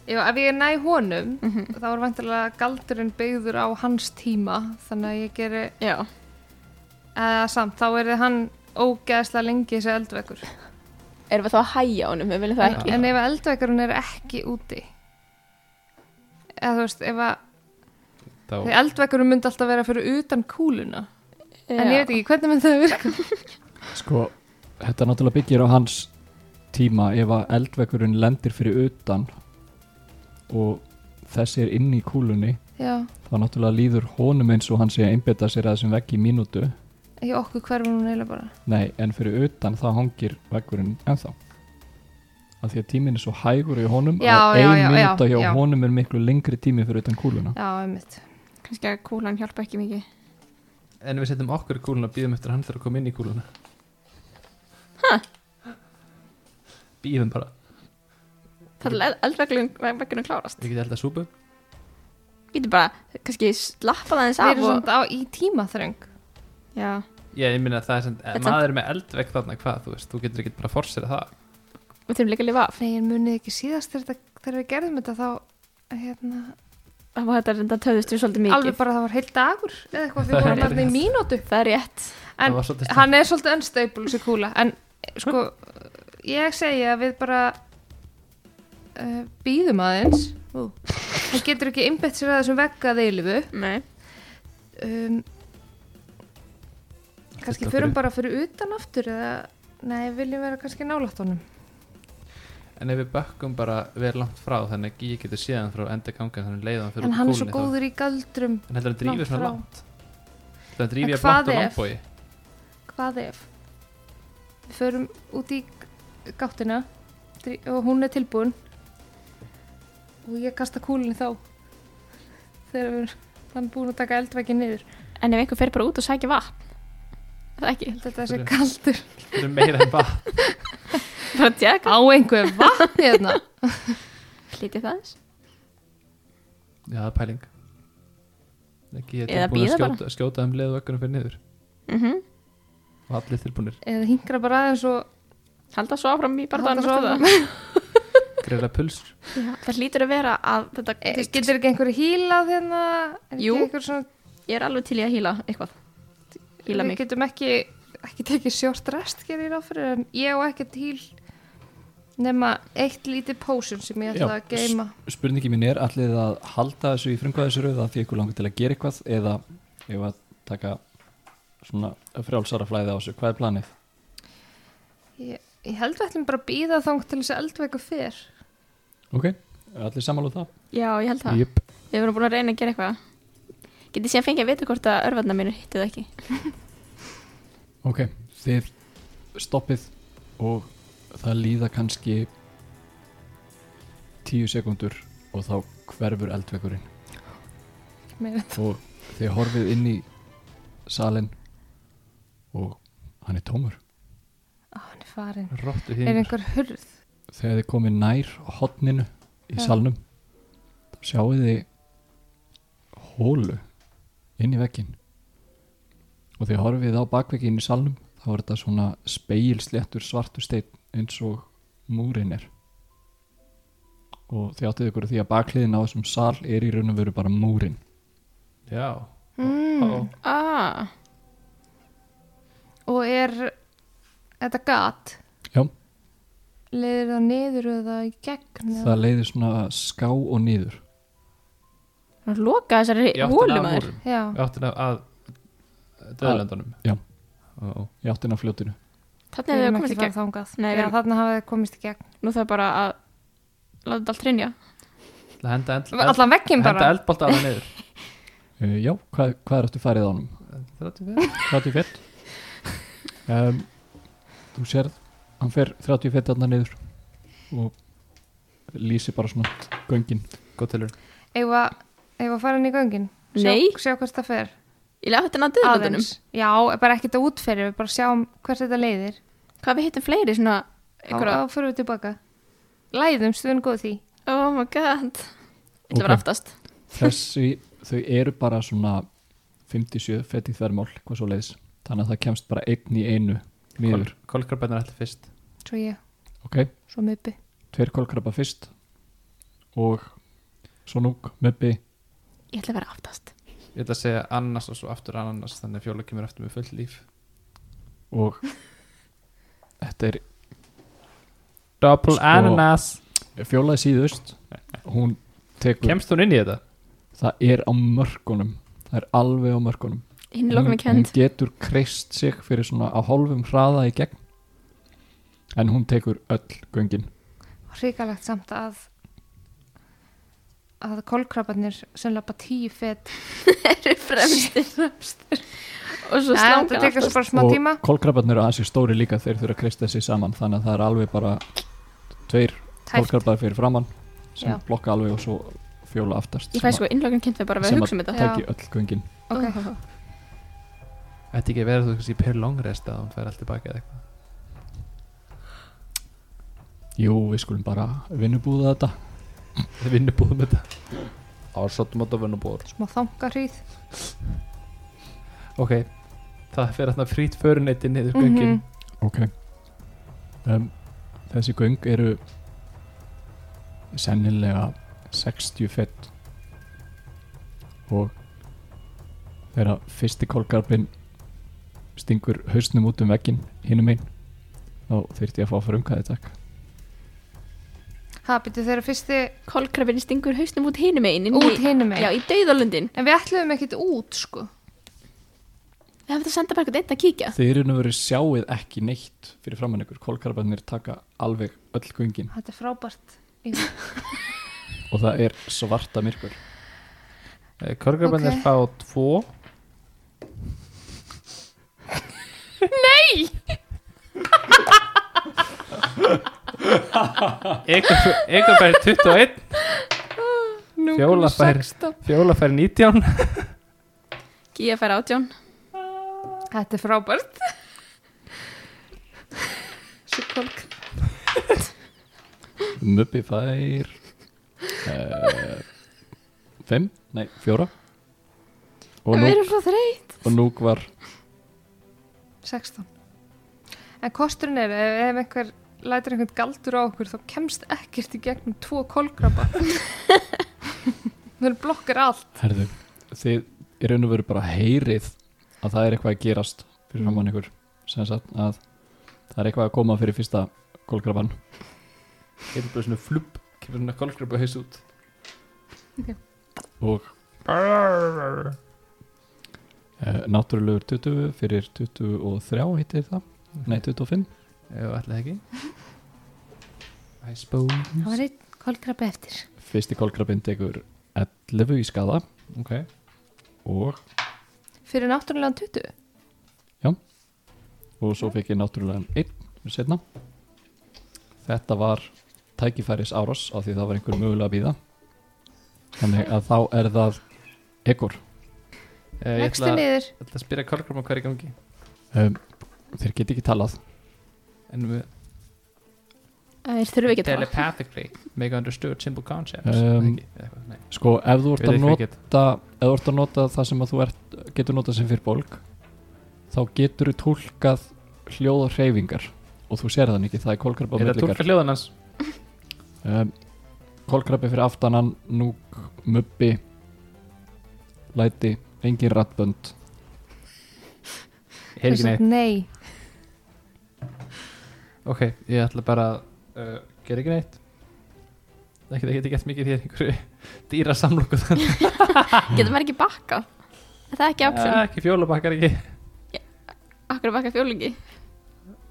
[SPEAKER 2] Já, ef ég næ honum,
[SPEAKER 1] Mhm.
[SPEAKER 2] þá er vantilega galdurinn byggður á hans tíma, þannig að ég geri,
[SPEAKER 1] já,
[SPEAKER 2] eða samt, þá er hann ógeðslega lengi þessi eldvekur.
[SPEAKER 1] erum við þá að hæja honum, við viljum það
[SPEAKER 2] En,
[SPEAKER 1] ekki
[SPEAKER 2] en ef eldvekurinn er ekki úti, eða þú veist, ef að,
[SPEAKER 4] Þá
[SPEAKER 2] því eldvekurinn myndi alltaf vera fyrir utan kúluna, en
[SPEAKER 1] Já.
[SPEAKER 2] ég veit ekki hvernig myndi það virka.
[SPEAKER 3] Sko, þetta náttúrulega byggir á hans tíma ef að eldvekkurinn lendir fyrir utan og þessi er inni í kúlunni
[SPEAKER 2] Já,
[SPEAKER 3] þá náttúrulega líður honum eins og hann sé að einbeta sér að þessum vegg í mínútu
[SPEAKER 2] ég okkur hverfum hún eiginlega bara.
[SPEAKER 3] nei, en fyrir utan þá hangir veggurinn ennþá af því að tíminn er svo hægur í honum
[SPEAKER 2] Já,
[SPEAKER 3] að
[SPEAKER 2] já,
[SPEAKER 3] ein
[SPEAKER 2] já,
[SPEAKER 3] mínúta
[SPEAKER 2] já,
[SPEAKER 3] hjá
[SPEAKER 2] já.
[SPEAKER 3] honum er miklu lengri tími fyrir utan kúluna
[SPEAKER 2] Já, einmitt.
[SPEAKER 1] kannski að kúlan hjálpa ekki mikið
[SPEAKER 4] En við setjum okkur í kúluna og býðum eftir að hann þarf að koma inn í kúluna Hæ? Býðum bara
[SPEAKER 1] það er eldvekkinum klárast
[SPEAKER 4] Við getum held að súpu
[SPEAKER 1] býtu bara, kannski slappa það eins
[SPEAKER 2] Við
[SPEAKER 1] af
[SPEAKER 2] erum
[SPEAKER 1] og,
[SPEAKER 2] svona á í tímaþröng.
[SPEAKER 1] já,
[SPEAKER 4] Já, ég minna að það er sem,
[SPEAKER 1] Þetta-
[SPEAKER 4] maður er með eldvegg þarna, hvað, þú veist, þú getur ekki bara forsera það.
[SPEAKER 1] við þurfum líka að lifa af
[SPEAKER 2] Nei, ég munið ekki síðast þegar, þetta- þegar við gerðum þetta þá, hérna,
[SPEAKER 1] og þetta er enda töðust við svolítið mikið
[SPEAKER 2] alveg bara það var heilt dagur eða eitthvað
[SPEAKER 4] Það
[SPEAKER 2] við vorum
[SPEAKER 4] er
[SPEAKER 2] hérna í
[SPEAKER 4] rétt.
[SPEAKER 2] mínútu
[SPEAKER 1] það er rétt
[SPEAKER 4] það
[SPEAKER 2] en
[SPEAKER 4] var svolítið
[SPEAKER 2] hann er svolítið unstable þessi kúla en sko ég segi að við bara uh, býðum aðeins Ú. hann getur ekki einbett sér að þessum vegga að eilifu
[SPEAKER 1] Nei.
[SPEAKER 2] um, kannski
[SPEAKER 4] Þetta
[SPEAKER 2] förum
[SPEAKER 4] fyrir-
[SPEAKER 2] bara fyrir utan aftur eða nei, viljum vera kannski nálátt honum
[SPEAKER 4] En ef við bökkum bara verið langt frá, þannig að ég getur séð hann frá enda gangan, þannig leiða hann fyrir
[SPEAKER 2] en
[SPEAKER 4] út í
[SPEAKER 2] hann er svo
[SPEAKER 4] kúlunni
[SPEAKER 2] góður í galdrum
[SPEAKER 4] Þá. En heldur hann
[SPEAKER 2] langt
[SPEAKER 4] drífið svona
[SPEAKER 2] frá.
[SPEAKER 4] langt. Heldur hann
[SPEAKER 2] En
[SPEAKER 4] drífið að
[SPEAKER 2] hvað
[SPEAKER 4] blátt og
[SPEAKER 2] ef?
[SPEAKER 4] langbói.
[SPEAKER 2] hvað ef við förum út í g- gáttina drí- og hún er tilbúin og ég kasta kúlinni þá þegar við erum hann er búin að taka eldveginn niður Ég
[SPEAKER 1] en ef einhver fer bara út og sækja vatn er það ekki,
[SPEAKER 2] held að þetta sé
[SPEAKER 4] Fyrir-
[SPEAKER 2] kaldur
[SPEAKER 4] Það er meira en vatn.
[SPEAKER 1] bara tjekka
[SPEAKER 2] á einhver vatni hérna
[SPEAKER 1] hlítið það eins
[SPEAKER 4] Já, það er pæling. Ekki ég
[SPEAKER 1] Eða
[SPEAKER 4] er tilbúin að
[SPEAKER 1] bíða bara.
[SPEAKER 4] skjóta, skjóta um þeim leiðu ökkunum fyrir niður.
[SPEAKER 1] mm
[SPEAKER 4] Og allir tilbúinir.
[SPEAKER 2] eða hingra bara aðeins og
[SPEAKER 1] halda svo áfram í barðan
[SPEAKER 2] Halda svo áfram.
[SPEAKER 4] Greila pulsur.
[SPEAKER 1] það hlýtur að vera að þetta,
[SPEAKER 2] e,
[SPEAKER 1] þú veist,
[SPEAKER 2] getur ekki einhver hílað hérna Er ekki
[SPEAKER 1] Jú.
[SPEAKER 2] einhver svona,
[SPEAKER 1] ég er alveg til í að hýla eitthvað hýla
[SPEAKER 2] við
[SPEAKER 1] mig
[SPEAKER 2] getum ekki ekki tekið short rest gerir ég ráð fyrir en ég á ekkert híl nema eitt lítið potion sem ég ætla
[SPEAKER 3] Já,
[SPEAKER 2] að geima
[SPEAKER 3] spurningi mín er allir að halda þessu í frumkvæðisröði af því ykkur langar til að gera eitthvað eða ef að taka svona frjálsara flæði á þessu, hvað er planið?
[SPEAKER 2] Ég, ég held við ætlum bara að býða þang til þessi eldveiku fyrr.
[SPEAKER 3] Ok, er allir sammála um það?
[SPEAKER 1] já, ég held það,
[SPEAKER 3] Jöp.
[SPEAKER 1] við erum búin að reyna að gera eitthvað getið síðan fengið að vita hvort að örvarnar mínur hittið ekki
[SPEAKER 3] Ok, þið stoppið og það líða kannski tíu sekundur og þá hverfur eldveikurinn
[SPEAKER 2] Mér-
[SPEAKER 3] og þið horfið inn í salin og hann er tómur.
[SPEAKER 2] Á, hann er farin.
[SPEAKER 4] Rottu
[SPEAKER 2] Er
[SPEAKER 4] hinn.
[SPEAKER 2] einhver hurð?
[SPEAKER 3] Þegar þið komið nær hotninu í
[SPEAKER 2] Já.
[SPEAKER 3] salnum þá sjáið þið hólu inn í vekkin og þið horfið á bakvekkin í salnum þá er þetta svona speilsléttur svartur steinn eins og múrin er og þið áttið ykkur á því að bakliðin á þessum sal er í raun og veru bara múrin
[SPEAKER 4] Já.
[SPEAKER 2] Mm.
[SPEAKER 4] Ó,
[SPEAKER 1] ah,
[SPEAKER 2] Og er þetta gat
[SPEAKER 3] Já.
[SPEAKER 2] leiðir það niður eða í gegn eða-
[SPEAKER 3] það leiðir svona ská og nýður
[SPEAKER 1] Það loka þessari
[SPEAKER 4] Í áttina
[SPEAKER 1] hólu
[SPEAKER 4] að
[SPEAKER 1] maður.
[SPEAKER 4] múrum.
[SPEAKER 2] já,
[SPEAKER 4] Í áttina að döðlöndunum
[SPEAKER 3] Já.
[SPEAKER 4] Ó, ó.
[SPEAKER 3] í áttina að fljótinu
[SPEAKER 1] Þannig
[SPEAKER 2] við
[SPEAKER 1] að
[SPEAKER 2] erum
[SPEAKER 1] það komast
[SPEAKER 2] ekki
[SPEAKER 1] í gegn.
[SPEAKER 2] farið þangað
[SPEAKER 1] Nei, við
[SPEAKER 2] já,
[SPEAKER 1] erum-
[SPEAKER 2] þarna hafa þið komist í gegn
[SPEAKER 1] Nú þarf bara að láta þetta allt rinja.
[SPEAKER 4] Ætla að Henda eld- eld-
[SPEAKER 2] allan vekkinn
[SPEAKER 4] henda
[SPEAKER 2] bara
[SPEAKER 4] eldbolta á það niður
[SPEAKER 3] uh, já, hvað, hvað er eftir farið ánum?
[SPEAKER 4] 35
[SPEAKER 3] 30 fett um, þú sérð hann fer 30 fett þarna niður og lýsi bara svona göngin
[SPEAKER 4] Góð tilur
[SPEAKER 2] eða að fara inn í göngin sjá,
[SPEAKER 1] Nei.
[SPEAKER 2] sjá hvert það fer
[SPEAKER 1] Ég lega þetta að döðlöndunum.
[SPEAKER 2] aðeins já, bara ekki þetta útferði, við bara sjáum hvert þetta leiðir
[SPEAKER 1] Hvað við hittum fleiri svona einhverja,
[SPEAKER 2] þá fyrir við tilbaka læðumst, við erum góð í því
[SPEAKER 1] oh my god. Þetta
[SPEAKER 3] Ok.
[SPEAKER 1] var aftast.
[SPEAKER 3] þessi, þau eru bara svona 57 fett í þvermál hvað svo leiðis, þannig að það kemst bara einn í einu niður,
[SPEAKER 4] Kolkrabbennar ætla fyrst
[SPEAKER 2] svo ég,
[SPEAKER 3] ok
[SPEAKER 2] svo mjöpi
[SPEAKER 3] tveir kolkrabba fyrst og svo núk, möbbi
[SPEAKER 1] Ég ætla að vera aftast.
[SPEAKER 4] Ég ætla að segja annars og svo aftur annars Þannig að fjóla kemur eftir með fullt líf
[SPEAKER 3] og þetta er
[SPEAKER 4] Double
[SPEAKER 3] Sko-
[SPEAKER 4] ananas
[SPEAKER 3] fjólaði síðust hún tekur,
[SPEAKER 4] Kemst hún inn í þetta?
[SPEAKER 3] það er á mörkunum það er alveg á mörkunum
[SPEAKER 1] Hinn er lokum
[SPEAKER 3] hún,
[SPEAKER 1] í
[SPEAKER 3] hún
[SPEAKER 1] kent.
[SPEAKER 3] getur kreist sig fyrir svona á hálfum hraða í gegn en hún tekur öll göngin
[SPEAKER 2] hrikalegt samt að að kolkrabarnir sem lappa tíu fett
[SPEAKER 1] Þeir eru fremstir. Og svo
[SPEAKER 2] Jæja, þetta
[SPEAKER 1] slangan
[SPEAKER 2] tekur
[SPEAKER 1] aftast.
[SPEAKER 2] svo bara smá tíma
[SPEAKER 3] og kolkrabarnir og aðeins stóri líka þeir þurfa að kreista sig saman þannig að það er alveg bara tveir
[SPEAKER 2] tæft,
[SPEAKER 3] kolkrabar fyrir framann sem
[SPEAKER 2] Já.
[SPEAKER 3] blokka alveg og svo fjóla aftast
[SPEAKER 1] Ég fæ sko innlokum kynnt við bara við
[SPEAKER 3] sem
[SPEAKER 1] að
[SPEAKER 3] að-
[SPEAKER 1] hugsa um þetta.
[SPEAKER 3] tæki öll göngin
[SPEAKER 2] ok,
[SPEAKER 1] Oh.
[SPEAKER 4] Ætti ekki að vera þú kannski per long rest að hún fær allt tilbaka eða eitthvað
[SPEAKER 3] Jú, við skulum bara vinnubúða þetta
[SPEAKER 4] Það vinnubúð með þetta Ársáttum átt að vinnubúður
[SPEAKER 2] smá þangarhríð
[SPEAKER 4] Ok, það fer alltaf frýtt föruneyti niður göngin
[SPEAKER 2] Mhm.
[SPEAKER 3] Ok um, Þessi göng eru sennilega 60 fett og þegar fyrsti kolgarpin stingur hausnum út um veggin hinum einn þá þyrfti ég að fá að fara um hvaðið takk
[SPEAKER 2] ha, býtu þeirra fyrsti
[SPEAKER 1] Kolkrabin stingur hausnum út hinum einn.
[SPEAKER 2] út hinum
[SPEAKER 1] Já,
[SPEAKER 2] megin
[SPEAKER 1] í dauðalundin.
[SPEAKER 2] en við ætluðum ekkit út sko
[SPEAKER 1] Við hefum þetta að senda bara eitthvað eitt að kíkja.
[SPEAKER 3] Þeir eru nú verið sjáið ekki neitt fyrir framann ykkur kolgarparnir taka alveg öll göngin
[SPEAKER 2] þetta er frábært
[SPEAKER 3] og það er svarta myrkur
[SPEAKER 4] Eh, Kolkrabbennar
[SPEAKER 2] Ok.
[SPEAKER 4] fá tvo Nei Eka fær 21 Fjóla fær-
[SPEAKER 2] 16.
[SPEAKER 4] Fjóla fær 19
[SPEAKER 1] Gíja fær átjón.
[SPEAKER 2] þetta er frábært svo kolk
[SPEAKER 3] Mubbi fær uh, Fimm, nei, fjóra Og
[SPEAKER 1] Við
[SPEAKER 3] núk,
[SPEAKER 1] erum svo þreytt.
[SPEAKER 3] og núk var
[SPEAKER 2] 16 en kosturinn er ef, ef einhver lætur einhvern galdur á okkur þá kemst ekkert í gegnum tvo kolkrabba það blokkar allt
[SPEAKER 3] Herðu, þið í raun og veru bara heyrið að það er eitthvað að gerast
[SPEAKER 1] Mm.
[SPEAKER 3] fyrir framann ykkur sem sagt að það er eitthvað að koma fyrir fyrsta kolgrafann
[SPEAKER 4] Kemur bara svona flubb Kemur svona kolkrabba haus út
[SPEAKER 3] og uh, náttúrulegur 20 fyrir 23 hittir það, nei 25
[SPEAKER 4] Ef ætlaði ekki I suppose
[SPEAKER 5] Það var einn kolkrabbi eftir.
[SPEAKER 3] fyrsti kolgrafinn tekur 11 í skada
[SPEAKER 4] Ok
[SPEAKER 3] og
[SPEAKER 2] fyrir náttúrulega 20
[SPEAKER 3] og svo fekk ég náttúrulega einn setna þetta var tækifæris árás af því það var einhver mögulega að býða þannig að þá er það ekkur
[SPEAKER 4] Eh, Ég
[SPEAKER 2] leggstu
[SPEAKER 4] ætla,
[SPEAKER 2] niður
[SPEAKER 4] ætla að spyrja kolkrabba hvað er í gangi
[SPEAKER 3] um, þeir get ekki talað
[SPEAKER 4] En við
[SPEAKER 1] Þeir þurfum ekki að tala.
[SPEAKER 4] telepathically make understood simple concepts Eh,
[SPEAKER 3] Um,
[SPEAKER 4] Nei, ekki, eða eitthvað, nei.
[SPEAKER 3] sko ef þú ert
[SPEAKER 4] Við
[SPEAKER 3] að
[SPEAKER 4] erum
[SPEAKER 3] nota,
[SPEAKER 4] ekki-
[SPEAKER 3] ef þú ert að nota það sem að þú ert, getur notað sem fyrir bólg þá getur þú tólkað hljóð og hreyfingar og þú sér þann ekki, það er kolkrabba á
[SPEAKER 4] er
[SPEAKER 3] milli
[SPEAKER 4] það
[SPEAKER 3] ykkar.
[SPEAKER 4] tólka hljóðan hans
[SPEAKER 3] um, Kolkrabbi fyrir aftanan Núk, mubbi Læti, engin rattbönd
[SPEAKER 4] er ekki neitt
[SPEAKER 2] nei
[SPEAKER 4] ok, ég ætla bara að uh, gera ekki neitt ekki það geti gett mikið því einhverju dýra samlokku það
[SPEAKER 1] Getur maður ekki bakka? Er Það er ekki option.
[SPEAKER 4] ekki fjólubakkar ekki
[SPEAKER 1] Akkur bakka fjólingi.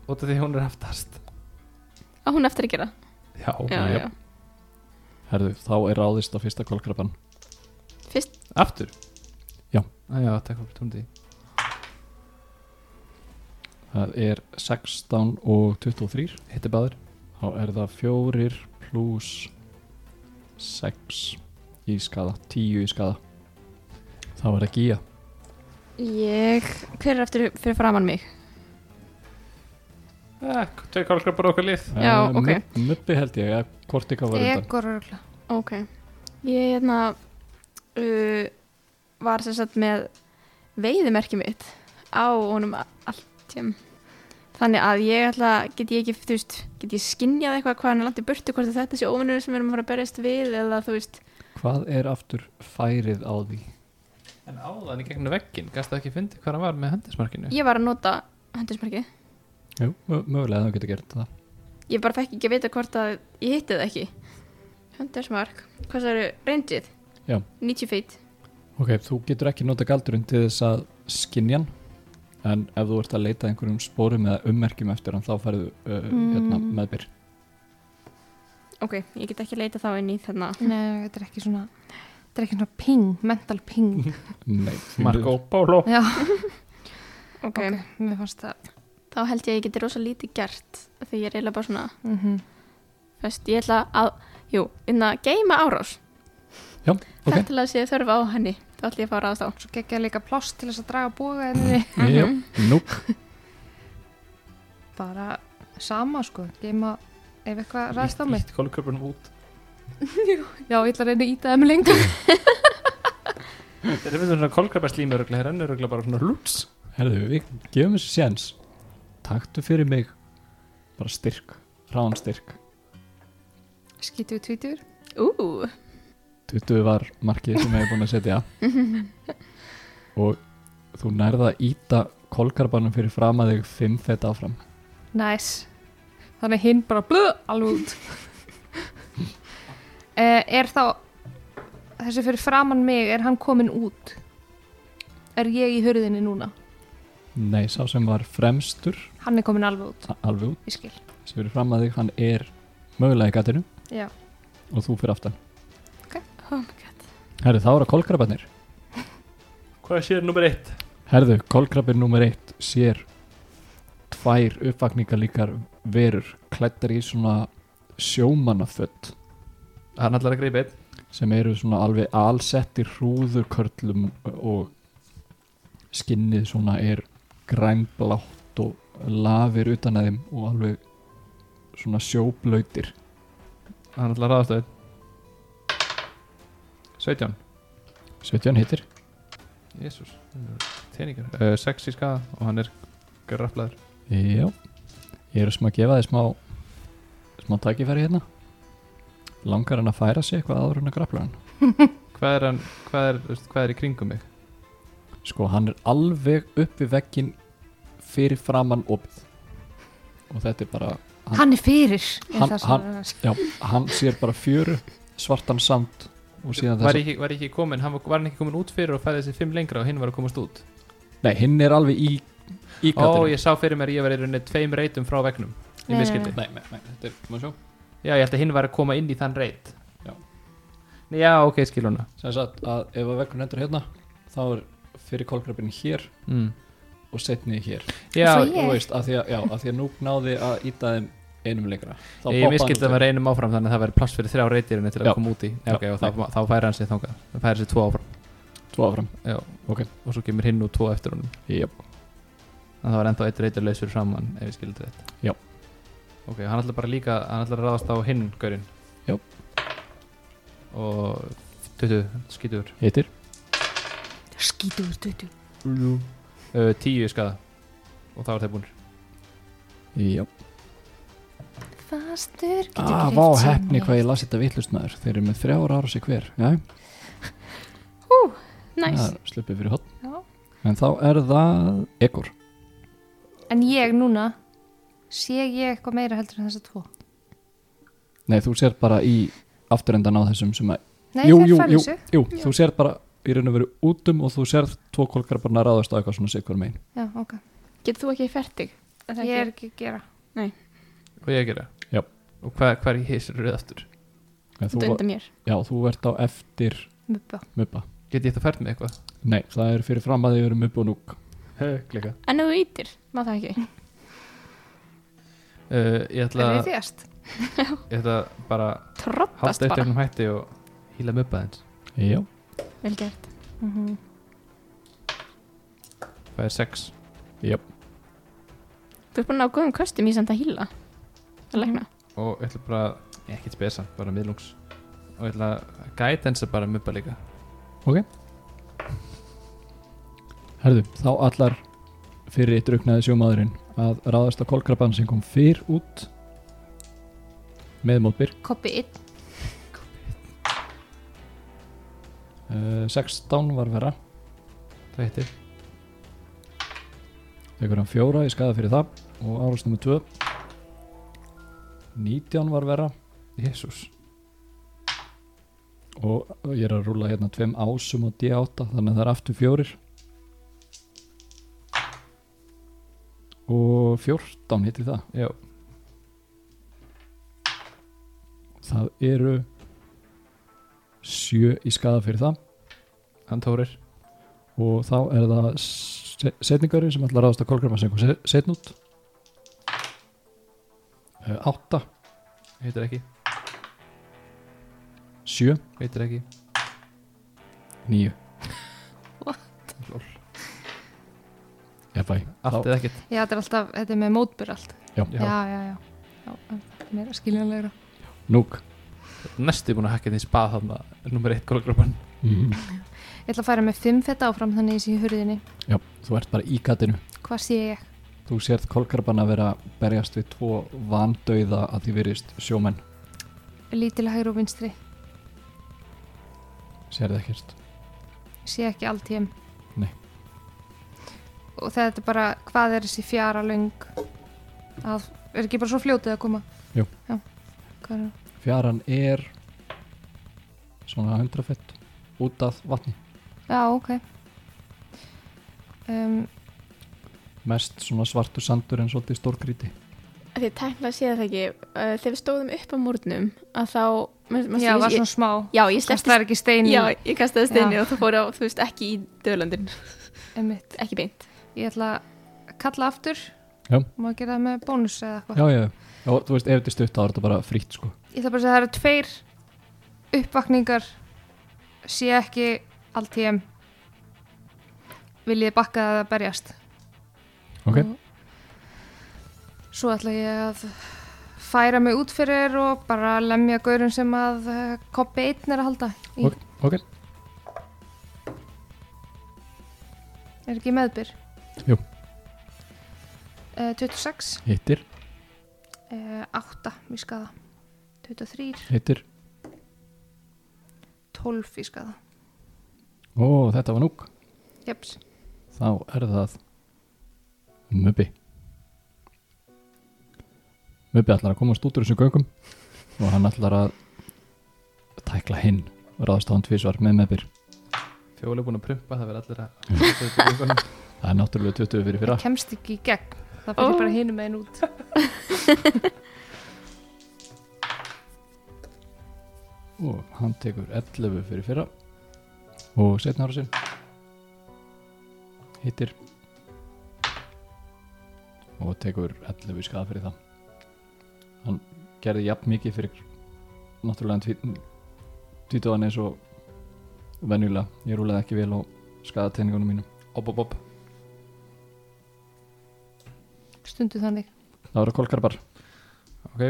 [SPEAKER 4] út af því hún er aftast
[SPEAKER 1] Á hún eftir að gera.
[SPEAKER 4] já,
[SPEAKER 1] Já,
[SPEAKER 3] já.
[SPEAKER 1] já.
[SPEAKER 3] Herðu, þá er ráðist á fyrsta kolkrapan
[SPEAKER 1] Fyrst,
[SPEAKER 4] aftur
[SPEAKER 3] Já.
[SPEAKER 4] ah, já, takk fyrir tóndi
[SPEAKER 3] Það er 16 og 23
[SPEAKER 4] hittir báður
[SPEAKER 3] Þá er það 4 pluss 6 í skada 10 í skada Þá er það gíja
[SPEAKER 1] ég, hver er eftir fyrir framann mig?
[SPEAKER 4] ah, tveir kálskrapar okkur lið
[SPEAKER 1] Já, ok.
[SPEAKER 3] Muppi held ég, eða hvort ykkar var undan
[SPEAKER 2] Egor örgla
[SPEAKER 1] Ok. Ég hérna uh, var sem sagt með veiðimerki mitt á honum a- allt hjá. Þannig að ég ætla, get ég ekki, þú veist, get ég skinjað eitthvað hvað hann er langt í burtu, hvort að þetta sé óvinnur sem við erum að fara að berjast við eða þú veist,
[SPEAKER 3] Hvað er aftur færið á því?
[SPEAKER 4] en áðan í gegnum veggin gæstu ekki fundið hvað hann var með höndismarkinu
[SPEAKER 1] ég var að nota höndismerki.
[SPEAKER 3] Jú, mö- mögulega það getur gert það
[SPEAKER 1] Ég bara fekk ekki að vita hvort að ég hitti það ekki. Höndismark. Hvað það eru? Rangeið?
[SPEAKER 3] Já.
[SPEAKER 1] 90 feet.
[SPEAKER 3] Ok, þú getur ekki nota galdurinn til þess að skinja hann en ef þú ert að leita að einhverjum spórum eða ummerkjum eftir hann þá færðu uh, hérna,
[SPEAKER 2] Mm.
[SPEAKER 3] meðbyr
[SPEAKER 1] Ok, ég get ekki leita þá inn í þarna.
[SPEAKER 2] Nei, þetta er ekki svona Þetta er ekki svona ping, mental ping
[SPEAKER 3] Nei, því miður.
[SPEAKER 4] Marco Polo
[SPEAKER 2] Já,
[SPEAKER 1] Ok.
[SPEAKER 2] ok, mér fannst það
[SPEAKER 1] Þá held ég að ég geti rosa lítið gert því ég er eiginlega bara svona,
[SPEAKER 2] mm
[SPEAKER 5] Mhm.
[SPEAKER 1] veist, ég ætla að, jú, inn að geima árás.
[SPEAKER 3] Já, ok.
[SPEAKER 1] Þar til að sé þörf á henni, þá Mhm. ætla ég að fá að ráðast á.
[SPEAKER 2] Svo geggja líka pláss til þess að draga boga henni
[SPEAKER 4] Mm.
[SPEAKER 3] Jú, nú
[SPEAKER 2] Bara sama sko, geima ef eitthvað ræðst á mig
[SPEAKER 4] Ítt kálskrapunum út
[SPEAKER 2] Já, ég ætla að reyna að íta það með lengur
[SPEAKER 4] Þetta er við svona kálkraparslími örgla hér ennur örgla bara svona lúts
[SPEAKER 3] Herðu, við gefum þessu séns Taktu fyrir mig Bara styrk, ráðan styrk
[SPEAKER 2] Skítu við tvítur
[SPEAKER 1] Ú,
[SPEAKER 3] 20 var markið sem ég er búin að setja Og þú nærða að íta kolkarbanum fyrir fram að þig 5 fett áfram
[SPEAKER 2] Næs Þannig hinn bara blöð alveg út uh, Er þá þessi fyrir framann mig, er hann komin út? Er ég í hurðinni núna?
[SPEAKER 3] Nei, sá sem var fremstur
[SPEAKER 2] Hann er komin alveg út,
[SPEAKER 3] a- alveg út
[SPEAKER 2] ég skil
[SPEAKER 3] sem fyrir fram að þig, hann er mögulega í gatinu
[SPEAKER 2] Já,
[SPEAKER 3] og þú fyrir aftan
[SPEAKER 1] oh my god.
[SPEAKER 3] Herðu, þá eru kolkrabanir
[SPEAKER 4] Hvað séð nummer eitt?
[SPEAKER 3] Herðu, kolkrabin nummer eitt sér tvær uppvakningalíkar verur klættar í svona sjómannaföld
[SPEAKER 4] Hann allar að greipa einn
[SPEAKER 3] sem eru svona alveg alsetti hrúðurkörlum og skinnið svona er grænblátt og lafir utan að þeim og alveg svona sjóblöytir
[SPEAKER 4] Hann allar að ráðast á einn 17
[SPEAKER 3] 17 hittir
[SPEAKER 4] Jésús Teiningar uh, 6 í skada og hann er graflaður
[SPEAKER 3] Já, ég er sem að gefa þið smá smá tækifæri hérna langar hann að færa sig eitthvað áður en að grafla hann
[SPEAKER 4] Hvað er hann, hvað er, þú veist, hvað er í kringum mig?
[SPEAKER 3] Sko, hann er alveg uppi vekkin fyrir framann opið og þetta er bara Hann-
[SPEAKER 2] hann, er fyrir er
[SPEAKER 3] Hann-
[SPEAKER 2] það sem
[SPEAKER 3] hann-
[SPEAKER 2] er að-
[SPEAKER 3] já, hann sér bara fjöru svartan sand og síðan
[SPEAKER 4] Var
[SPEAKER 3] þess
[SPEAKER 4] ekki, var ekki komin, hann var, var hann ekki komin út fyrir og færði þessi 5 lengra og hinn var að komast út
[SPEAKER 3] Nei, hinn er alveg í í
[SPEAKER 4] Ó,
[SPEAKER 3] gatinu
[SPEAKER 4] ég sá fyrir mér að ég var í rauninni tveim reytum frá vegnum Í
[SPEAKER 1] Nei,
[SPEAKER 4] miskildi
[SPEAKER 3] Nei, nei, nei, þetta er, maður sjá
[SPEAKER 4] Já, ég held að hinn var að koma inn í þann reyt
[SPEAKER 3] Já.
[SPEAKER 4] Nei, Já, ok, skiluna
[SPEAKER 3] sem sagt að ef að vekkurinn endur hérna þá er fyrir kolkrabin hér
[SPEAKER 4] mm.
[SPEAKER 3] og setni hér
[SPEAKER 4] Já,
[SPEAKER 2] Svo
[SPEAKER 3] Þú
[SPEAKER 2] Ég.
[SPEAKER 3] veist, af því að, já, af því að núk náði að íta þeim einum lengra Þá
[SPEAKER 4] Ég
[SPEAKER 3] poppaði
[SPEAKER 4] miskildi
[SPEAKER 3] hann
[SPEAKER 4] að við reynum áfram þannig að það verður pláss fyrir þrjá reytirinu til að
[SPEAKER 3] Já.
[SPEAKER 4] koma út í Nei,
[SPEAKER 3] Já.
[SPEAKER 4] okay, og þá, þá færi hann sér þangað, það færi sér tvo áfram
[SPEAKER 3] Tvo áfram
[SPEAKER 4] Já.
[SPEAKER 3] Ok.
[SPEAKER 4] og svo kemur hinn og tvo eftir honum
[SPEAKER 3] Jöp.
[SPEAKER 4] en það var ennþá eitt reytir laus fyrir framann ef ég skildi þetta
[SPEAKER 3] Já.
[SPEAKER 4] Ok, hann ætlar bara líka, hann ætlar að ráðast á hinn gaurinn
[SPEAKER 3] Já.
[SPEAKER 4] Og 20, skítur
[SPEAKER 3] Hittir
[SPEAKER 5] Skítur, dutur.
[SPEAKER 4] uh, 10 í skada og þá er það búin
[SPEAKER 3] Já
[SPEAKER 2] Fastur, getur
[SPEAKER 3] Ah,
[SPEAKER 2] ekki
[SPEAKER 3] vá
[SPEAKER 2] hreyft sig
[SPEAKER 3] hefni
[SPEAKER 2] neitt.
[SPEAKER 3] hvað ég las þetta vittlust maður Þeir eru með þrjár ára sér hver Já,
[SPEAKER 1] Næs.
[SPEAKER 3] það sluppið fyrir hotn
[SPEAKER 2] Já.
[SPEAKER 3] En þá er það Egor
[SPEAKER 2] En ég núna, sé ég eitthvað meira heldur en þessa tvo
[SPEAKER 3] Nei, þú sér bara í afturendan á þessum sem að
[SPEAKER 2] Nei,
[SPEAKER 3] jú,
[SPEAKER 2] þeir
[SPEAKER 3] jú,
[SPEAKER 2] færðu
[SPEAKER 3] jú,
[SPEAKER 2] sig
[SPEAKER 3] jú, þú sér bara í raun og veru útum og þú sér tvo kolkar bara ráðast á eitthvað svona sikur megin
[SPEAKER 2] Já, ok,
[SPEAKER 1] Getur þú ekki fært þig? Er það
[SPEAKER 2] ég er ekki
[SPEAKER 1] ekki-
[SPEAKER 2] að gera
[SPEAKER 4] Og ég gera
[SPEAKER 3] Já.
[SPEAKER 4] Og hvað, hvað er ég heisur rauð aftur?
[SPEAKER 3] En
[SPEAKER 1] Þú
[SPEAKER 3] þú,
[SPEAKER 1] ert undan mér.
[SPEAKER 3] Já, þú ert á eftir
[SPEAKER 2] Mubba
[SPEAKER 3] mubba
[SPEAKER 4] Get ég þetta fært með eitthvað?
[SPEAKER 3] Nei, það er fyrir fram að þið eru mubba og núk
[SPEAKER 4] Klika
[SPEAKER 1] En ef þú ítir, má það ekki.
[SPEAKER 4] uh, Ég ætla,
[SPEAKER 2] Er við þérst?
[SPEAKER 4] ég ætla bara
[SPEAKER 1] Trottast
[SPEAKER 4] Halda eftir
[SPEAKER 1] bara.
[SPEAKER 4] einhvern hætti og hýla mubba þeins
[SPEAKER 3] Já,
[SPEAKER 1] Vel gert.
[SPEAKER 2] Mm -hmm.
[SPEAKER 4] Það er 6
[SPEAKER 3] já,
[SPEAKER 1] Þú ert búin að ná góðum kostum í samt að hýla. Að lækna.
[SPEAKER 4] Og ég ætla bara, ég ekkert spesa, bara miðlungs Og ég ætla að gætensa bara mubba líka
[SPEAKER 3] herðu, þá allar fyrir druknaði sjómaðurinn að ráðast á kolkraban sem kom fyrr út með mótbyr
[SPEAKER 2] Copy it
[SPEAKER 3] uh, 16 var vera,
[SPEAKER 4] Það heitir
[SPEAKER 3] tekur hann fjóra í skaða fyrir það og árast nummer 2 19 var vera
[SPEAKER 4] Jésús
[SPEAKER 3] og ég er að rúla hérna tveim ásum og D8 þannig að það er aftur fjórir og 14 hitti það
[SPEAKER 4] Já,
[SPEAKER 3] það eru 7 í skaða fyrir það
[SPEAKER 4] hann tórir
[SPEAKER 3] og þá er það se- setningurinn sem ætla að ráðast að kolkrafa sem kom se- setn út 8,
[SPEAKER 4] Heitir ekki,
[SPEAKER 3] 7,
[SPEAKER 4] heitir ekki
[SPEAKER 3] 9
[SPEAKER 4] Lol.
[SPEAKER 3] ég bæ
[SPEAKER 4] Allt
[SPEAKER 3] þá,
[SPEAKER 4] eða ekkert
[SPEAKER 2] Já, þetta er alltaf, þetta er með mótbyr allt
[SPEAKER 3] já,
[SPEAKER 2] Já, já, já, já. já Mér er skiljanlegra
[SPEAKER 3] núk
[SPEAKER 4] Næstu búin að hakka því spað þarna Númer 1 kólagrópan
[SPEAKER 3] mm,
[SPEAKER 2] Ég ætla að færa með fimm fetta áfram þannig að ég sé í hurðinni
[SPEAKER 3] já, þú ert bara í gatinu
[SPEAKER 2] Hvað sé ég?
[SPEAKER 3] Þú sérð kolkarban að vera að berjast við tvo vandauða að því virðist sjómenn,
[SPEAKER 2] Lítil hægri og vinstri
[SPEAKER 3] sérð ekkert.
[SPEAKER 2] Ég sé ekki allt hjem
[SPEAKER 3] Nei.
[SPEAKER 2] Og þetta er bara, hvað er þessi fjara löng að, er ekki bara svo fljótið að koma?
[SPEAKER 3] Jú.
[SPEAKER 2] Já, hvað er það?
[SPEAKER 3] Fjaran er svona 100 fett út að vatni,
[SPEAKER 2] Já, ok um,
[SPEAKER 3] mest svona svartur sandur en svolítið stórgríti.
[SPEAKER 1] Því tæknilega sé það ekki, uh, þegar við stóðum upp á múrnum, að þá... Man,
[SPEAKER 2] Já, var svona smá
[SPEAKER 1] Já, ég
[SPEAKER 2] Það
[SPEAKER 1] sleppti...
[SPEAKER 2] er ekki stein
[SPEAKER 1] Já, ég kastaði steinu
[SPEAKER 2] Já.
[SPEAKER 1] og þú fór á, þú veist, ekki í döðlandin.
[SPEAKER 2] einmitt.
[SPEAKER 1] Ekki beint.
[SPEAKER 2] Ég ætla að kalla aftur
[SPEAKER 3] Já.
[SPEAKER 2] Má ég gera það með bónus eða eitthvað
[SPEAKER 3] Já, já, já, þú veist, ef þetta er stutt þá er þetta bara frítt sko.
[SPEAKER 2] Ég ætla bara að segja að það eru tveir uppvakningar sé ekki allt í em viljið bakka það að berjast
[SPEAKER 3] Ok.
[SPEAKER 2] Svo ætla ég að færa mig út fyrir og bara lemja gaurum sem að eh, kobbi einn er að halda í.
[SPEAKER 3] Ok. Ok,
[SPEAKER 2] Er ekki meðbyr?
[SPEAKER 3] Jú.
[SPEAKER 2] Eh, 26
[SPEAKER 3] hittir,
[SPEAKER 2] uh, 8 í skaða 23,
[SPEAKER 3] hittir,
[SPEAKER 2] 12 í skaða
[SPEAKER 3] ó, þetta var núk.
[SPEAKER 2] Jeps,
[SPEAKER 3] Þá er það Möbbi Möbbi ætlar að komast út úr þessum göngum og hann ætlar að tækla hinn ráðast á hann tvísvar með meðbyr
[SPEAKER 4] Fjóli búin að prumpa, það verður allir að
[SPEAKER 3] það er náttúrulega 20 fyrir fyrra
[SPEAKER 2] það kemst ekki í gegn það fyrir
[SPEAKER 1] Ó.
[SPEAKER 2] bara hinum einn út
[SPEAKER 3] og hann tekur 11 fyrir fyrra og setna ára sinn hittir og tekur 11 í skada fyrir það hann gerði jafn mikið fyrir náttúrulega tvítuðan eins og venjulega, ég rúlaði ekki vel á skadateiningunum mínum
[SPEAKER 4] Opp, opp, opp
[SPEAKER 2] stundu þannig
[SPEAKER 3] það voru kolkarbar,
[SPEAKER 4] Ok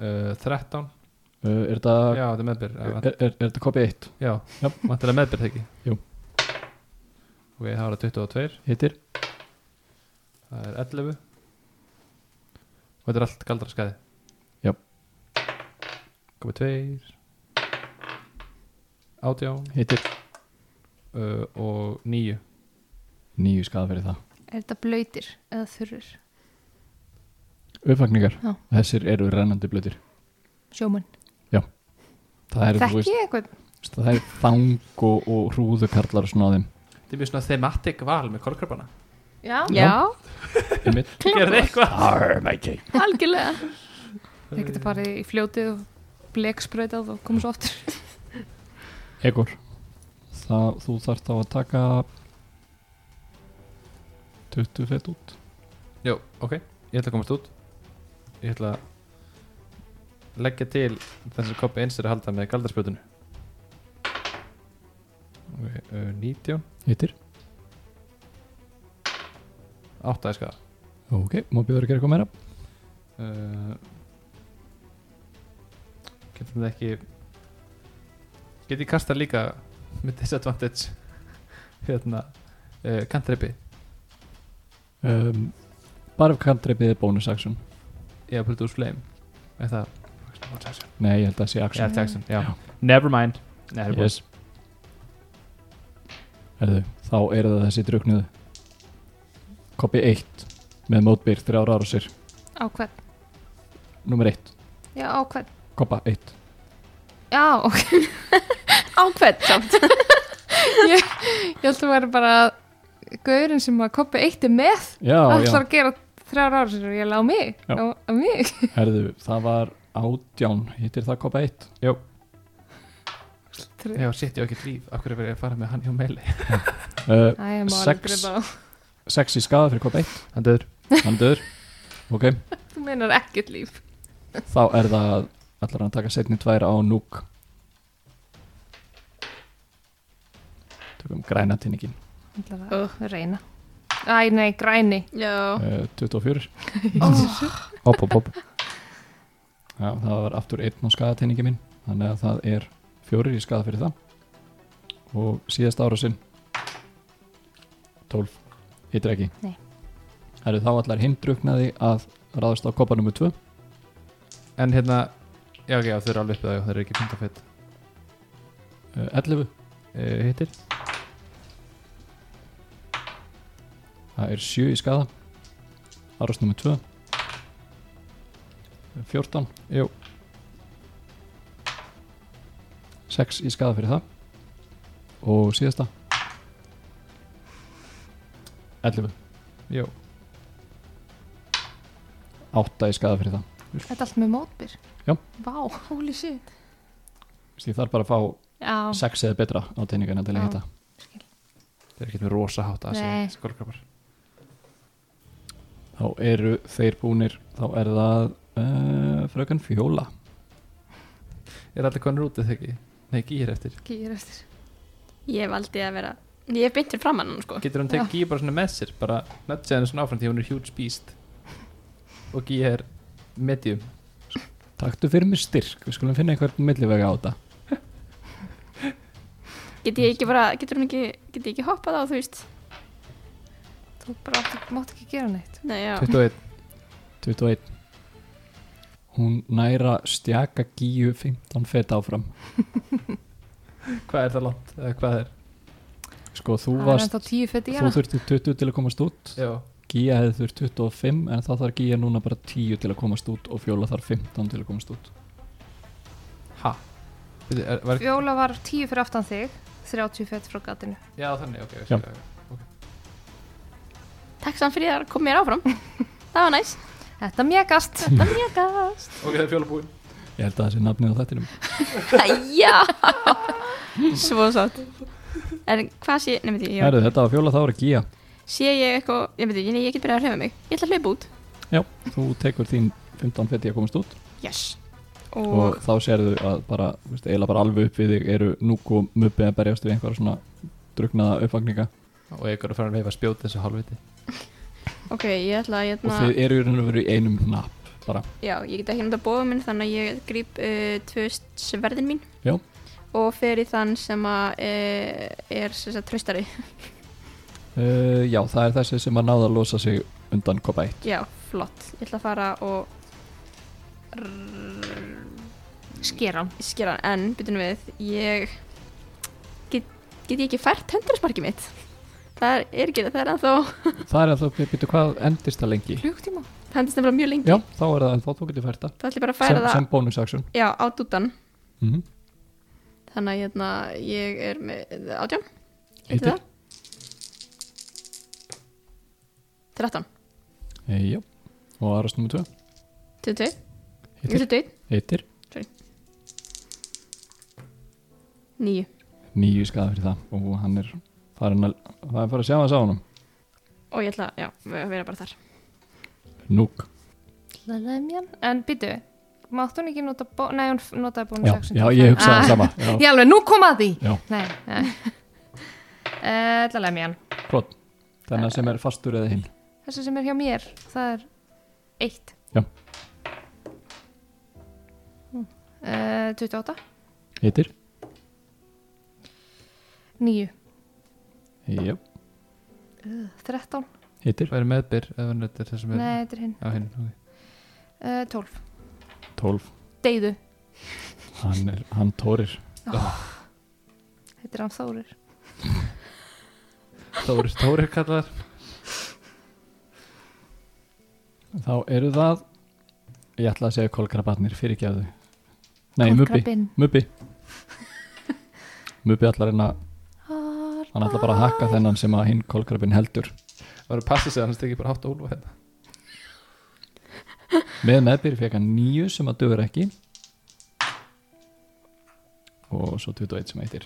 [SPEAKER 4] uh, 13
[SPEAKER 3] uh, er
[SPEAKER 4] Já,
[SPEAKER 3] þetta
[SPEAKER 4] þetta er meðbyr
[SPEAKER 3] er, er, er þetta kopið 1
[SPEAKER 4] Já,
[SPEAKER 3] Eh, Já.
[SPEAKER 4] vantilega meðbyr þekki
[SPEAKER 3] Jú.
[SPEAKER 4] Ok, það var að 22
[SPEAKER 3] hittir,
[SPEAKER 4] Það er 11 Og þetta er allt galdra skæði
[SPEAKER 3] Já.
[SPEAKER 4] Komið 2 Átján
[SPEAKER 3] hittir,
[SPEAKER 4] uh, Og 9
[SPEAKER 3] nýju skada fyrir það
[SPEAKER 2] er þetta blöytir eða þurrir
[SPEAKER 3] uppvakningar
[SPEAKER 2] Já.
[SPEAKER 3] Þessir eru rennandi blötir
[SPEAKER 2] sjómann.
[SPEAKER 3] Það eru, þú
[SPEAKER 2] Þekki
[SPEAKER 3] veist,
[SPEAKER 2] ég eitthvað?
[SPEAKER 3] það eru þang og, og hrúðukarlar og svona á þeim
[SPEAKER 6] Þetta er mjög svona thematic val með korkröpana
[SPEAKER 2] Já.
[SPEAKER 1] Já,
[SPEAKER 3] Einmitt.
[SPEAKER 6] Gerðu eitthvað
[SPEAKER 3] Arr, my king
[SPEAKER 1] algjörlega
[SPEAKER 2] Þeir geta farið í fljótið og blekspröytað og komið svo aftur.
[SPEAKER 3] Egor það, Þú þarft þá að taka 20 fett út
[SPEAKER 4] Jó, ok, ég ætla að komast út Ég ætla að leggja til þessi koppi eins er að halda með galdarspjötunu Ok, uh, 19
[SPEAKER 3] Hittir
[SPEAKER 4] 8 eða skada
[SPEAKER 3] Ok, má bjóður að gera eitthvað meira
[SPEAKER 4] uh, Getum það ekki Get ég kasta líka með disadvantage hérna uh, kantreppi
[SPEAKER 3] um, Bara ef kandreipið er bónus action
[SPEAKER 4] eða pöldu úr flame Er það What's action?
[SPEAKER 3] Nei, ég held að það sé
[SPEAKER 6] Já,
[SPEAKER 3] action
[SPEAKER 6] Jackson, já Never mind Nei, það er
[SPEAKER 3] yes. Herðu, þá eru það þessi druknuðu Copy 1 með mótbyr þrjára ára sér
[SPEAKER 2] Á hvern?
[SPEAKER 3] Númer 1,
[SPEAKER 2] Já, á hvern?
[SPEAKER 3] koppa 1
[SPEAKER 2] Já, ok.
[SPEAKER 1] Ákveð samt
[SPEAKER 2] Ég held að vera bara gaurinn sem að koppa eitt er með.
[SPEAKER 3] Já,
[SPEAKER 2] Það ætlar
[SPEAKER 3] já,
[SPEAKER 2] að gera þrjár ára sér og ég lág mig.
[SPEAKER 3] Já.
[SPEAKER 2] Já. Á, á mig.
[SPEAKER 3] herðu, það var átján, hittir það koppa 1
[SPEAKER 4] Já, shit, ég á ekki líf Af hverju verið ég að fara með hann hjá meili
[SPEAKER 3] uh,
[SPEAKER 2] Æ, ég má
[SPEAKER 3] Sex.
[SPEAKER 2] alveg gripa á.
[SPEAKER 3] 6 í skaða fyrir koppa 1
[SPEAKER 4] Hann döður
[SPEAKER 3] Hann döður Ok,
[SPEAKER 2] Þú meinar ekkert líf.
[SPEAKER 3] þá er það allar hann að taka setni tvær á núk Tökum græna tinningin
[SPEAKER 2] Það ætlar að reyna. Æ, nei, græni.
[SPEAKER 1] Já,
[SPEAKER 3] uh, 24
[SPEAKER 4] Hopp, hopp, hopp
[SPEAKER 3] Já, það var aftur einn á skadatenningi minn þannig að það er fjórir í skada fyrir það og síðast ára sinn 12 hittir ekki
[SPEAKER 2] Nei.
[SPEAKER 3] Það eru þá allar hinn druknaði að ráðast á koppa nummer 2
[SPEAKER 4] En hérna, já, já, þau eru alveg uppið það, já, þau eru ekki pintafett uh,
[SPEAKER 3] 11,
[SPEAKER 4] eh, hittir.
[SPEAKER 3] það er 7 í skada árast nummer 2 14
[SPEAKER 4] Jú.
[SPEAKER 3] 6 í skada fyrir það og síðasta 11
[SPEAKER 4] Jú,
[SPEAKER 3] 8 í skada fyrir það
[SPEAKER 2] Þetta er allt með mótbyr.
[SPEAKER 3] Já.
[SPEAKER 2] Vá, holy shit.
[SPEAKER 3] Þú veist, Ég þarf bara að fá
[SPEAKER 2] Já.
[SPEAKER 3] sex eða betra á teiningana til að
[SPEAKER 2] Já.
[SPEAKER 3] hitta.
[SPEAKER 4] þau eru ekki með rosa hátt að
[SPEAKER 2] Nei.
[SPEAKER 4] segja skólkrabbar.
[SPEAKER 3] Þá eru þeir búnir, þá er það uh, frökan Fjóla.
[SPEAKER 4] Er allir konur útið þegar ekki? Nei, gýr eftir.
[SPEAKER 2] Gýr eftir.
[SPEAKER 1] ég valdi að vera Ég er beintir framann hann sko
[SPEAKER 4] Getur hann
[SPEAKER 2] Já.
[SPEAKER 4] tekið gýr bara svona með sér, bara nudgeið henni svona áfram því hún er huge beast. Og gýr er medium.
[SPEAKER 3] Taktu fyrir mig styrk, við skulum finna einhvern millivega á þetta.
[SPEAKER 1] Get ég ekki bara, getur hún ekki, get ég ekki hoppað á þú veist
[SPEAKER 2] Þú bara átt- mátt ekki gera neitt.
[SPEAKER 1] Nei, já
[SPEAKER 4] 21.
[SPEAKER 3] 21. Hún næra stjaka gíu 15 fet áfram.
[SPEAKER 4] Hvað er það langt? Eða hvað er?
[SPEAKER 3] Sko þú
[SPEAKER 2] Það er
[SPEAKER 3] varst,
[SPEAKER 2] ennþá tíu fett í
[SPEAKER 3] þú
[SPEAKER 2] hana.
[SPEAKER 3] þurfti 20 til að komast út.
[SPEAKER 4] Já.
[SPEAKER 3] Gíja hefði þurft 25 en þá þarf Gíja núna bara 10 til að komast út og Fjóla þarf 15 til að komast út.
[SPEAKER 4] Ha? Bíddu, Er, var,
[SPEAKER 2] Fjóla var tíu fyrir aftan þig, 30 fett frá gatinu.
[SPEAKER 4] já, þannig, ok. ég
[SPEAKER 3] Já.
[SPEAKER 4] skil, já.
[SPEAKER 1] Takk samt fyrir að koma mér áfram Það var næs
[SPEAKER 2] Þetta mjögast.
[SPEAKER 1] Þetta mjög gast
[SPEAKER 4] Ok, það er fjólabúinn.
[SPEAKER 3] Ég held að það sé nafnið á þettinum.
[SPEAKER 1] Já Svo satt En hvað sé, nefnum því, já
[SPEAKER 3] Herðu þetta var Fjóla, þá var Gíja.
[SPEAKER 1] Sé ég eitthvað, nefnum því, ég get byrjað að hrefa mig Ég ætla að hlaupa út
[SPEAKER 3] Já, þú tekur þín 15 fet í að komast út.
[SPEAKER 1] Yes
[SPEAKER 3] og
[SPEAKER 1] Og,
[SPEAKER 3] þá sérðu að bara, þú veist, eiginlega bara alveg upp við þig eru núk og mubbi að berjast við einhverja svona druknaða uppvakninga
[SPEAKER 4] Og ég er að fara að veifa spjóti þessu hálfviti.
[SPEAKER 1] ok, ég ætla að
[SPEAKER 3] og
[SPEAKER 1] hérna
[SPEAKER 3] þið eru í raun og veru í einum napp bara,
[SPEAKER 1] Já, ég get ekki nota bóðum minn þannig að ég gríp uh, tvö sverðin mín
[SPEAKER 3] Já.
[SPEAKER 1] og fer í þann sem að uh, er sem sagt, traustari
[SPEAKER 3] uh, já það er þessi sem að náða að losa sig undan koppa 1
[SPEAKER 1] Já, flott, ég ætla að fara og
[SPEAKER 2] Skeran.
[SPEAKER 1] skera hann en, byrjunum við, ég get, get ég ekki fært höndrasparkið mitt það er, er ekki það, það er ennþá
[SPEAKER 3] það er að þú byrja, hvað endist það lengi?
[SPEAKER 2] Klugtíma.
[SPEAKER 1] Það hendist nefnilega mjög lengi
[SPEAKER 3] Já, þá er það, þá tók ég fært það
[SPEAKER 1] Það ætlum ég bara að færa
[SPEAKER 3] sem,
[SPEAKER 1] það
[SPEAKER 3] sem bónusaksjón
[SPEAKER 1] Já, á dútan
[SPEAKER 3] mm
[SPEAKER 1] Þannig að hérna, ég er með átján
[SPEAKER 3] Hittir.
[SPEAKER 1] það 13
[SPEAKER 3] e, Já, og aðrast nummer 2
[SPEAKER 1] 22
[SPEAKER 3] Hittir.
[SPEAKER 1] 21
[SPEAKER 3] Eittir,
[SPEAKER 1] 9
[SPEAKER 3] nýju skaða fyrir það og hann er farin að það er farin að sjá þess á honum
[SPEAKER 1] Og ég ætla já, að vera bara þar
[SPEAKER 3] Núk,
[SPEAKER 2] Lemjan. En býtu, máttu hún ekki nota bó... Nei, hún f- notaði bónus
[SPEAKER 3] já,
[SPEAKER 2] action
[SPEAKER 3] já,
[SPEAKER 2] til
[SPEAKER 3] ég
[SPEAKER 2] það.
[SPEAKER 3] hugsaði
[SPEAKER 2] Ah,
[SPEAKER 3] það sama Já,
[SPEAKER 2] Ég alveg, nú kom að því.
[SPEAKER 3] Já.
[SPEAKER 2] Nei, nei. Eh, Ætla lemjan.
[SPEAKER 3] klott Þannig að sem er fastur eða hinn
[SPEAKER 2] Þessi sem er hjá mér, það er eitt.
[SPEAKER 3] Já.
[SPEAKER 2] Mm. Eh, 28,
[SPEAKER 3] Eittir,
[SPEAKER 2] 9,
[SPEAKER 3] Eh, já,
[SPEAKER 2] 13,
[SPEAKER 3] eittir,
[SPEAKER 4] Hvað er meðbyr ef hann þetta er það sem er
[SPEAKER 2] nei, þetta er hinn,
[SPEAKER 4] á hinn? ok.
[SPEAKER 2] Eh, 12,
[SPEAKER 3] 12
[SPEAKER 2] deyðu,
[SPEAKER 3] Hann, er, hann tórir
[SPEAKER 2] þetta er hann Þórir.
[SPEAKER 4] Þórir, Þórir kallar
[SPEAKER 3] Þá eru það Ég ætla að segja kolkrabatnir, fyrirgefðu Nei, mubbi,
[SPEAKER 2] Kolkrabbinn.
[SPEAKER 3] mubbi Mubbi allar en að Hann ætla bara að hakka þennan sem að hinn kolkrabin heldur
[SPEAKER 4] Það var að passa sig, annars tekið bara hátt og úlfa hérna
[SPEAKER 3] Með meðbyr fekk hann nýju sem að dögur ekki Og svo 21 sem eittir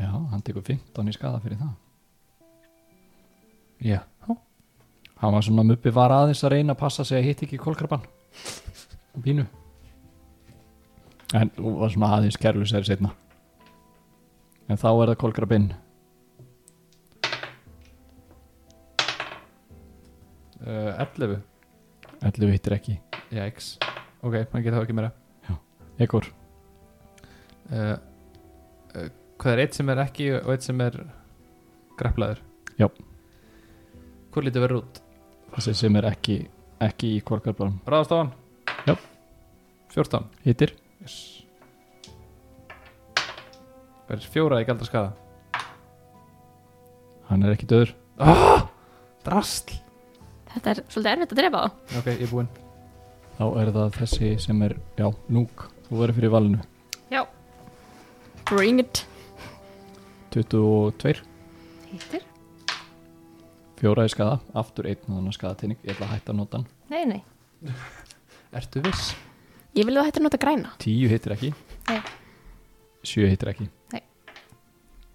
[SPEAKER 3] Já, hann tekur 15 í skada fyrir það Já Hann var svona mubbi var aðeins að reyna að passa sig að hitt ekki kolkraban Bínu En hún var svona aðeins kærlusæri setna En þá er það kolkrabinn
[SPEAKER 4] uh, 11
[SPEAKER 3] 11 hittir ekki
[SPEAKER 4] Jæks Ok, hann getur þá ekki meira
[SPEAKER 3] Ekkur
[SPEAKER 4] uh, uh, Hvað er eitt sem er ekki og eitt sem er grepplaður?
[SPEAKER 3] Já.
[SPEAKER 4] Hvor lítið verður út?
[SPEAKER 3] þessi sem er ekki ekki í kvarkarblóðum
[SPEAKER 4] Ráðast á hann?
[SPEAKER 3] Já.
[SPEAKER 4] 14
[SPEAKER 3] hittir
[SPEAKER 4] yes. Verður fjóra í galdra skada
[SPEAKER 3] hann er ekki döður
[SPEAKER 4] Drastl
[SPEAKER 1] Þetta er svolítið erfitt að drefa á
[SPEAKER 4] Ok, ég er búinn
[SPEAKER 3] þá er það þessi sem er já, núk þú verður fyrir valinu
[SPEAKER 1] Bring it
[SPEAKER 3] 22
[SPEAKER 2] Hittir?
[SPEAKER 3] fjóra í skada aftur einn og þannig skadatinning ég ætla að hætta að nota hann
[SPEAKER 2] Nei, nei.
[SPEAKER 4] Ertu viss?
[SPEAKER 1] Ég vil það hættir að nota græna
[SPEAKER 3] 10 hittir ekki
[SPEAKER 2] Nei.
[SPEAKER 3] 7 hittir ekki
[SPEAKER 2] Nei.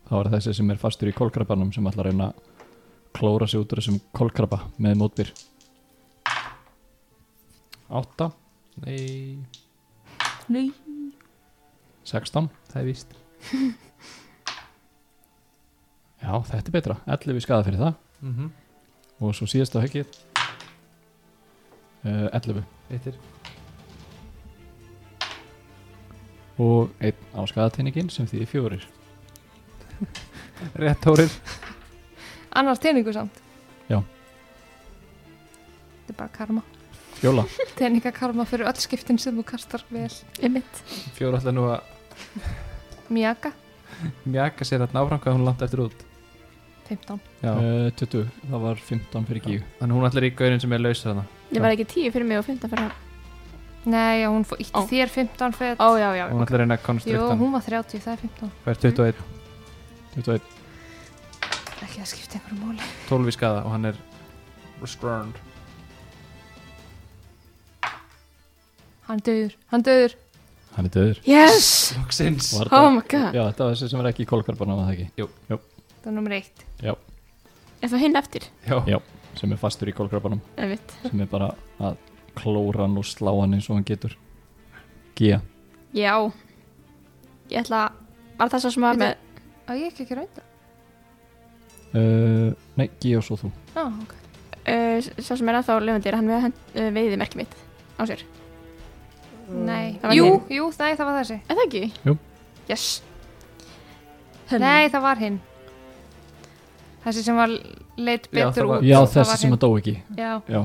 [SPEAKER 3] þá er það þessi sem er fastur í kolkrabanum sem ætla að reyna að klóra sig út úr þessum kolkraba með mótbyr 8
[SPEAKER 4] Nei,
[SPEAKER 3] 16
[SPEAKER 4] það er víst
[SPEAKER 3] já, þetta er betra 11 í skada fyrir það
[SPEAKER 4] mm -hmm.
[SPEAKER 3] og svo síðasta höggið uh, 11
[SPEAKER 4] Eittir
[SPEAKER 3] og einn á skadateyningin sem þýðir fjórir
[SPEAKER 4] Rétt Þórir
[SPEAKER 2] Annars teiningu samt.
[SPEAKER 3] Já.
[SPEAKER 2] Þetta er bara karma.
[SPEAKER 3] fjóla
[SPEAKER 2] Teiningakarma fyrir öll skiptin sem þú kastar vel.
[SPEAKER 1] Einmitt
[SPEAKER 4] Fjóra ætla nú að
[SPEAKER 2] Mjaka,
[SPEAKER 4] mjaka sér að náfram hvað hún langt eftir út
[SPEAKER 2] 15.
[SPEAKER 4] Já
[SPEAKER 3] uh, 20, það var 15 fyrir gíu
[SPEAKER 4] Þannig Eh, hún ætlar í gaurin sem er lausur hana
[SPEAKER 1] Ég var ekki 10 fyrir mig og 15 fyrir hann
[SPEAKER 2] Nei, já, hún fór ítti
[SPEAKER 1] Ó.
[SPEAKER 2] þér 15 fyrir...
[SPEAKER 1] Ó já, já
[SPEAKER 4] Hún ætlar að reyna að
[SPEAKER 2] Jú,
[SPEAKER 4] konstrukta hann
[SPEAKER 2] hún var 30, það er 15.
[SPEAKER 4] Hver 21
[SPEAKER 3] 21,
[SPEAKER 2] Ekki að skipta einhverju móli.
[SPEAKER 4] 12 í skada og hann er Restrained
[SPEAKER 2] Hann döður, hann döður.
[SPEAKER 3] hann er döður
[SPEAKER 1] Yes
[SPEAKER 4] Loksins
[SPEAKER 3] Var
[SPEAKER 1] Oh
[SPEAKER 3] þetta-
[SPEAKER 1] my god
[SPEAKER 3] já, þetta var þessi sem er ekki í kolkarbanum að það ekki
[SPEAKER 2] Það er nummer 1.
[SPEAKER 1] Er það hinn eftir?
[SPEAKER 4] Já,
[SPEAKER 3] Já. sem er fastur í kolkarbanum
[SPEAKER 1] Einmitt
[SPEAKER 3] sem er bara að klóra hann og slá hann eins og hann getur gíja,
[SPEAKER 1] Já Ég ætla Var það svo sem var
[SPEAKER 2] Bíddu.
[SPEAKER 1] með
[SPEAKER 2] Á ég ekki ekki rænda?
[SPEAKER 3] uh, nei, gíja og svo þú
[SPEAKER 2] Já, ok.
[SPEAKER 1] uh, Svo sem er að þá lefundir Hann með uh, veiði merkið mitt Á sér
[SPEAKER 2] Nei.
[SPEAKER 1] Mm. Það var
[SPEAKER 2] Jú,
[SPEAKER 1] hinn.
[SPEAKER 2] jú, nei, það var þessi.
[SPEAKER 1] Er það ekki?
[SPEAKER 3] Jú.
[SPEAKER 1] Yes
[SPEAKER 2] Nei, það var hinn. Þessi sem var leitt
[SPEAKER 4] Já, það
[SPEAKER 2] betur
[SPEAKER 4] var-
[SPEAKER 2] út.
[SPEAKER 3] já,
[SPEAKER 2] það var
[SPEAKER 3] þessi sem
[SPEAKER 2] hinn.
[SPEAKER 3] að dó ekki
[SPEAKER 2] Já,
[SPEAKER 3] já,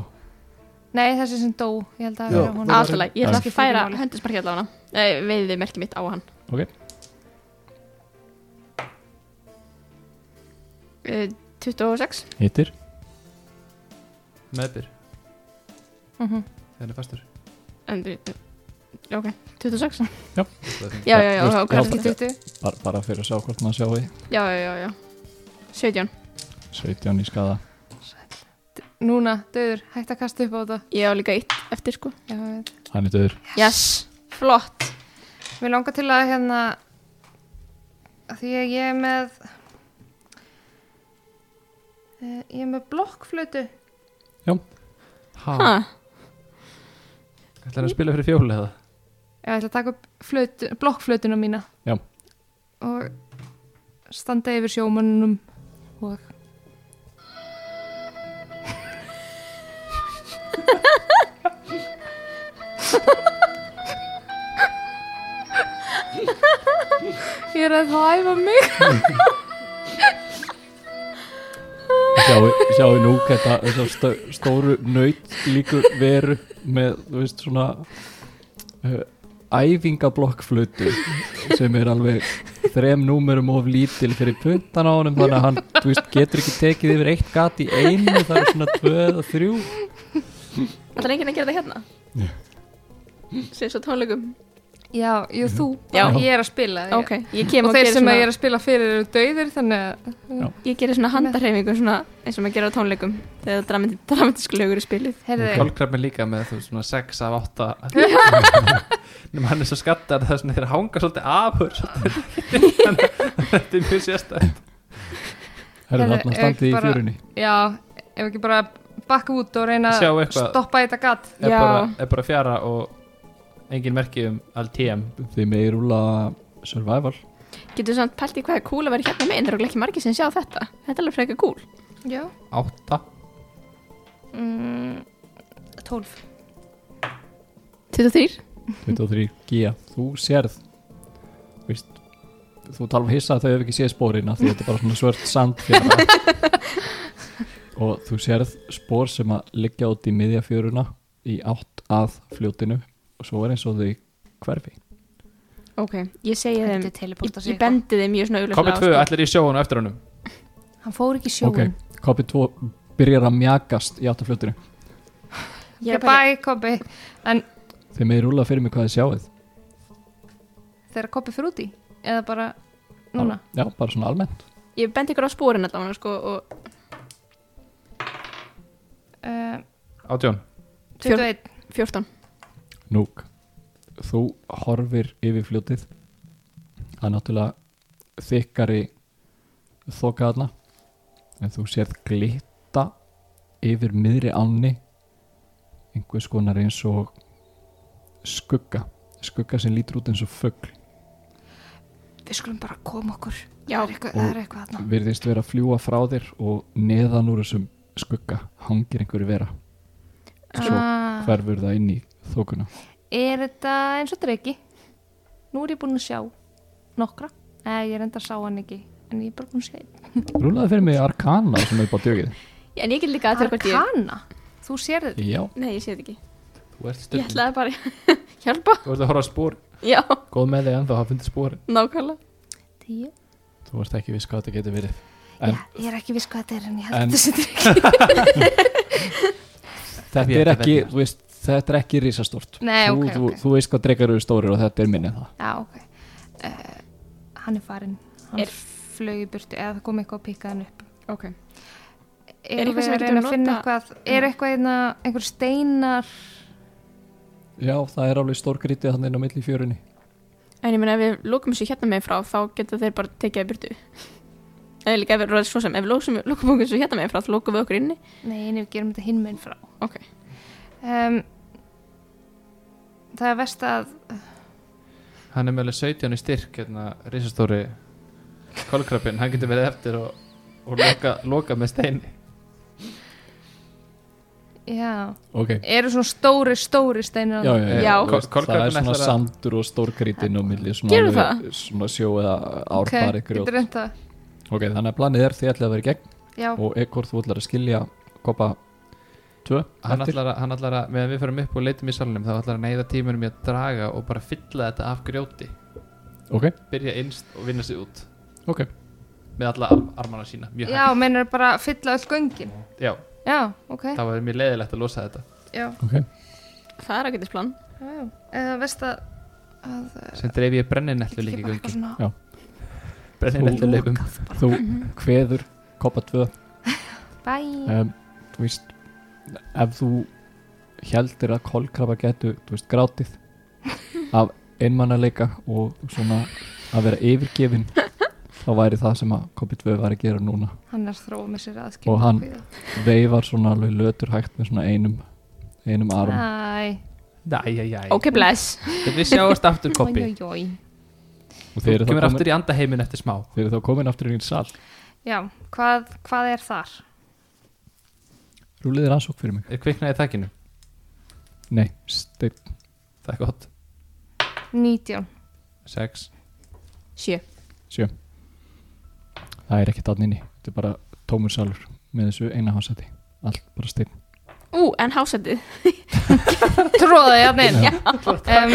[SPEAKER 2] nei, þessi sem dó. Ég held að
[SPEAKER 4] Já,
[SPEAKER 2] það var hún.
[SPEAKER 4] Allt í
[SPEAKER 1] Alltaf Ég
[SPEAKER 2] Já.
[SPEAKER 1] ætla að færa höndismarkið allavega Nei, veiði merkið mitt á hann
[SPEAKER 3] Ok.
[SPEAKER 1] uh, 26 Eh,
[SPEAKER 3] hittir
[SPEAKER 4] meðbyr,
[SPEAKER 2] Mm
[SPEAKER 4] þegar hann er fastur
[SPEAKER 1] Endri, eh, ok, 26
[SPEAKER 4] Þetta
[SPEAKER 1] Já, já, já,
[SPEAKER 3] Þú veist,
[SPEAKER 1] já, kannski
[SPEAKER 3] já.
[SPEAKER 1] 20
[SPEAKER 3] bara, bara fyrir að sjá hvort maður sjá því
[SPEAKER 1] Já, já, já, já 17
[SPEAKER 3] 17 í skada
[SPEAKER 2] Núna, döður, hægt að kasta upp á þetta
[SPEAKER 1] Ég á líka eitt eftir sko
[SPEAKER 2] Já, ég veit.
[SPEAKER 3] hann er döður
[SPEAKER 1] Yes, flott
[SPEAKER 2] Mér langar til að hérna að Því að ég er með eh, Ég er með blokkflötu
[SPEAKER 4] er
[SPEAKER 1] ha.
[SPEAKER 4] hann að spila fyrir fjóli eða?
[SPEAKER 2] Ég ætla að taka upp flötu, blokkflötuna mína
[SPEAKER 3] Já.
[SPEAKER 2] Og standa yfir sjómanunum og Ég er að hæfa mig
[SPEAKER 3] sjáu, sjáu nú þetta þessar stö, stóru nöyt líku veru með þú veist svona uh, æfingablokkflutu sem er alveg þrem númerum of lítil fyrir puntan á honum þannig að hann þú veist, getur ekki tekið yfir eitt gat í einu það er svona tvö eða þrjú
[SPEAKER 1] Það er enginn að gera það hérna Sér svo tónleikum
[SPEAKER 2] Já, jú, þú,
[SPEAKER 1] Já.
[SPEAKER 2] ég er að spila ég-
[SPEAKER 1] Ok, ég kem
[SPEAKER 2] Og
[SPEAKER 1] og,
[SPEAKER 2] þeir
[SPEAKER 1] gerir
[SPEAKER 2] sem
[SPEAKER 1] svona
[SPEAKER 2] ég er að spila fyrir eru döðir Þannig að
[SPEAKER 1] Ég gerir svona handarhefingu svona eins og maður gerir á tónleikum þegar dramatísk, dramatísk lögur er spilið
[SPEAKER 2] Herði,
[SPEAKER 4] Kolkrabin líka með þú veist, svona 6 af 8 nema hann er svo skattar það er svona þeir hanga svolítið afur þetta er mjög sérstæð
[SPEAKER 3] herru
[SPEAKER 2] Heyrðu,
[SPEAKER 3] þarna standið
[SPEAKER 2] ég
[SPEAKER 3] í
[SPEAKER 2] bara-
[SPEAKER 3] fjörunni
[SPEAKER 2] Já, ef ekki bara bakka út og reyna
[SPEAKER 4] Sjá
[SPEAKER 2] að
[SPEAKER 4] eitthvað.
[SPEAKER 2] stoppa þetta gatt
[SPEAKER 4] er,
[SPEAKER 1] Já.
[SPEAKER 4] bara- er bara fjara og engin merki um LTM
[SPEAKER 3] því megir rúla survival
[SPEAKER 1] Getur samt pælt í hvað er cool að vera hérna meginn, það eru ekki margir sem sjá þetta Þetta er alveg frekar cool
[SPEAKER 2] Já
[SPEAKER 4] 8
[SPEAKER 2] mm, 12
[SPEAKER 1] 23
[SPEAKER 3] 23 G, þú sérð veist, þú talum hissa að þau hef ekki séð spórin af því þetta er bara svona svört sand fjara. og þú sérð spór sem að liggja út í miðja fjöruna í átt að fljótinu og svo er eins og þau hverfi
[SPEAKER 1] Ok, ég segi þeim
[SPEAKER 2] Þetta
[SPEAKER 1] Ég,
[SPEAKER 2] teleporta
[SPEAKER 1] ég
[SPEAKER 2] sig eitthvað.
[SPEAKER 1] bendi þeim mjög svona
[SPEAKER 4] Kopi
[SPEAKER 1] augljóslega á, sko.
[SPEAKER 4] 2 allir í sjóun og eftir honum
[SPEAKER 2] Hann fór ekki í sjóin
[SPEAKER 3] ok, kopi 2 byrjar að mjakast í átt að fljótinu
[SPEAKER 1] Ég er bara
[SPEAKER 2] Bye, Kobbi
[SPEAKER 3] þau meði rúla fyrir mig hvað þið sjáuð
[SPEAKER 2] Þegar Kobbi fyrir úti Eða bara núna
[SPEAKER 3] já, bara svona almennt
[SPEAKER 1] Ég bendi ykkur á spórin allavega sko og
[SPEAKER 2] Eh,
[SPEAKER 4] 18
[SPEAKER 2] 21
[SPEAKER 1] 14
[SPEAKER 3] Núk, þú horfir yfir fljótið það er náttúrulega þykkari þoka þarna en þú sérð glitta yfir miðri ánni einhvers konar eins og skugga skugga sem lítur út eins og fuggl
[SPEAKER 2] Við skulum bara koma okkur Það
[SPEAKER 1] Já,
[SPEAKER 2] er eitthvað, það er eitthvað þarna
[SPEAKER 3] virðist vera að fljúa frá þér og neðan úr þessum skugga hangir einhverju vera svo
[SPEAKER 2] Ah,
[SPEAKER 3] hverfur það inn í þokuna
[SPEAKER 2] Er þetta eins og dregi? Nú er ég búin að sjá Nokkra Nei, ég reyndar sá hann ekki En ég er bara búin að sjá einn
[SPEAKER 3] rúlaði fyrir mig Arkana sem er bara djögið
[SPEAKER 1] Já, En ég get líka að þeirra hvort ég
[SPEAKER 2] Arkana Þú sér þetta
[SPEAKER 3] já,
[SPEAKER 1] Nei, ég sé þetta ekki
[SPEAKER 4] Þú ert
[SPEAKER 1] Ég
[SPEAKER 4] stundum
[SPEAKER 1] ætlaði bara að hjálpa
[SPEAKER 4] Þú ert að horfa á spór
[SPEAKER 1] Já,
[SPEAKER 4] Góð með þig ennþá hafa fundið spórin
[SPEAKER 1] nákvæmlega
[SPEAKER 2] Tíu
[SPEAKER 3] þú ert ekki viss hvað þetta getur verið
[SPEAKER 2] Já,
[SPEAKER 3] En-
[SPEAKER 2] ég er ekki viss hvað þetta er en ég held
[SPEAKER 3] En-
[SPEAKER 2] að þetta sé dregi
[SPEAKER 3] þetta
[SPEAKER 4] Ég
[SPEAKER 3] er
[SPEAKER 4] ætla að
[SPEAKER 3] ekki,
[SPEAKER 4] velja.
[SPEAKER 3] þú veist, þetta er ekki risastórt
[SPEAKER 2] Nei,
[SPEAKER 3] þú,
[SPEAKER 2] ok,
[SPEAKER 3] þú,
[SPEAKER 2] ok.
[SPEAKER 3] þú veist hvað drekar eru stórir og þetta er minni en það
[SPEAKER 2] Já, ok. Uh, hann er farinn. Hann
[SPEAKER 1] Er-
[SPEAKER 2] er... flög í burtu eða það kom eitthvað að píka hann upp.
[SPEAKER 1] Ok
[SPEAKER 2] Er
[SPEAKER 1] eitthvað sem við
[SPEAKER 2] reyna
[SPEAKER 1] getum
[SPEAKER 2] að finna
[SPEAKER 1] notað?
[SPEAKER 2] eitthvað, er eitthvað einna, einhver steinar?
[SPEAKER 3] já, það er alveg stórgrítið hann inn á milli í fjörunni
[SPEAKER 1] En ég meina ef við lókum þessu hérna með frá þá geta þeir bara tekið að byrtu Eða líka ef við rúðum svo sem ef við lókum, lókum okkur þessu hérna með frá þá lókum við okkur inni
[SPEAKER 2] Nei, en við gerum þetta hinn meginn frá.
[SPEAKER 1] Ok.
[SPEAKER 2] Um, það er vest að,
[SPEAKER 4] Hann er með alveg 17 í styrk hérna risastóri kolkrabin hann getur verið eftir og, og loka, loka með steini
[SPEAKER 2] já,
[SPEAKER 3] ok,
[SPEAKER 2] eru svona stóri, stóri steinar.
[SPEAKER 3] já, já, já,
[SPEAKER 1] Já.
[SPEAKER 3] þú veist,
[SPEAKER 4] Kol-
[SPEAKER 3] það er
[SPEAKER 4] kolkrabbinn
[SPEAKER 3] svona
[SPEAKER 4] ætlar að-
[SPEAKER 3] sandur og stórgrítið á milli svona,
[SPEAKER 1] Gerðu
[SPEAKER 3] alveg svona sjó eða árbari grjót
[SPEAKER 2] getur reynda.
[SPEAKER 3] ok, þannig að planið er því ætlaði að vera í gegn
[SPEAKER 2] Já,
[SPEAKER 3] og ekkur þú ætlar að skilja kopa 2
[SPEAKER 4] Hann ætlar, að, hann ætlar að, meðan við förum upp og leitum í salunum þá ætlar að neyða tímunum í að draga og bara fylla þetta af grjóti
[SPEAKER 3] ok,
[SPEAKER 4] byrja innst og vinna sig út
[SPEAKER 3] ok,
[SPEAKER 4] með alla arm, armana sína mjög
[SPEAKER 2] já, meinar bara fylla öll göngin.
[SPEAKER 4] hægt Já,
[SPEAKER 2] Já, Já, ok.
[SPEAKER 4] Það var mjög leiðilegt að losa þetta
[SPEAKER 2] Já,
[SPEAKER 3] ok
[SPEAKER 1] Það er ágætis plan.
[SPEAKER 2] já, já. Eða veist að... að
[SPEAKER 4] sem dreif ég brenninetlu líka í
[SPEAKER 2] bara eitthvað
[SPEAKER 4] gangi
[SPEAKER 2] svona...
[SPEAKER 4] Brenninetlu leifum
[SPEAKER 3] þú
[SPEAKER 2] Mhm.
[SPEAKER 3] kveður koppa 2
[SPEAKER 2] Bæ.
[SPEAKER 3] um, þú veist ef þú heldir að kolkrabba getu þú veist grátið af einmannaleika og svona að vera yfirgefin þá væri það sem að koppi 2 var að gera núna
[SPEAKER 2] Hann er að þróa með sér aðskilja.
[SPEAKER 3] Og hann- veifar svona alveg lötur hægt með svona einum einum arm
[SPEAKER 2] Æ,
[SPEAKER 4] Æjæjæj
[SPEAKER 1] Ok, bless.
[SPEAKER 4] Við sjáumst aftur koppi
[SPEAKER 2] oj, oj, oj.
[SPEAKER 3] og
[SPEAKER 4] Þú
[SPEAKER 3] þeir eru
[SPEAKER 4] kemur
[SPEAKER 3] þá komin,
[SPEAKER 4] aftur í andaheimin eftir smá
[SPEAKER 3] þeir eru þá komin aftur í einn sal
[SPEAKER 2] Já, hvað, hvað er þar?
[SPEAKER 3] rúliðir aðsók fyrir mig
[SPEAKER 4] Er kviknaði í þakkinu?
[SPEAKER 3] nei, stein
[SPEAKER 4] Það er gott
[SPEAKER 2] 19.
[SPEAKER 4] Sex
[SPEAKER 1] Sjö.
[SPEAKER 3] Sjö Það er ekkert allir inni Þetta er bara tómur salur með þessu eina hásæti Allt bara stein
[SPEAKER 1] Ú, en hásætið.
[SPEAKER 2] Tróða ég hann hérna inn. Um,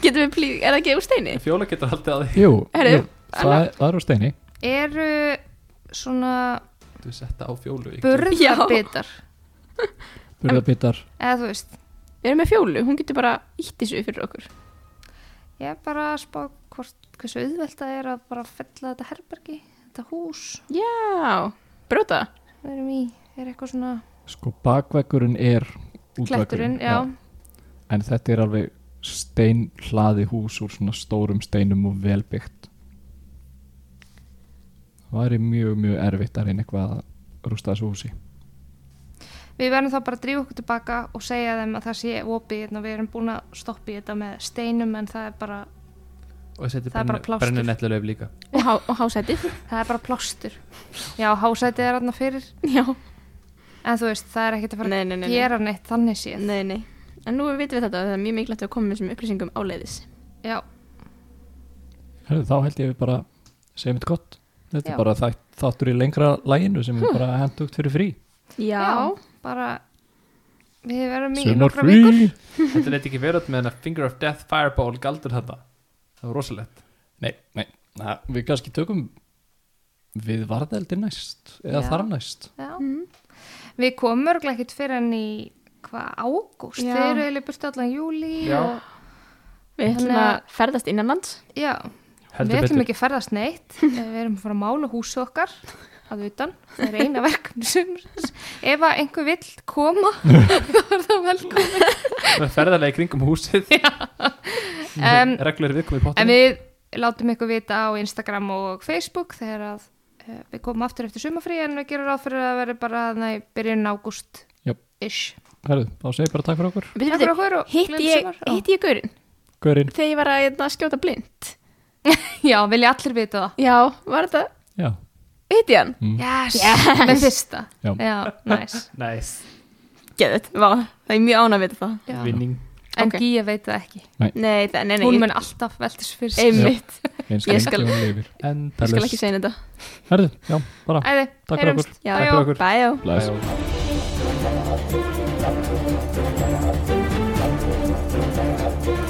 [SPEAKER 1] Getum við plíð, er það ekki úr steini?
[SPEAKER 4] Fjóla getur haldið að því
[SPEAKER 3] Jú,
[SPEAKER 1] Herru,
[SPEAKER 3] jú það, er- það er á steini
[SPEAKER 2] eru svona
[SPEAKER 4] Þú setta á fjólu í-
[SPEAKER 2] burðarbitar?
[SPEAKER 3] Burðabitar
[SPEAKER 2] Eða þú veist,
[SPEAKER 1] Við erum með fjólu, hún getur bara ítt þessu fyrir okkur.
[SPEAKER 2] ég er bara að spá hvort hversu auðvelt það er að bara fella þetta herbergi, þetta hús
[SPEAKER 1] Já, brjóta.
[SPEAKER 2] við erum í, er eitthvað svona
[SPEAKER 3] Sko bakveggurinn er
[SPEAKER 2] kletturinn,
[SPEAKER 3] útveggurinn
[SPEAKER 2] já.
[SPEAKER 3] En þetta er alveg steinhlaði hús úr svona stórum steinum og velbyggt Það væri mjög, mjög erfitt að reyna eitthvað að rústa þessu húsi
[SPEAKER 2] Við verðum þá bara að drífa okkur tilbaka og segja þeim að það sé opið hérna, við erum búin að stoppa í þetta með steinum en það er bara,
[SPEAKER 4] Og setja
[SPEAKER 2] Það er bara plástur.
[SPEAKER 4] brenninetlu leif líka
[SPEAKER 1] Og, há, og hásætið.
[SPEAKER 2] það er bara plástur. Já, hásætið er hérna fyrir,
[SPEAKER 1] Já.
[SPEAKER 2] en þú veist, það er ekkert að fara
[SPEAKER 1] Nei, nei, nei,
[SPEAKER 2] að
[SPEAKER 1] nei.
[SPEAKER 2] gera neitt þannig séð.
[SPEAKER 1] Nei, nei. En nú vitum við þetta, það er mjög mikilvægt að koma með þessum upplýsingum áleiðis.
[SPEAKER 2] Já,
[SPEAKER 3] Herru, þá held ég við bara segjum þetta gott Þetta
[SPEAKER 2] Já.
[SPEAKER 3] er bara þætt, þáttur í lengra læginu sem við bara hendugt fyrir frí
[SPEAKER 1] Já.
[SPEAKER 2] bara, við verðum í
[SPEAKER 3] Sumar
[SPEAKER 2] nokkrar vikur.
[SPEAKER 3] frí
[SPEAKER 4] Þetta leti ekki verið með hana Finger of Death Fireball galdur þetta Það var rosalegt
[SPEAKER 3] Nei, nei, na, við kannski tökum við varðeldi næst eða
[SPEAKER 2] Já.
[SPEAKER 3] þar næst
[SPEAKER 2] Já.
[SPEAKER 1] Mhm.
[SPEAKER 2] Við komum örglega ekkert fyrir enn í hvað ágúst,
[SPEAKER 1] Já.
[SPEAKER 2] þeir eru eiginlega burtu allan júli
[SPEAKER 4] Já.
[SPEAKER 2] og
[SPEAKER 1] Við ætlum
[SPEAKER 2] Þannig
[SPEAKER 1] að
[SPEAKER 2] að-
[SPEAKER 1] ferðast innanlands.
[SPEAKER 2] já,
[SPEAKER 4] Heldur
[SPEAKER 2] við ætlum
[SPEAKER 4] betur.
[SPEAKER 2] ekki að ferðast neitt, Eh, við erum að fara að mála húsu okkar að utan, það er eina verkefni sem ef að einhver vill koma þá er það velkomin
[SPEAKER 4] Með ferðarlega í kringum húsið
[SPEAKER 2] Em,
[SPEAKER 4] Reglur við komið í
[SPEAKER 2] en
[SPEAKER 4] pottinu
[SPEAKER 2] við látum ykkur vita á Instagram og Facebook þegar að eh, við komum aftur eftir sumafrí en við gerum ráð fyrir að vera bara næ, byrjun ágúst
[SPEAKER 3] Jöp.
[SPEAKER 2] ish
[SPEAKER 3] Herðu, þá segjum bara takk fyrir okkur
[SPEAKER 1] Bíddu,
[SPEAKER 2] Takk
[SPEAKER 1] bíddu,
[SPEAKER 2] fyrir okkur og
[SPEAKER 1] Hitti
[SPEAKER 2] gleðilegt
[SPEAKER 1] ég,
[SPEAKER 2] sumar. Já.
[SPEAKER 1] hitti ég gaurinn
[SPEAKER 3] Gaurinn,
[SPEAKER 1] þegar ég var að hérna, skjóta blind.
[SPEAKER 2] Já, vilja allir vita það
[SPEAKER 1] Já, var þetta,
[SPEAKER 3] já,
[SPEAKER 1] hitti ég hann?
[SPEAKER 2] Yes, yes. með fyrsta
[SPEAKER 3] Já.
[SPEAKER 2] nice.
[SPEAKER 4] Næs
[SPEAKER 1] Geðið, vá, það er mjög án að vita það.
[SPEAKER 2] Já.
[SPEAKER 4] Vinning
[SPEAKER 2] En
[SPEAKER 1] Ok.
[SPEAKER 2] Gíja veit það ekki
[SPEAKER 1] Nei, það, nei, nei.
[SPEAKER 2] Hún
[SPEAKER 1] ég-
[SPEAKER 2] mun alltaf veltis fyrir sér
[SPEAKER 1] Einmitt,
[SPEAKER 3] eins
[SPEAKER 1] Ég
[SPEAKER 3] og
[SPEAKER 1] skal-
[SPEAKER 3] lengi hún lifir
[SPEAKER 1] ég skal
[SPEAKER 3] Endalaust.
[SPEAKER 1] ekki segja þetta.
[SPEAKER 3] Herðu, já, bara,
[SPEAKER 2] Æði,
[SPEAKER 3] takk fyrir okkur
[SPEAKER 1] Já,
[SPEAKER 4] Takk
[SPEAKER 1] já,
[SPEAKER 4] fyrir okkur.
[SPEAKER 1] bæjó.
[SPEAKER 3] Bless
[SPEAKER 4] Takk